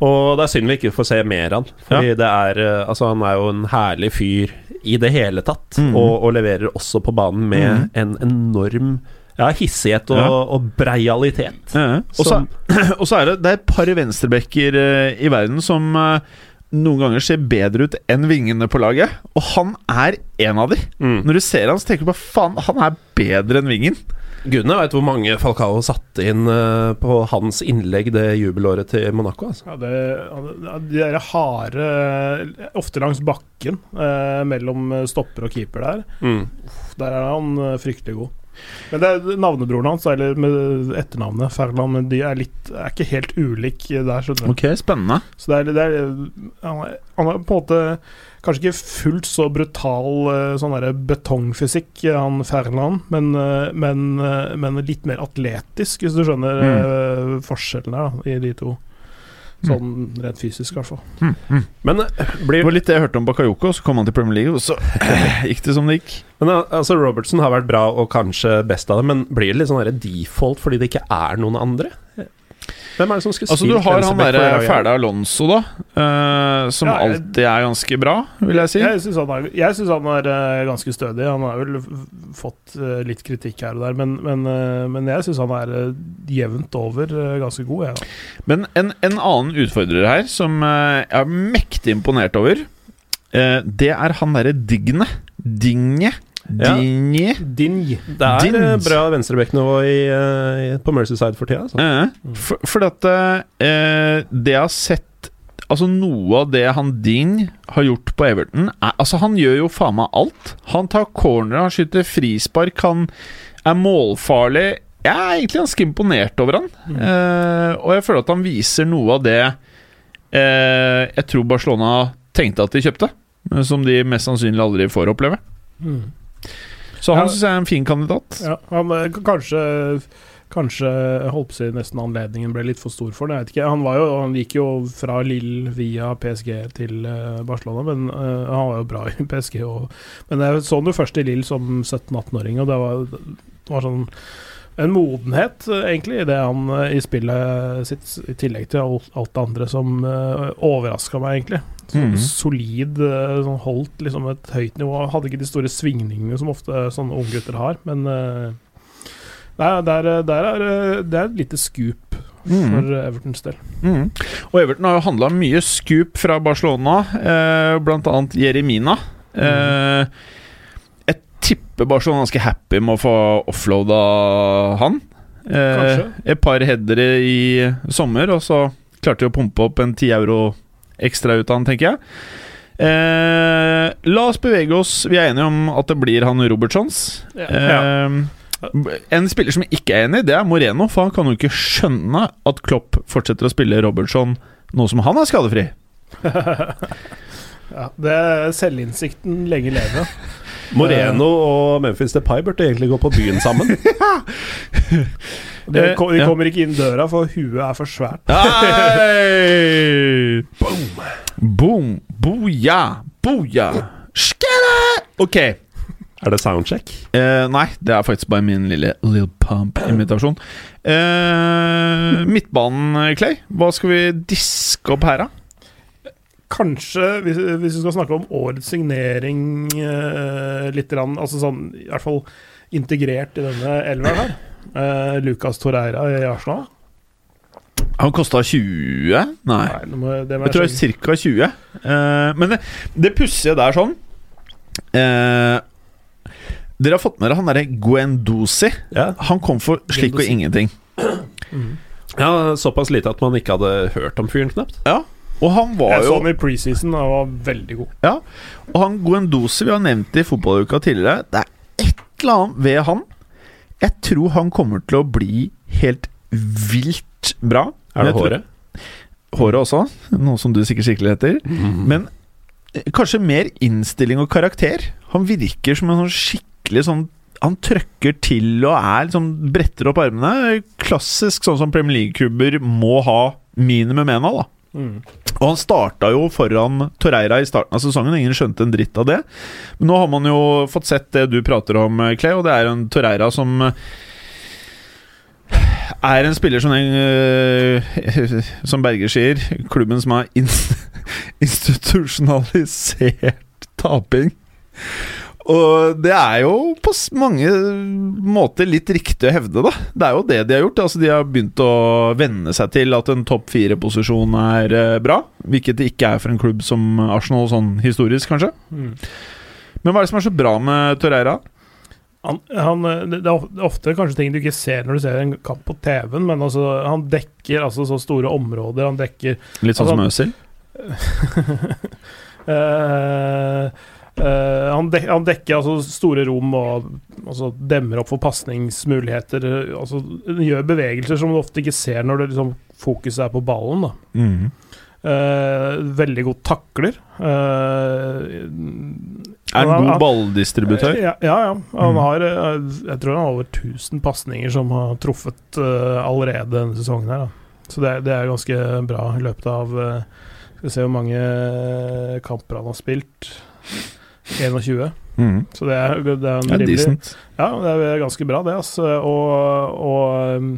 Speaker 3: Og det er synd vi ikke får se mer av han. Fordi det er eh, Altså, han er jo en herlig fyr i det hele tatt,
Speaker 2: Mhm.
Speaker 3: og, og leverer også på banen
Speaker 2: Mhm.
Speaker 3: med en enorm ja, hissighet og,
Speaker 2: Ja.
Speaker 3: og breialitet.
Speaker 2: Ja, ja. Og så-
Speaker 3: Som-
Speaker 2: og så er det, det er et par venstrebekker eh, i verden som eh, noen ganger ser bedre ut enn vingene på laget, og han er en av de. Når du ser han, så tenker du bare faen, han er bedre enn vingen.
Speaker 3: Gudene veit hvor mange Falcao satte inn eh, på hans innlegg det jubelåret til Monaco. Altså.
Speaker 4: Ja, det, ja, de der harde Ofte langs bakken eh, mellom stopper og keeper der.
Speaker 2: Mm.
Speaker 4: Der er han eh, fryktelig god. Men det er navnebroren hans, eller med etternavnet Ferland, men de er, litt, er ikke helt ulik der. skjønner du.
Speaker 2: Ok, spennende.
Speaker 4: Så det er, det er, han, er, han er på en måte kanskje ikke fullt så brutal eh, sånn der betongfysikk, eh, han Ferland, men, eh, men, eh, men litt mer atletisk, hvis du skjønner eh, forskjellen her da, i de to. Sånn rent fysisk, i hvert fall.
Speaker 3: Men eh,
Speaker 2: Det
Speaker 3: blir
Speaker 2: var litt det jeg hørte om Bakayoko, så kom han til Premier League, og så gikk det som det gikk.
Speaker 3: Men al- altså Robertson har vært bra og kanskje best av det, men blir det litt sånn der default fordi det ikke er noen andre? Hvem er det som skulle
Speaker 2: Altså, du
Speaker 3: spilt
Speaker 2: har han
Speaker 3: venstreback
Speaker 2: derre
Speaker 3: for det laget?
Speaker 2: fæle Alonso, da, eh, som
Speaker 4: Ja, jeg-
Speaker 2: alltid er ganske bra, vil jeg si.
Speaker 4: Jeg syns han, er- jeg synes han er eh, ganske stødig. Han har vel f- fått eh, litt kritikk her og der, men, men, eh, men jeg syns han er eh, jevnt over eh, ganske god. Jeg, da.
Speaker 2: Men en, en annen utfordrer her, som eh, jeg er mektig imponert over, eh, det er han derre Digne. Dinge.
Speaker 3: Ja.
Speaker 2: Dinje.
Speaker 4: Dinj.
Speaker 3: Det er eh,
Speaker 2: Dins.
Speaker 3: bra venstrebekknivå i, eh, på Mercyside for tida. Altså.
Speaker 2: Eh, for, for at eh, det jeg har sett Altså Noe av det han Ding har gjort på Everton er, Altså Han gjør jo faen meg alt. Han tar corner, han skyter frispark, han er målfarlig. Jeg er egentlig ganske imponert over han. Eh, og jeg føler at han viser noe av det eh, jeg tror Barcelona tenkte at de kjøpte. men Som de mest sannsynlig aldri får oppleve. Så
Speaker 4: Ja.
Speaker 2: han synes syns jeg er en fin kandidat.
Speaker 4: Ja, han, eh, k- kanskje Kanskje jeg holdt på å si nesten anledningen ble litt for stor for det, jeg vet ikke. Han, var jo, han gikk jo fra Lill via PSG til eh, Barcelona, men eh, han var jo bra i PSG. Og, men jeg så han jo først i Lill som 17-18-åring, og det var, det var sånn en modenhet, eh, egentlig, i det han eh, i spillet sitt, i tillegg til alt, alt det andre, som uh, overraska meg, egentlig. Sånn
Speaker 2: Mhm.
Speaker 4: Solid, eh, sånn holdt liksom et høyt nivå. Hadde ikke de store svingningene som ofte sånne unggutter har, men eh, Nei, der, der er eh, det er et lite scoop
Speaker 2: Mhm.
Speaker 4: for eh, Evertons del.
Speaker 2: Mm. Og Everton har jo handla mye skup fra Barcelona, eh, blant annet Jeremina. Eh, jeg tipper Barcelona er ganske happy med å få offloada han. Eh,
Speaker 4: Kanskje.
Speaker 2: et par headere i sommer, og så klarte de å pumpe opp en 10 euro ekstra ut av han, tenker jeg. Eh, la oss bevege oss. Vi er enige om at det blir han Robertsons.
Speaker 4: Ja.
Speaker 2: Eh, en spiller som jeg ikke er enig i, det er Moreno. For han kan jo ikke skjønne at Klopp fortsetter å spille Robertson nå som han er skadefri.
Speaker 4: Ja, det er selvinnsikten lenge leve.
Speaker 3: Moreno og Memphis Depay burde egentlig gå på byen sammen.
Speaker 4: De,
Speaker 2: Eh,
Speaker 4: ko- de
Speaker 2: ja.
Speaker 4: kommer ikke inn døra, for huet er for svært.
Speaker 2: Hei! Boom! Boja! Boja! Skære! Ok.
Speaker 3: er det soundcheck?
Speaker 2: Eh, nei, det er faktisk bare min lille Lil Pump-invitasjon. Eh, midtbanen, Clay. Hva skal vi diske opp her, da?
Speaker 4: Kanskje, hvis, hvis vi skal snakke om årets signering eh, litt, grann, altså sånn, i hvert fall integrert i denne elveren her, eh, Lucas Torreira i Arsenal.
Speaker 2: Han kosta 20? Nei.
Speaker 4: Nei, nå må, det må
Speaker 2: Jeg tror
Speaker 4: jeg
Speaker 2: det
Speaker 4: skjønne.
Speaker 2: er ca. 20. Eh, men det, det pussige der sånn eh, Dere har fått med dere han derre Guendosi.
Speaker 3: Ja.
Speaker 2: Han kom for slikk og
Speaker 4: Guendouzi.
Speaker 2: ingenting.
Speaker 3: ja, Såpass lite at man ikke hadde hørt om fyren, knapt.
Speaker 2: Og han var
Speaker 4: Jeg så
Speaker 2: jo
Speaker 4: han i preseason og var veldig god.
Speaker 2: ja, Og han Guendosi vi har nevnt i fotballuka tidligere, det er et eller annet ved han. Jeg tror han kommer til å bli helt vilt bra.
Speaker 3: Er
Speaker 2: Jeg
Speaker 3: det
Speaker 2: tror-
Speaker 3: håret?
Speaker 2: Håret også, noe som du sikkert sikler etter. Men eh, kanskje mer innstilling og karakter. Han virker som en sånn skikkelig sånn Han trøkker til og er liksom bretter opp armene. Klassisk sånn som Premier League-klubber må ha minimum én av, da. Og han starta jo foran Torreira i starten av sesongen, ingen skjønte en dritt av det. Men nå har man jo fått sett det du prater om, eh, Clay, og det er en Torreira som eh, er en spiller som, den, eh, som Berger sier, klubben som har in institusjonalisert taping. Og det er jo på s- mange måter litt riktig å hevde, da. Det er jo det de har gjort. Altså, de har begynt å venne seg til at en topp fire-posisjon er eh, bra. Hvilket det ikke er for en klubb som Arsenal, sånn historisk, kanskje.
Speaker 4: Mm.
Speaker 2: Men hva er det som er så bra med Torreira?
Speaker 4: han, han, eh, det det er of- det er ofte kanskje ting du ikke ser når du ser en kamp på TV-en, men altså, han dekker altså så store områder. Han dekker
Speaker 2: Litt sånn som Øzil?
Speaker 4: eh, eh, han, dek, han dekker altså store rom og altså, demmer opp for pasningsmuligheter. eh, Altså, han gjør bevegelser som du ofte ikke ser når det liksom, fokuset er på ballen. Da.
Speaker 2: Mhm.
Speaker 4: Eh, veldig god takler. Eh,
Speaker 2: Er
Speaker 4: Han-
Speaker 2: en god
Speaker 4: han-
Speaker 2: balldistributør?
Speaker 4: Ja, ja. ja. Han
Speaker 2: Mm.
Speaker 4: har, eh, jeg tror han har over 1000 pasninger som har truffet eh, allerede denne sesongen. her da. Så det, er- det er ganske bra i løpet av eh, Skal vi se hvor mange eh, kamper han har spilt. 21.
Speaker 2: Mm.
Speaker 4: Så det er, det er en
Speaker 2: Ja,
Speaker 4: rimelig
Speaker 2: decent.
Speaker 4: Ja, det er ganske bra, det. Altså. Og, og um,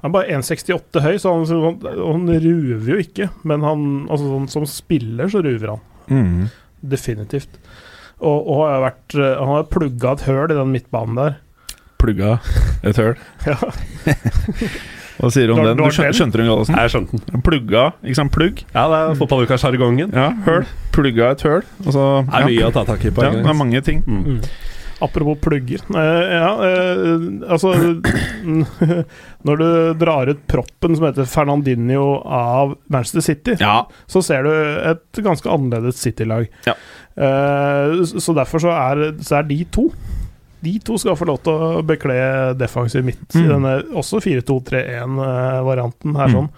Speaker 4: han er bare 1,68 høy, så han, så han, han ruver jo ikke. Men han, altså, sånn, som spiller så ruver han.
Speaker 2: Mm.
Speaker 4: Definitivt. Og, og har vært, eh, han har plugga et høl i den midtbanen der.
Speaker 2: Plugga et høl.
Speaker 4: Ja.
Speaker 2: Hva sier du om
Speaker 4: Dor-
Speaker 2: den? Du skjøn-
Speaker 4: Dortel?
Speaker 2: skjønte den, Gallosen?
Speaker 3: Jeg skjønte den.
Speaker 2: Plugga, ikke sant? Plugg.
Speaker 3: Ja, det er fotballuka-sjargongen.
Speaker 2: Ja, høl. Plugga et høl. Og så
Speaker 3: Det er mye å ta tak i på
Speaker 2: Ja, det
Speaker 3: en
Speaker 2: er
Speaker 3: gang.
Speaker 2: mange ting.
Speaker 3: Mm.
Speaker 4: Apropos plugger. Eh, ja, eh, altså Når du drar ut proppen som heter Fernandinho av Manchester City,
Speaker 2: Ja.
Speaker 4: så ser du et ganske annerledes City-lag.
Speaker 2: Ja.
Speaker 4: Eh, s- så derfor så er, så er de to De to skal få lov til å bekle defensiv midt i
Speaker 2: Mm.
Speaker 4: denne også 4-2-3-1-varianten her,
Speaker 2: Mm.
Speaker 4: sånn.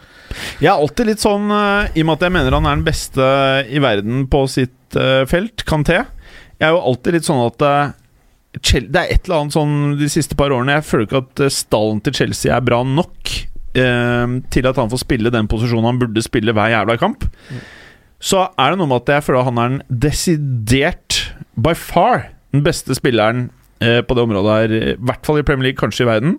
Speaker 2: Jeg er alltid litt sånn, eh, i og med at jeg mener han er den beste i verden på sitt eh, felt, Kanté. Jeg er jo alltid litt sånn at eh, Chel- Det er et eller annet sånn de siste par årene Jeg føler ikke at eh, stallen til Chelsea er bra nok eh, til at han får spille den posisjonen han burde spille hver jævla kamp. Så er det noe med at jeg føler han er den desidert, by far, den beste spilleren eh, på det området her. I hvert fall i Premier League, kanskje i verden.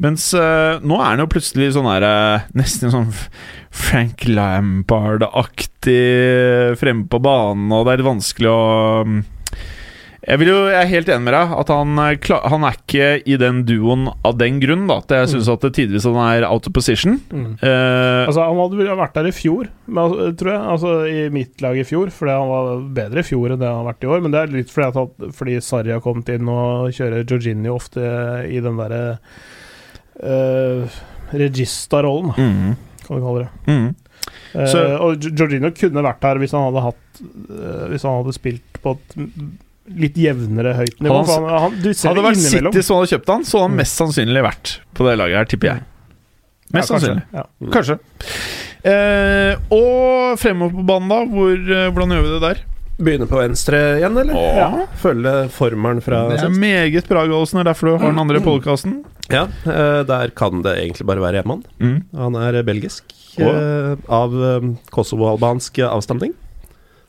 Speaker 2: Mens eh, nå er han jo plutselig sånn her eh, Nesten sånn Frank Lampard-aktig fremme på banen, og det er litt vanskelig å mm, jeg, vil jo, jeg er helt enig med deg at han, eh, kla- han er ikke i den duoen av den grunn. Da, at jeg syns at det tidvis han er out of position.
Speaker 4: Mm.
Speaker 2: Eh,
Speaker 4: Altså, han hadde vel vært der i fjor, men, altså, tror jeg. Altså, I mitt lag i fjor, fordi han var bedre i fjor enn det han har vært i år. Men det er litt fordi, at han, fordi Sarri har kommet inn og kjører Jorginho ofte i den derre uh, Regista-rollen, da,
Speaker 2: mm,
Speaker 4: kan vi kalle det.
Speaker 2: mm.
Speaker 4: Eh,
Speaker 2: Så-
Speaker 4: og Gi- Jorginho kunne vært her hvis han hadde hatt eh, Hvis han hadde spilt på et m- litt jevnere høyt nivå.
Speaker 2: Hadde han-
Speaker 4: for han, han, du ser
Speaker 2: Hadde det
Speaker 4: det
Speaker 2: vært
Speaker 4: innimellom.
Speaker 2: City som hadde kjøpt han, så hadde han
Speaker 4: Mm.
Speaker 2: mest sannsynlig vært på det laget her, tipper jeg. Mest
Speaker 4: kanskje.
Speaker 2: sannsynlig. Mm.
Speaker 4: Ja.
Speaker 2: Kanskje. Eh, og fremover på banen, da. Hvor, eh, hvordan gjør vi det der?
Speaker 3: Begynne på venstre igjen, eller? Ja. Følge formelen fra
Speaker 2: Det er
Speaker 3: sist.
Speaker 2: meget bra, Gallosen. Det er derfor du har den andre
Speaker 4: Mm.
Speaker 2: podkasten.
Speaker 3: Ja, eh, der kan det egentlig bare være Eman.
Speaker 2: Mm.
Speaker 3: Han er belgisk.
Speaker 2: Å.
Speaker 3: eh, Av eh, kosovo-albansk avstamning.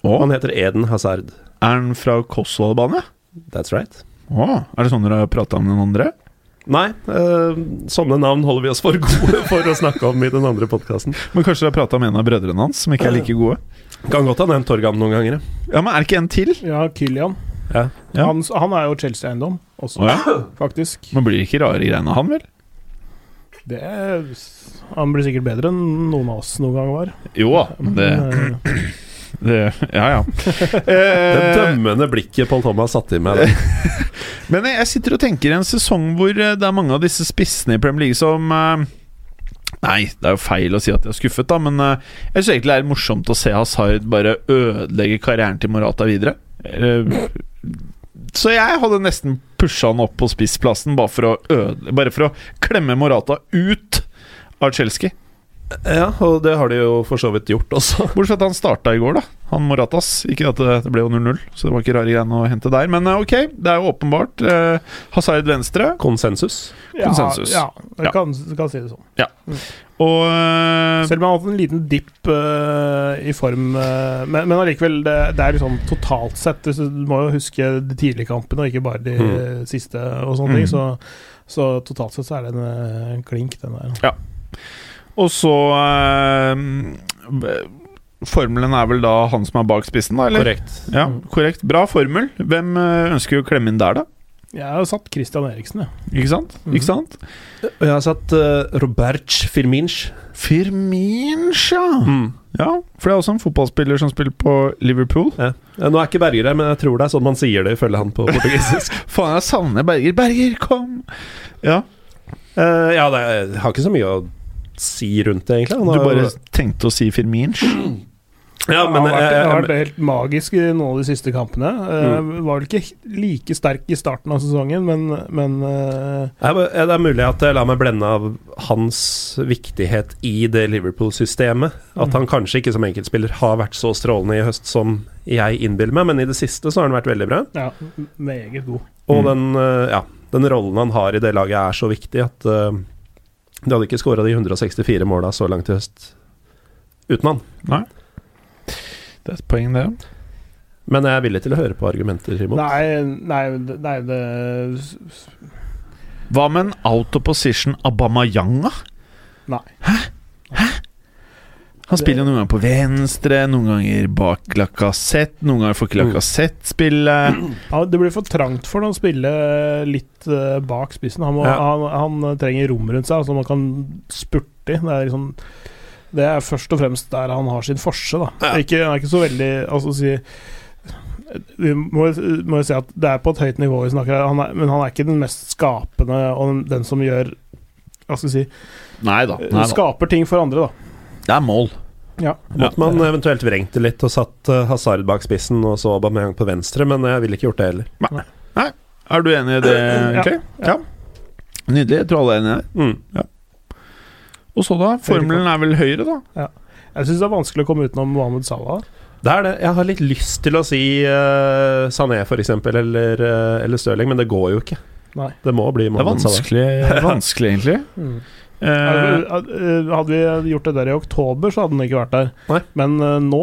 Speaker 2: Å,
Speaker 3: Han heter Eden Hazard.
Speaker 2: er han fra Kosovo-Albania?
Speaker 3: That's right.
Speaker 2: Å, er det sånn dere har prata om den andre?
Speaker 3: Nei, eh, sånne navn holder vi oss for gode for å snakke om i den andre podkasten.
Speaker 2: Men kanskje dere har prata om en av brødrene hans, som ikke er like gode?
Speaker 3: Kan godt ha nevnt Torgan noen ganger. ja.
Speaker 2: Ja, men er det ikke en til?
Speaker 4: Ja, Kylian.
Speaker 3: Ja.
Speaker 2: Ja.
Speaker 4: Han, han er jo Chelsea-eiendom også,
Speaker 2: Å ja.
Speaker 4: faktisk.
Speaker 2: Men blir det ikke rare greiene av han, vel?
Speaker 4: Det er, han blir sikkert bedre enn noen av oss noen gang var.
Speaker 2: Jo da. Det,
Speaker 4: Men, eh,
Speaker 2: det Ja, ja.
Speaker 3: Det
Speaker 2: Eh,
Speaker 3: dømmende blikket Paul Thomas satte i meg. der.
Speaker 2: Men jeg sitter og tenker i en sesong hvor eh, det er mange av disse spissene i Premier League som eh, Nei, det er jo feil å si at jeg er skuffet, da, men eh, jeg syns egentlig det er morsomt å se Hazard bare ødelegge karrieren til Morata videre. Eh, Så jeg hadde nesten pusha han opp på spissplassen bare for å, øde, bare for å klemme Morata ut av Chelsea.
Speaker 3: Ja, og det har de jo for så vidt gjort også.
Speaker 2: Bortsett fra at han starta i går, da. Han Moratas. Ikke at det, det ble jo 0-0, så det var ikke rare greiene å hente der. Men eh, ok, det er jo åpenbart. Eh, Hazard venstre.
Speaker 3: Konsensus.
Speaker 4: ja,
Speaker 2: Konsensus.
Speaker 4: Ja,
Speaker 2: Ja.
Speaker 4: jeg kan, kan si det sånn.
Speaker 2: Og eh,
Speaker 4: Selv om han har hatt en liten dipp eh, i form eh, Men men allikevel, det, det er liksom totalt sett hvis Du du må jo huske de tidlige kampene, og ikke bare de
Speaker 3: Mm.
Speaker 4: eh, siste og sånne
Speaker 2: Mm.
Speaker 4: ting. Så, så totalt sett så er det en eh, klink, den der.
Speaker 2: Og så eh, Formelen er vel da han som er bak spissen, da? Eller?
Speaker 3: Korrekt. Mm.
Speaker 2: Ja, korrekt. Bra formel. Hvem eh, ønsker å klemme inn der, da?
Speaker 4: Jeg har jo satt Christian Eriksen, jeg.
Speaker 2: Ikke sant?
Speaker 3: Mm.
Speaker 4: Mhm.
Speaker 2: Ikke sant?
Speaker 3: Og jeg har satt uh, Robert Firminch.
Speaker 2: Firminsja!
Speaker 3: Mm.
Speaker 2: Ja, for det er også en fotballspiller som spiller på Liverpool.
Speaker 3: Ja, Nå er ikke Berger her, men jeg tror det er sånn man sier det, ifølge han på portugisisk.
Speaker 2: Faen, jeg savner Berger. Berger, kom! Ja,
Speaker 3: Eh, ja, det er, jeg har ikke så mye å si rundt det, egentlig. Han
Speaker 2: du
Speaker 3: har jo-
Speaker 2: bare tenkte å si Firminch?
Speaker 3: ja, men, Mm.
Speaker 4: han har vært,
Speaker 3: eh,
Speaker 4: har
Speaker 3: eh,
Speaker 4: vært helt magisk i noen av de siste kampene. Eh, Var vel ikke like sterk i starten av sesongen, men, men eh,
Speaker 3: Ja, men, eh, Det er mulig at jeg lar meg blende av hans viktighet i det Liverpool-systemet. At
Speaker 4: Mm.
Speaker 3: han kanskje ikke som enkeltspiller har vært så strålende i høst som jeg innbiller meg, men i det siste så har han vært veldig bra.
Speaker 4: ja, meget god.
Speaker 3: Og
Speaker 2: Mm.
Speaker 3: den, eh, ja, den rollen han har i det laget er så viktig at eh, De hadde ikke skåra de 164 måla så langt i høst uten han.
Speaker 2: Det er et poeng, det.
Speaker 3: Men jeg er villig til å høre på argumenter imot.
Speaker 4: Nei, nei, det- nei det
Speaker 2: Hva med en out of position Abamayang, da?
Speaker 4: Nei.
Speaker 2: Hæ? Hæ? Han spiller noen ganger på venstre, noen ganger bak Lacassette, noen ganger får ikke
Speaker 3: Mm.
Speaker 2: Lacassette spille.
Speaker 4: Ja, Det blir for trangt for han å spille litt eh, bak spissen. Han, må,
Speaker 3: Ja.
Speaker 4: han, han trenger rom rundt seg som han kan spurte i. Det er, liksom, det er først og fremst der han har sin forse. Da. Ikke, han er ikke så veldig altså, si, Vi må, må jo si at det er på et høyt nivå vi snakker her, han er, men han er ikke den mest skapende og den, den som gjør hva skal jeg si,
Speaker 2: Nei da. Nei da.
Speaker 4: Skaper ting for andre, da.
Speaker 2: Det er mål.
Speaker 4: Ja.
Speaker 3: Måtte man eventuelt vrengt det litt og satt eh, Hazard bak spissen og så Aubameyang på venstre, men jeg ville ikke gjort det heller.
Speaker 2: Er du enig i det,
Speaker 4: Ja.
Speaker 2: Clay? Ja. Nydelig. Jeg tror alle er enige der.
Speaker 3: Mm.
Speaker 2: Og så, da? Formelen er vel høyre, da?
Speaker 4: Jeg syns det er vanskelig å komme utenom Mohammed Salah.
Speaker 3: Det er det. Jeg har litt lyst til å si eh, Sané for eksempel, eller, uh, eller Stirling, men det går jo ikke.
Speaker 4: Nei.
Speaker 3: Det må bli
Speaker 2: Det er
Speaker 3: Mohammed Salah.
Speaker 2: vanskelig, vanskelig egentlig. Eh,
Speaker 4: Eh, Hadde vi gjort det der i oktober, så hadde han ikke vært der.
Speaker 3: Nei.
Speaker 4: Men eh, nå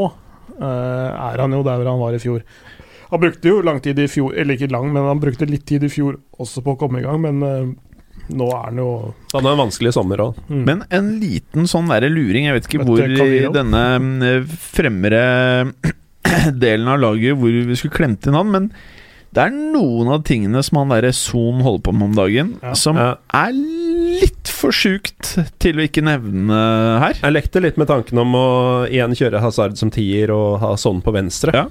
Speaker 4: eh, er han jo der hvor han var i fjor. Han brukte jo lang tid i fjor, eller ikke lang, men han brukte litt tid i fjor også på å komme i gang, men eh, nå er han jo
Speaker 3: Han har en vanskelig sommer òg.
Speaker 4: mm.
Speaker 2: Men en liten sånn der luring Jeg vet ikke
Speaker 4: Vet
Speaker 2: hvor
Speaker 4: du,
Speaker 2: i
Speaker 4: Cavillo?
Speaker 2: denne mm, fremre delen av laget hvor vi skulle klemt inn han, men det er noen av tingene som han derre Son holder på med om dagen,
Speaker 4: Ja.
Speaker 2: som
Speaker 3: Ja.
Speaker 2: er litt for sjukt til å ikke nevne her.
Speaker 3: Jeg lekte litt med tanken om å igjen kjøre Hazard som tier og ha sånn på venstre.
Speaker 2: Ja.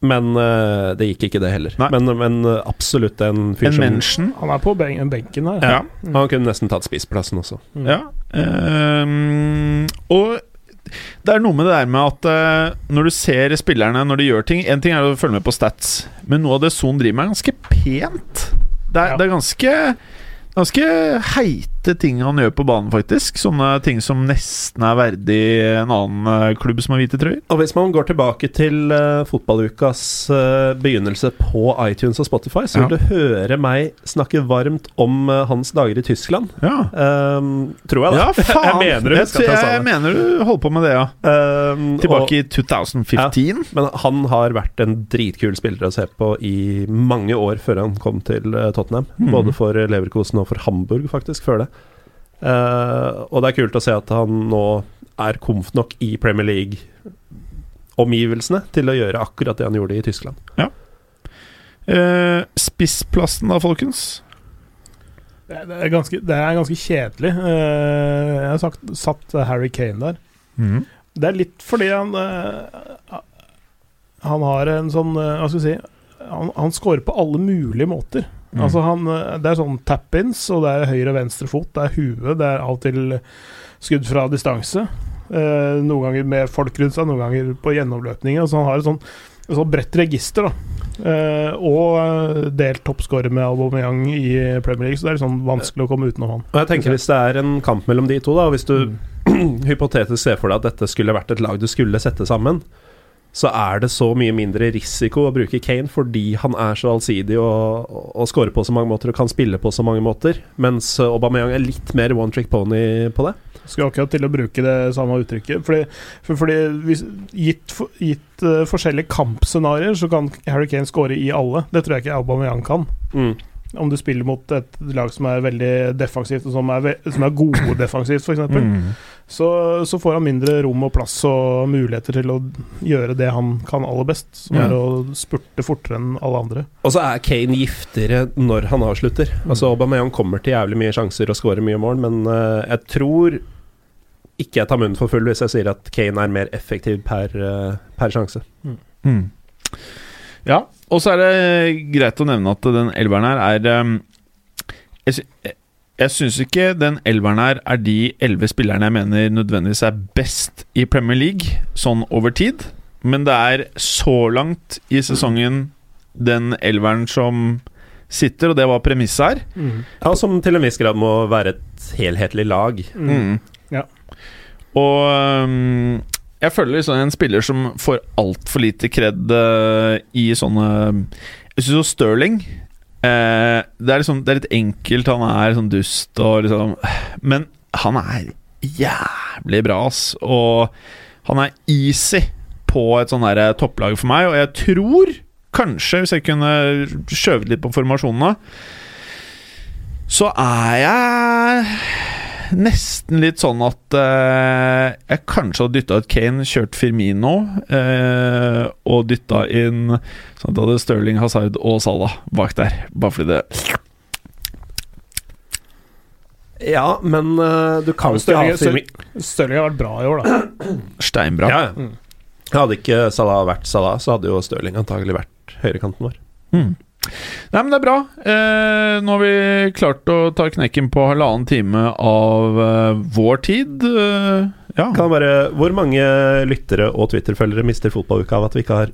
Speaker 3: Men eh, det gikk ikke, det heller.
Speaker 2: Nei.
Speaker 3: Men, men eh, absolutt en fyr
Speaker 2: En
Speaker 3: som
Speaker 2: mention.
Speaker 4: Han er på ben benken her.
Speaker 2: Ja.
Speaker 3: Han kunne nesten tatt spissplassen også.
Speaker 2: Mm. Ja. ehm, og det er noe med det der med at eh, når du ser spillerne når de gjør ting En ting er å følge med på stats, men noe av det Son driver med, er ganske pent. Det er,
Speaker 4: Ja.
Speaker 2: det er ganske Ganske heite ting han gjør på banen, faktisk. Sånne ting som nesten er verdig en annen eh, klubb som har hvite trøyer.
Speaker 3: Og hvis man går tilbake til eh, fotballukas eh, begynnelse på iTunes og Spotify, så
Speaker 2: Ja.
Speaker 3: vil du høre meg snakke varmt om eh, hans dager i Tyskland.
Speaker 2: Ja.
Speaker 3: Ehm, tror jeg, da.
Speaker 2: ja, faen!
Speaker 3: Jeg mener det,
Speaker 2: jeg,
Speaker 3: husker at jeg
Speaker 2: jeg,
Speaker 3: sa det.
Speaker 2: mener du holder på med det, ja.
Speaker 3: Ehm, og,
Speaker 2: Tilbake i 2015.
Speaker 3: men han har vært en dritkul spiller å se på i mange år før han kom til eh, Tottenham.
Speaker 2: Mhm.
Speaker 3: Både for Leverkosen og for Hamburg, faktisk, før det. Eh, og det er kult å se at han nå er komf nok i Premier League-omgivelsene til å gjøre akkurat det han gjorde i Tyskland.
Speaker 2: Eh, spissplassen da, folkens?
Speaker 4: Det det er ganske, det er ganske kjedelig. Eh, jeg har sagt, satt Harry Kane der.
Speaker 3: Mm.
Speaker 4: Det er litt fordi han eh, Han har en sånn eh, Hva skal vi si Han, han scorer på alle mulige måter.
Speaker 2: Mm.
Speaker 4: Altså han, eh, det er sånn tap-ins, og det er høyre og venstre fot, det er huet, det er av og til skudd fra distanse. Eh, noen ganger med folk rundt seg, noen ganger på gjennomløpninger. Altså han har et sånn, et sånn bredt register. da eh, Og eh, delt toppscorer med Aubameyang i Premier League, så det er litt sånn vanskelig å komme utenom han.
Speaker 3: Og jeg tenker Hvis det er en kamp mellom de to, da og hvis du hypotetisk ser for deg at dette skulle vært et lag du skulle sette sammen, så er det så mye mindre risiko å bruke Kane fordi han er så allsidig og, og scorer på så mange måter og kan spille på så mange måter, mens Aubameyang er litt mer one trick pony på det.
Speaker 4: Skulle akkurat til å bruke det samme uttrykket. Fordi, for, fordi hvis, gitt, for- gitt eh, forskjellige kampscenarioer, så kan Harry Kane skåre i alle. Det tror jeg ikke Aubameyang kan.
Speaker 3: Mm.
Speaker 4: Om du spiller mot et lag som er veldig defensivt, og som er, ve- som er gode defensivt, f.eks., eksempel
Speaker 2: Mm.
Speaker 4: så, så får han mindre rom og plass og muligheter til å gjøre det han kan aller best, som
Speaker 2: Ja.
Speaker 4: er å spurte fortere enn alle andre.
Speaker 3: Og så er Kane giftigere når han avslutter. Altså Aubameyang kommer til jævlig mye sjanser og scorer mye mål, men eh, jeg tror ikke jeg tar munnen for full hvis jeg sier at Kane er mer effektiv per, eh, per sjanse.
Speaker 2: Mm. Ja, og så er det greit å nevne at den elveren her er um, Jeg, sy- jeg- jeg syns ikke den elveren her er de elleve spillerne jeg mener nødvendigvis er best i Premier League, sånn over tid. Men det er så langt i sesongen den elveren som sitter, og det var premisset her.
Speaker 3: Ja, som til en viss grad må være et helhetlig lag.
Speaker 2: Mm.
Speaker 4: Ja.
Speaker 2: Og um, jeg føler liksom en spiller som får altfor lite kred eh, i sånne Jeg syns jo Sterling eh, det, er liksom, det er litt enkelt, han er sånn dust og liksom Men han er jævlig bra, ass. Og han er easy på et sånn der topplag for meg, og jeg tror kanskje, hvis jeg kunne skjøvet litt på formasjonene, så er jeg nesten litt sånn at eh, jeg kanskje hadde dytta ut Kane, kjørt Firmino eh, og dytta inn Sånn at jeg hadde Stirling, Hazard og Salah bak der. Bare fordi det
Speaker 3: Ja, men eh, du kan ikke ha
Speaker 4: Stirling
Speaker 3: Firmi-
Speaker 4: Stirling har vært bra i år, da.
Speaker 2: Steinbra.
Speaker 3: Ja, ja. Hadde ikke Salah vært Salah, så hadde jo Stirling antagelig vært høyrekanten vår.
Speaker 2: Mm. Nei, men det er bra. Eh, nå har vi klart å ta knekken på halvannen time av eh, vår tid. Eh, ja.
Speaker 3: Kan jeg bare, hvor mange lyttere og Twitter-følgere mister fotballuka av at vi ikke har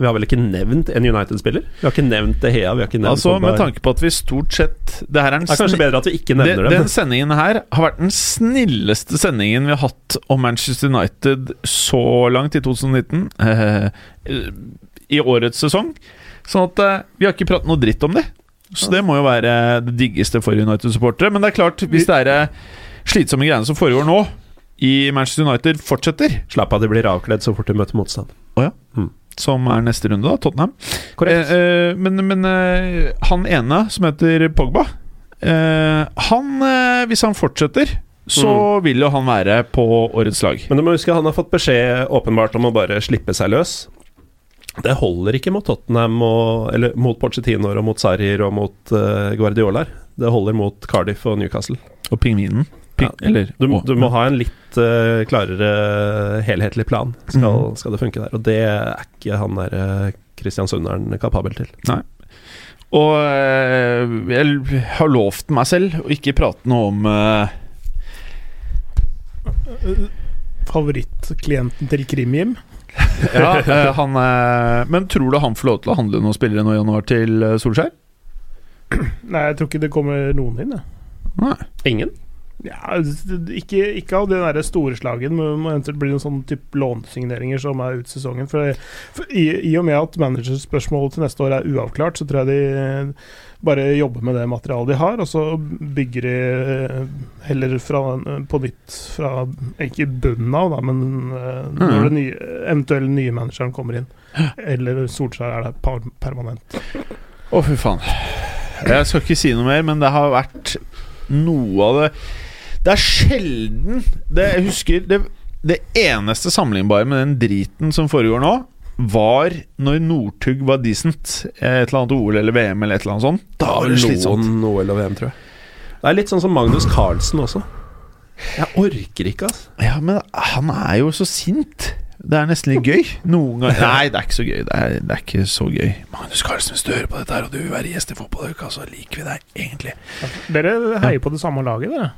Speaker 3: Vi har vel ikke nevnt en United-spiller? Vi har ikke nevnt De Hea, vi har ikke nevnt
Speaker 2: Altså,
Speaker 3: Pogba.
Speaker 2: med tanke Altså, på at vi stort sett Det her er
Speaker 3: Det
Speaker 2: den
Speaker 3: er kanskje bedre at vi ikke
Speaker 2: Den,
Speaker 3: nevner dem.
Speaker 2: den sendingen her har vært den snilleste sendingen vi har hatt om Manchester United så langt i 2019. Eh, I årets sesong. Sånn at eh, vi har ikke pratet noe dritt om det. Så det må jo være det diggeste for United-supportere. Men det er klart, hvis det er eh, slitsomme greiene som foregår nå i Manchester United, fortsetter,
Speaker 3: Slapp av, de blir avkledd så fort de møter motstand.
Speaker 2: som er neste runde, da, Tottenham
Speaker 3: Korrekt.
Speaker 2: Eh, eh, men men eh, han ene som heter Pogba eh, Han, eh, hvis han fortsetter, så vil jo han være på årets lag.
Speaker 3: Men du må huske han har fått beskjed åpenbart om å bare slippe seg løs. Det holder ikke mot Tottenham, og, eller mot Pochettinoer og mot Sarrier og mot uh, Guardiolaer. Det holder mot Cardiff og Newcastle.
Speaker 2: Og pingvinen. Ping,
Speaker 3: Ja,
Speaker 2: Eller
Speaker 3: Du,
Speaker 2: å,
Speaker 3: du må ha en litt eh, klarere, helhetlig plan skal, skal det funke der. Og det er ikke han der eh, Kristiansunderen kapabel til.
Speaker 2: Og eh, jeg har lovt meg selv å ikke prate noe om eh,
Speaker 4: Favorittklienten til Krim-Jim.
Speaker 2: ja, eh, han, eh, Men tror du han får lov til å handle noen spillere nå i januar til eh, Solskjær?
Speaker 4: Nei, jeg tror ikke det kommer noen inn, jeg.
Speaker 2: Nei.
Speaker 3: Ingen?
Speaker 4: Ja, ikke, ikke av den der store slagen, men må eventuelt bli noen sånn type lånesigneringer som er ut sesongen. For, for i, I og med at managerspørsmålet til neste år er uavklart, så tror jeg de bare jobber med det materialet de har, og så bygger de eh, heller fra, på nytt fra Ikke bunnen av, da, men eh, når den nye, eventuelle nye manageren kommer inn. Eller Solskjær er der par- permanent.
Speaker 2: Å, fy faen. Jeg skal ikke si noe mer, men det har vært noe av det Det er sjelden det, Jeg husker det, det eneste sammenlignbare med den driten som foregår nå, var når Northug var decent. eh, Et eller annet OL eller VM eller et eller annet sånt. Da var det slitsomt.
Speaker 3: Noen OL og VM, tror jeg. Det er litt sånn som Magnus Carlsen også. Jeg orker ikke, altså.
Speaker 2: Ja, men han er jo så sint. Det er nesten litt gøy. Noen ganger Nei, det er ikke så gøy. Det er, det er ikke så gøy. Magnus Carlsen, hvis du hører på dette her og du vil være gjest i Fotballuka, så liker vi deg egentlig.
Speaker 4: Dere heier på det samme laget, dere.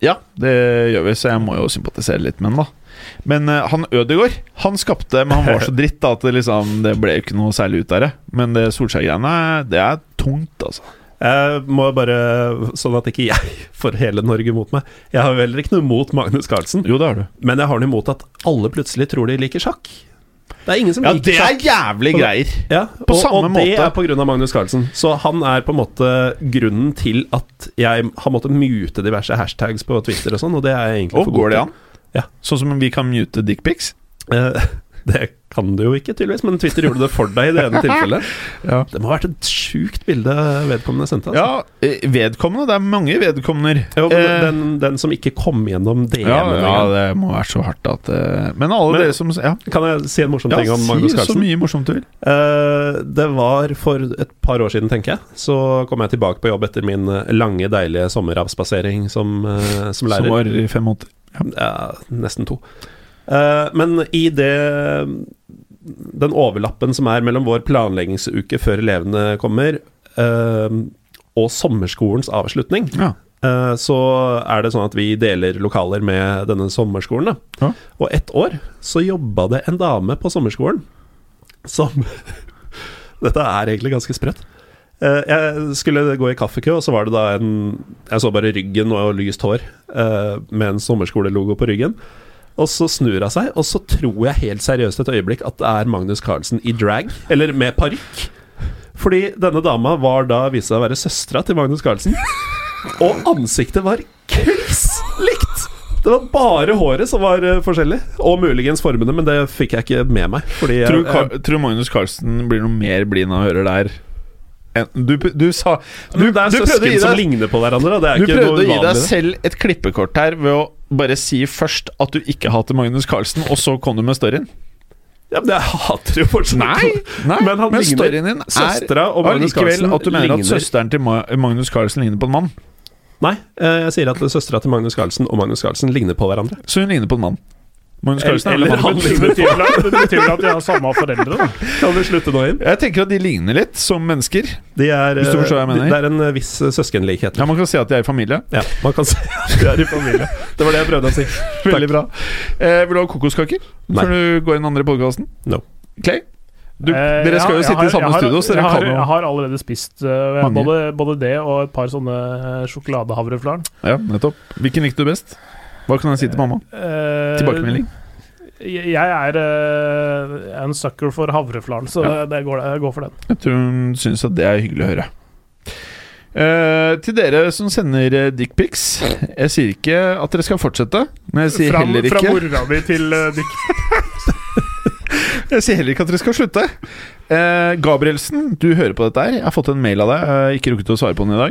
Speaker 2: Ja, det gjør vi, så jeg må jo sympatisere litt med han, da. Men eh, han Ødegaard, han skapte Men han var så dritt da at det liksom Det ble jo ikke noe særlig ut av det. Men det Solskjær-greiene, det er tungt, altså.
Speaker 3: Jeg må bare, sånn at ikke jeg får hele Norge mot meg Jeg har jo heller ikke noe mot Magnus Carlsen,
Speaker 2: Jo, det har du.
Speaker 3: men jeg har noe imot at alle plutselig tror de liker sjakk. Det er ingen som
Speaker 2: Ja,
Speaker 3: liker
Speaker 2: det
Speaker 3: sjakk.
Speaker 2: er jævlig greier.
Speaker 3: Ja,
Speaker 2: På
Speaker 3: og,
Speaker 2: samme
Speaker 3: og det
Speaker 2: måte.
Speaker 3: er på grunn av Magnus Carlsen. Så han er på en måte grunnen til at jeg har måttet mute diverse hashtags på Twitter og sånn, og det er jeg egentlig
Speaker 2: Og går det an?
Speaker 3: Ja.
Speaker 2: Sånn som vi kan mute dickpics?
Speaker 3: Eh, Det kan du jo ikke, tydeligvis, men Twitter gjorde det for deg i det ene tilfellet.
Speaker 2: Ja.
Speaker 3: Det må ha vært et sjukt bilde vedkommende sendte. Altså.
Speaker 2: Ja, eh, vedkommende. Det er mange vedkommender.
Speaker 3: Jo, men
Speaker 2: Eh,
Speaker 3: den, den som ikke kom gjennom DM-en
Speaker 2: ja, ja,
Speaker 3: engang.
Speaker 2: det må være så hardt at eh, Men alle
Speaker 3: Men-
Speaker 2: dere som Ja,
Speaker 3: Kan jeg si en morsom
Speaker 2: ja
Speaker 3: ting om Magnus
Speaker 2: si så
Speaker 3: Carlsen?
Speaker 2: mye morsomt du vil.
Speaker 3: Eh, det var for et par år siden, tenker jeg. Så kom jeg tilbake på jobb etter min eh, lange, deilige sommeravspasering som, eh, som lærer.
Speaker 2: Som var i fem måneder.
Speaker 3: Ja, nesten to. Eh, men i det Den overlappen som er mellom vår planleggingsuke før elevene kommer, eh, og sommerskolens avslutning,
Speaker 2: Ja.
Speaker 3: eh, så er det sånn at vi deler lokaler med denne sommerskolen. Da.
Speaker 2: Ja.
Speaker 3: Og ett år så jobba det en dame på sommerskolen som Dette er egentlig ganske sprøtt. Eh, Jeg skulle gå i kaffekø, og så var det da en Jeg så bare ryggen og lyst hår eh, med en sommerskolelogo på ryggen. Og så snur hun seg, og så tror jeg helt seriøst et øyeblikk at det er Magnus Carlsen i drag, eller med parykk. Fordi denne dama var da viste seg å være søstera til Magnus Carlsen. Og ansiktet var kliss Det var bare håret som var eh, forskjellig. Og muligens formene, men det fikk jeg ikke med meg. Fordi jeg,
Speaker 2: Tror, du Car- tror Magnus Carlsen blir noe mer blid når han hører det her? enn- Du, p- du sa
Speaker 3: du,
Speaker 2: du,
Speaker 3: det er
Speaker 2: du prøvde å
Speaker 3: søsken
Speaker 2: gi
Speaker 3: som
Speaker 2: deg-
Speaker 3: ligner på hverandre. og Det er
Speaker 2: du
Speaker 3: ikke noe
Speaker 2: prøvde å gi
Speaker 3: uvanlig.
Speaker 2: deg selv et klippekort her ved å bare si først at du ikke hater Magnus Carlsen, og så kom du med storyen.
Speaker 3: Ja, men jeg hater jo fortsatt
Speaker 2: nei,
Speaker 3: Men han ligner.
Speaker 2: storyen din er
Speaker 3: Søstera og Magnus
Speaker 2: allikevel
Speaker 3: Carlsen
Speaker 2: at du mener at
Speaker 3: ligner.
Speaker 2: søsteren til Ma Magnus Carlsen ligner på en mann.
Speaker 3: Nei, eh, jeg sier at søstera til Magnus Carlsen og Magnus Carlsen ligner på hverandre.
Speaker 2: Så hun ligner på en mann. Magnus
Speaker 3: Eller-
Speaker 2: Carlsen er
Speaker 3: eller
Speaker 2: vel en mann.
Speaker 3: han.
Speaker 4: Det betyr vel at- det betyr vel at de har samme foreldre, da.
Speaker 3: Kan vi slutte nå inn?
Speaker 2: Jeg tenker at de ligner litt som mennesker.
Speaker 3: De er,
Speaker 2: Hvis du
Speaker 3: eh,
Speaker 2: forstår hva jeg mener.
Speaker 3: Det er en eh, viss eh, søskenlikhet.
Speaker 2: Ja, Man kan si at de er i familie.
Speaker 3: Ja, man kan si at de er i familie. Det var det jeg prøvde å si.
Speaker 2: Veldig bra. Eh, vil du ha kokoskaker
Speaker 3: Nei.
Speaker 2: før du går i den andre podkasten?
Speaker 3: No.
Speaker 2: Clay? Du,
Speaker 4: Eh,
Speaker 2: dere
Speaker 4: jeg har-
Speaker 2: skal jo
Speaker 4: jeg
Speaker 2: sitte
Speaker 4: har-
Speaker 2: i samme
Speaker 4: jeg har-
Speaker 2: studio, så
Speaker 4: jeg
Speaker 2: dere
Speaker 4: har,
Speaker 2: kan jo
Speaker 4: Jeg har allerede spist eh,
Speaker 2: Mange.
Speaker 4: både, både det og et par sånne eh, sjokoladehavreflarn.
Speaker 2: Ja, nettopp. Hvilken likte du best? Hva kan jeg si til mamma?
Speaker 4: Eh,
Speaker 2: Tilbakemelding.
Speaker 4: Jeg jeg er eh, en sucker for havreflarn, så
Speaker 2: Ja.
Speaker 4: det går, jeg går for den.
Speaker 2: Jeg tror hun syns at det er hyggelig å høre. Eh, til dere som sender dickpics Jeg sier ikke at dere skal fortsette, men jeg sier
Speaker 4: Fra,
Speaker 2: heller
Speaker 4: fra
Speaker 2: ikke
Speaker 4: mora mi til eh, Dick.
Speaker 2: Jeg sier heller ikke at dere skal slutte. Eh, Gabrielsen, du hører på dette her. Jeg har fått en mail av deg. Jeg har ikke rukket å svare på den i dag.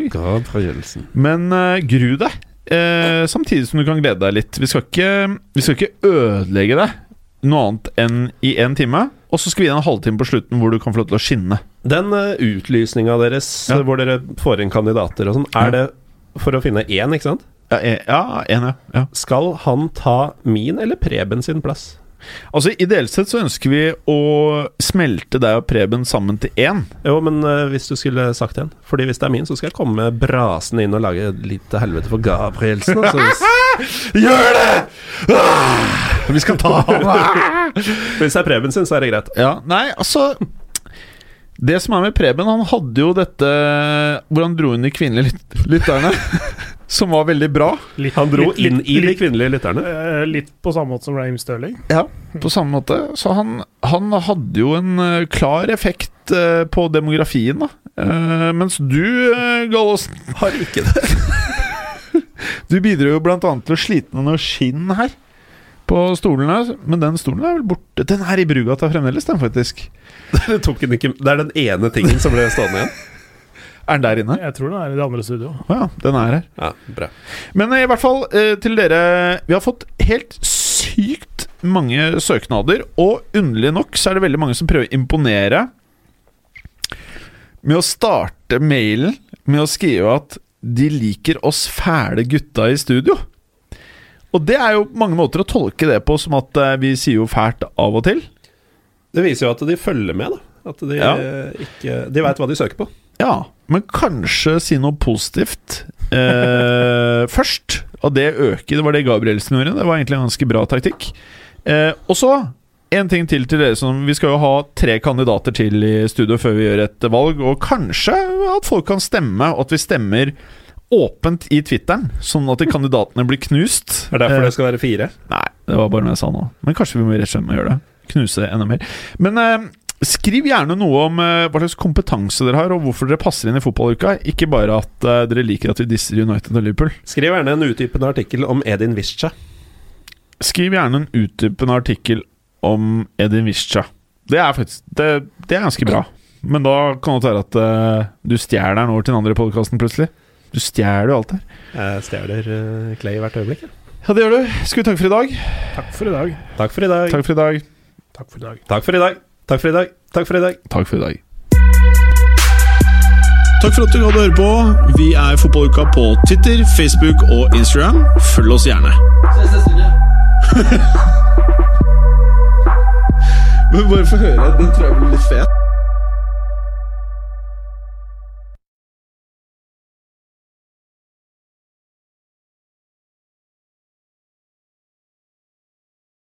Speaker 2: Men eh, gru deg, eh, samtidig som du kan glede deg litt. Vi skal ikke, vi skal ikke ødelegge deg noe annet enn i én time. Og så skal vi gi deg en halvtime på slutten hvor du kan få lov til å skinne.
Speaker 3: Den uh, utlysninga deres,
Speaker 2: Ja.
Speaker 3: eh, hvor dere får inn kandidater og sånn,
Speaker 2: Ja.
Speaker 3: er det for å finne én, ikke sant?
Speaker 2: Ja, en, ja, en, ja. ja.
Speaker 3: Skal han ta min eller Preben sin plass?
Speaker 2: Altså, Ideelt sett så ønsker vi å smelte deg og Preben sammen til én.
Speaker 3: Jo, men eh, hvis du skulle sagt en Fordi hvis det er min, så skal jeg komme brasende inn og lage et lite helvete for Gabrielsen. Altså, hvis,
Speaker 2: Gjør det! Ah, vi skal ta ham!
Speaker 3: hvis det er Preben sin, så er det greit.
Speaker 2: Ja, nei, altså Det som er med Preben, han hadde jo dette Hvor han dro inn de kvinnelige lyt- lytterne. Som var veldig bra.
Speaker 4: Litt,
Speaker 3: Han dro
Speaker 4: litt-
Speaker 3: inn i de
Speaker 4: litt,
Speaker 3: kvinnelige lytterne.
Speaker 4: eh, litt på samme måte som Raim Sterling.
Speaker 2: Ja, på samme måte. Så han, han hadde jo en eh, klar effekt eh, på demografien, da. Eh, mens du, uh, Gallosen Har ikke det. du bidro jo blant annet til å slite med noe skinn her. På stolene. Men den stolen er vel borte. Den er i Brugata fremdeles, den, faktisk.
Speaker 3: Det, tok han ikke, det er den ene tingen som ble stående igjen.
Speaker 2: Er den der inne?
Speaker 4: Jeg tror den er i det andre studioet.
Speaker 2: Å ja, den er her.
Speaker 3: Ja, bra
Speaker 2: Men eh, i hvert fall eh, til dere Vi har fått helt sykt mange søknader, og underlig nok så er det veldig mange som prøver å imponere med å starte mailen med å skrive at de liker oss fæle gutta i studio. Og det er jo på mange måter å tolke det på som at eh, vi sier jo fælt av og til.
Speaker 3: Det viser jo at de følger med, da. At de
Speaker 2: Ja.
Speaker 3: eh, ikke De veit hva de søker på.
Speaker 2: Ja, men kanskje si noe positivt eh, først. Og det øker. Det var det Gabrielsen gjorde. Det var egentlig en ganske bra taktikk. Eh, og så en ting til til dere som Vi skal jo ha tre kandidater til i studio før vi gjør et valg, og kanskje at folk kan stemme, og at vi stemmer åpent i Twitteren, sånn at kandidatene blir knust.
Speaker 3: Er det
Speaker 4: Eh.
Speaker 3: derfor det skal være fire?
Speaker 2: Nei, det var bare noe jeg sa nå. Men kanskje vi må rett og slett må gjøre det. Knuse det enda mer. Men eh, skriv gjerne noe om eh, hva slags kompetanse dere har, og hvorfor dere passer inn i fotballuka. Ikke bare at eh, dere liker at vi disser United og Liverpool.
Speaker 3: Skriv gjerne en utdypende artikkel om Edin Vizca.
Speaker 2: Skriv gjerne en utdypende artikkel om Edin Vizca. Det er faktisk det, det er ganske bra. Men da kan det være at eh, du stjeler den over til den andre podkasten plutselig. Du stjeler jo alt her.
Speaker 3: Jeg stjeler eh, Clay hvert øyeblikk. jeg.
Speaker 2: Ja, det gjør du. Skal vi takke for i dag?
Speaker 4: Takk for i dag.
Speaker 3: Takk for i dag.
Speaker 2: Takk for i dag.
Speaker 4: Takk for i dag.
Speaker 3: Takk for i dag. Takk for i dag. Takk for i dag.
Speaker 2: Takk for i dag.
Speaker 1: Takk for at du hadde høre på. Vi er Fotballuka på Twitter, Facebook og Instagram. Følg oss gjerne. Men bare få høre. Den tror jeg blir litt fet.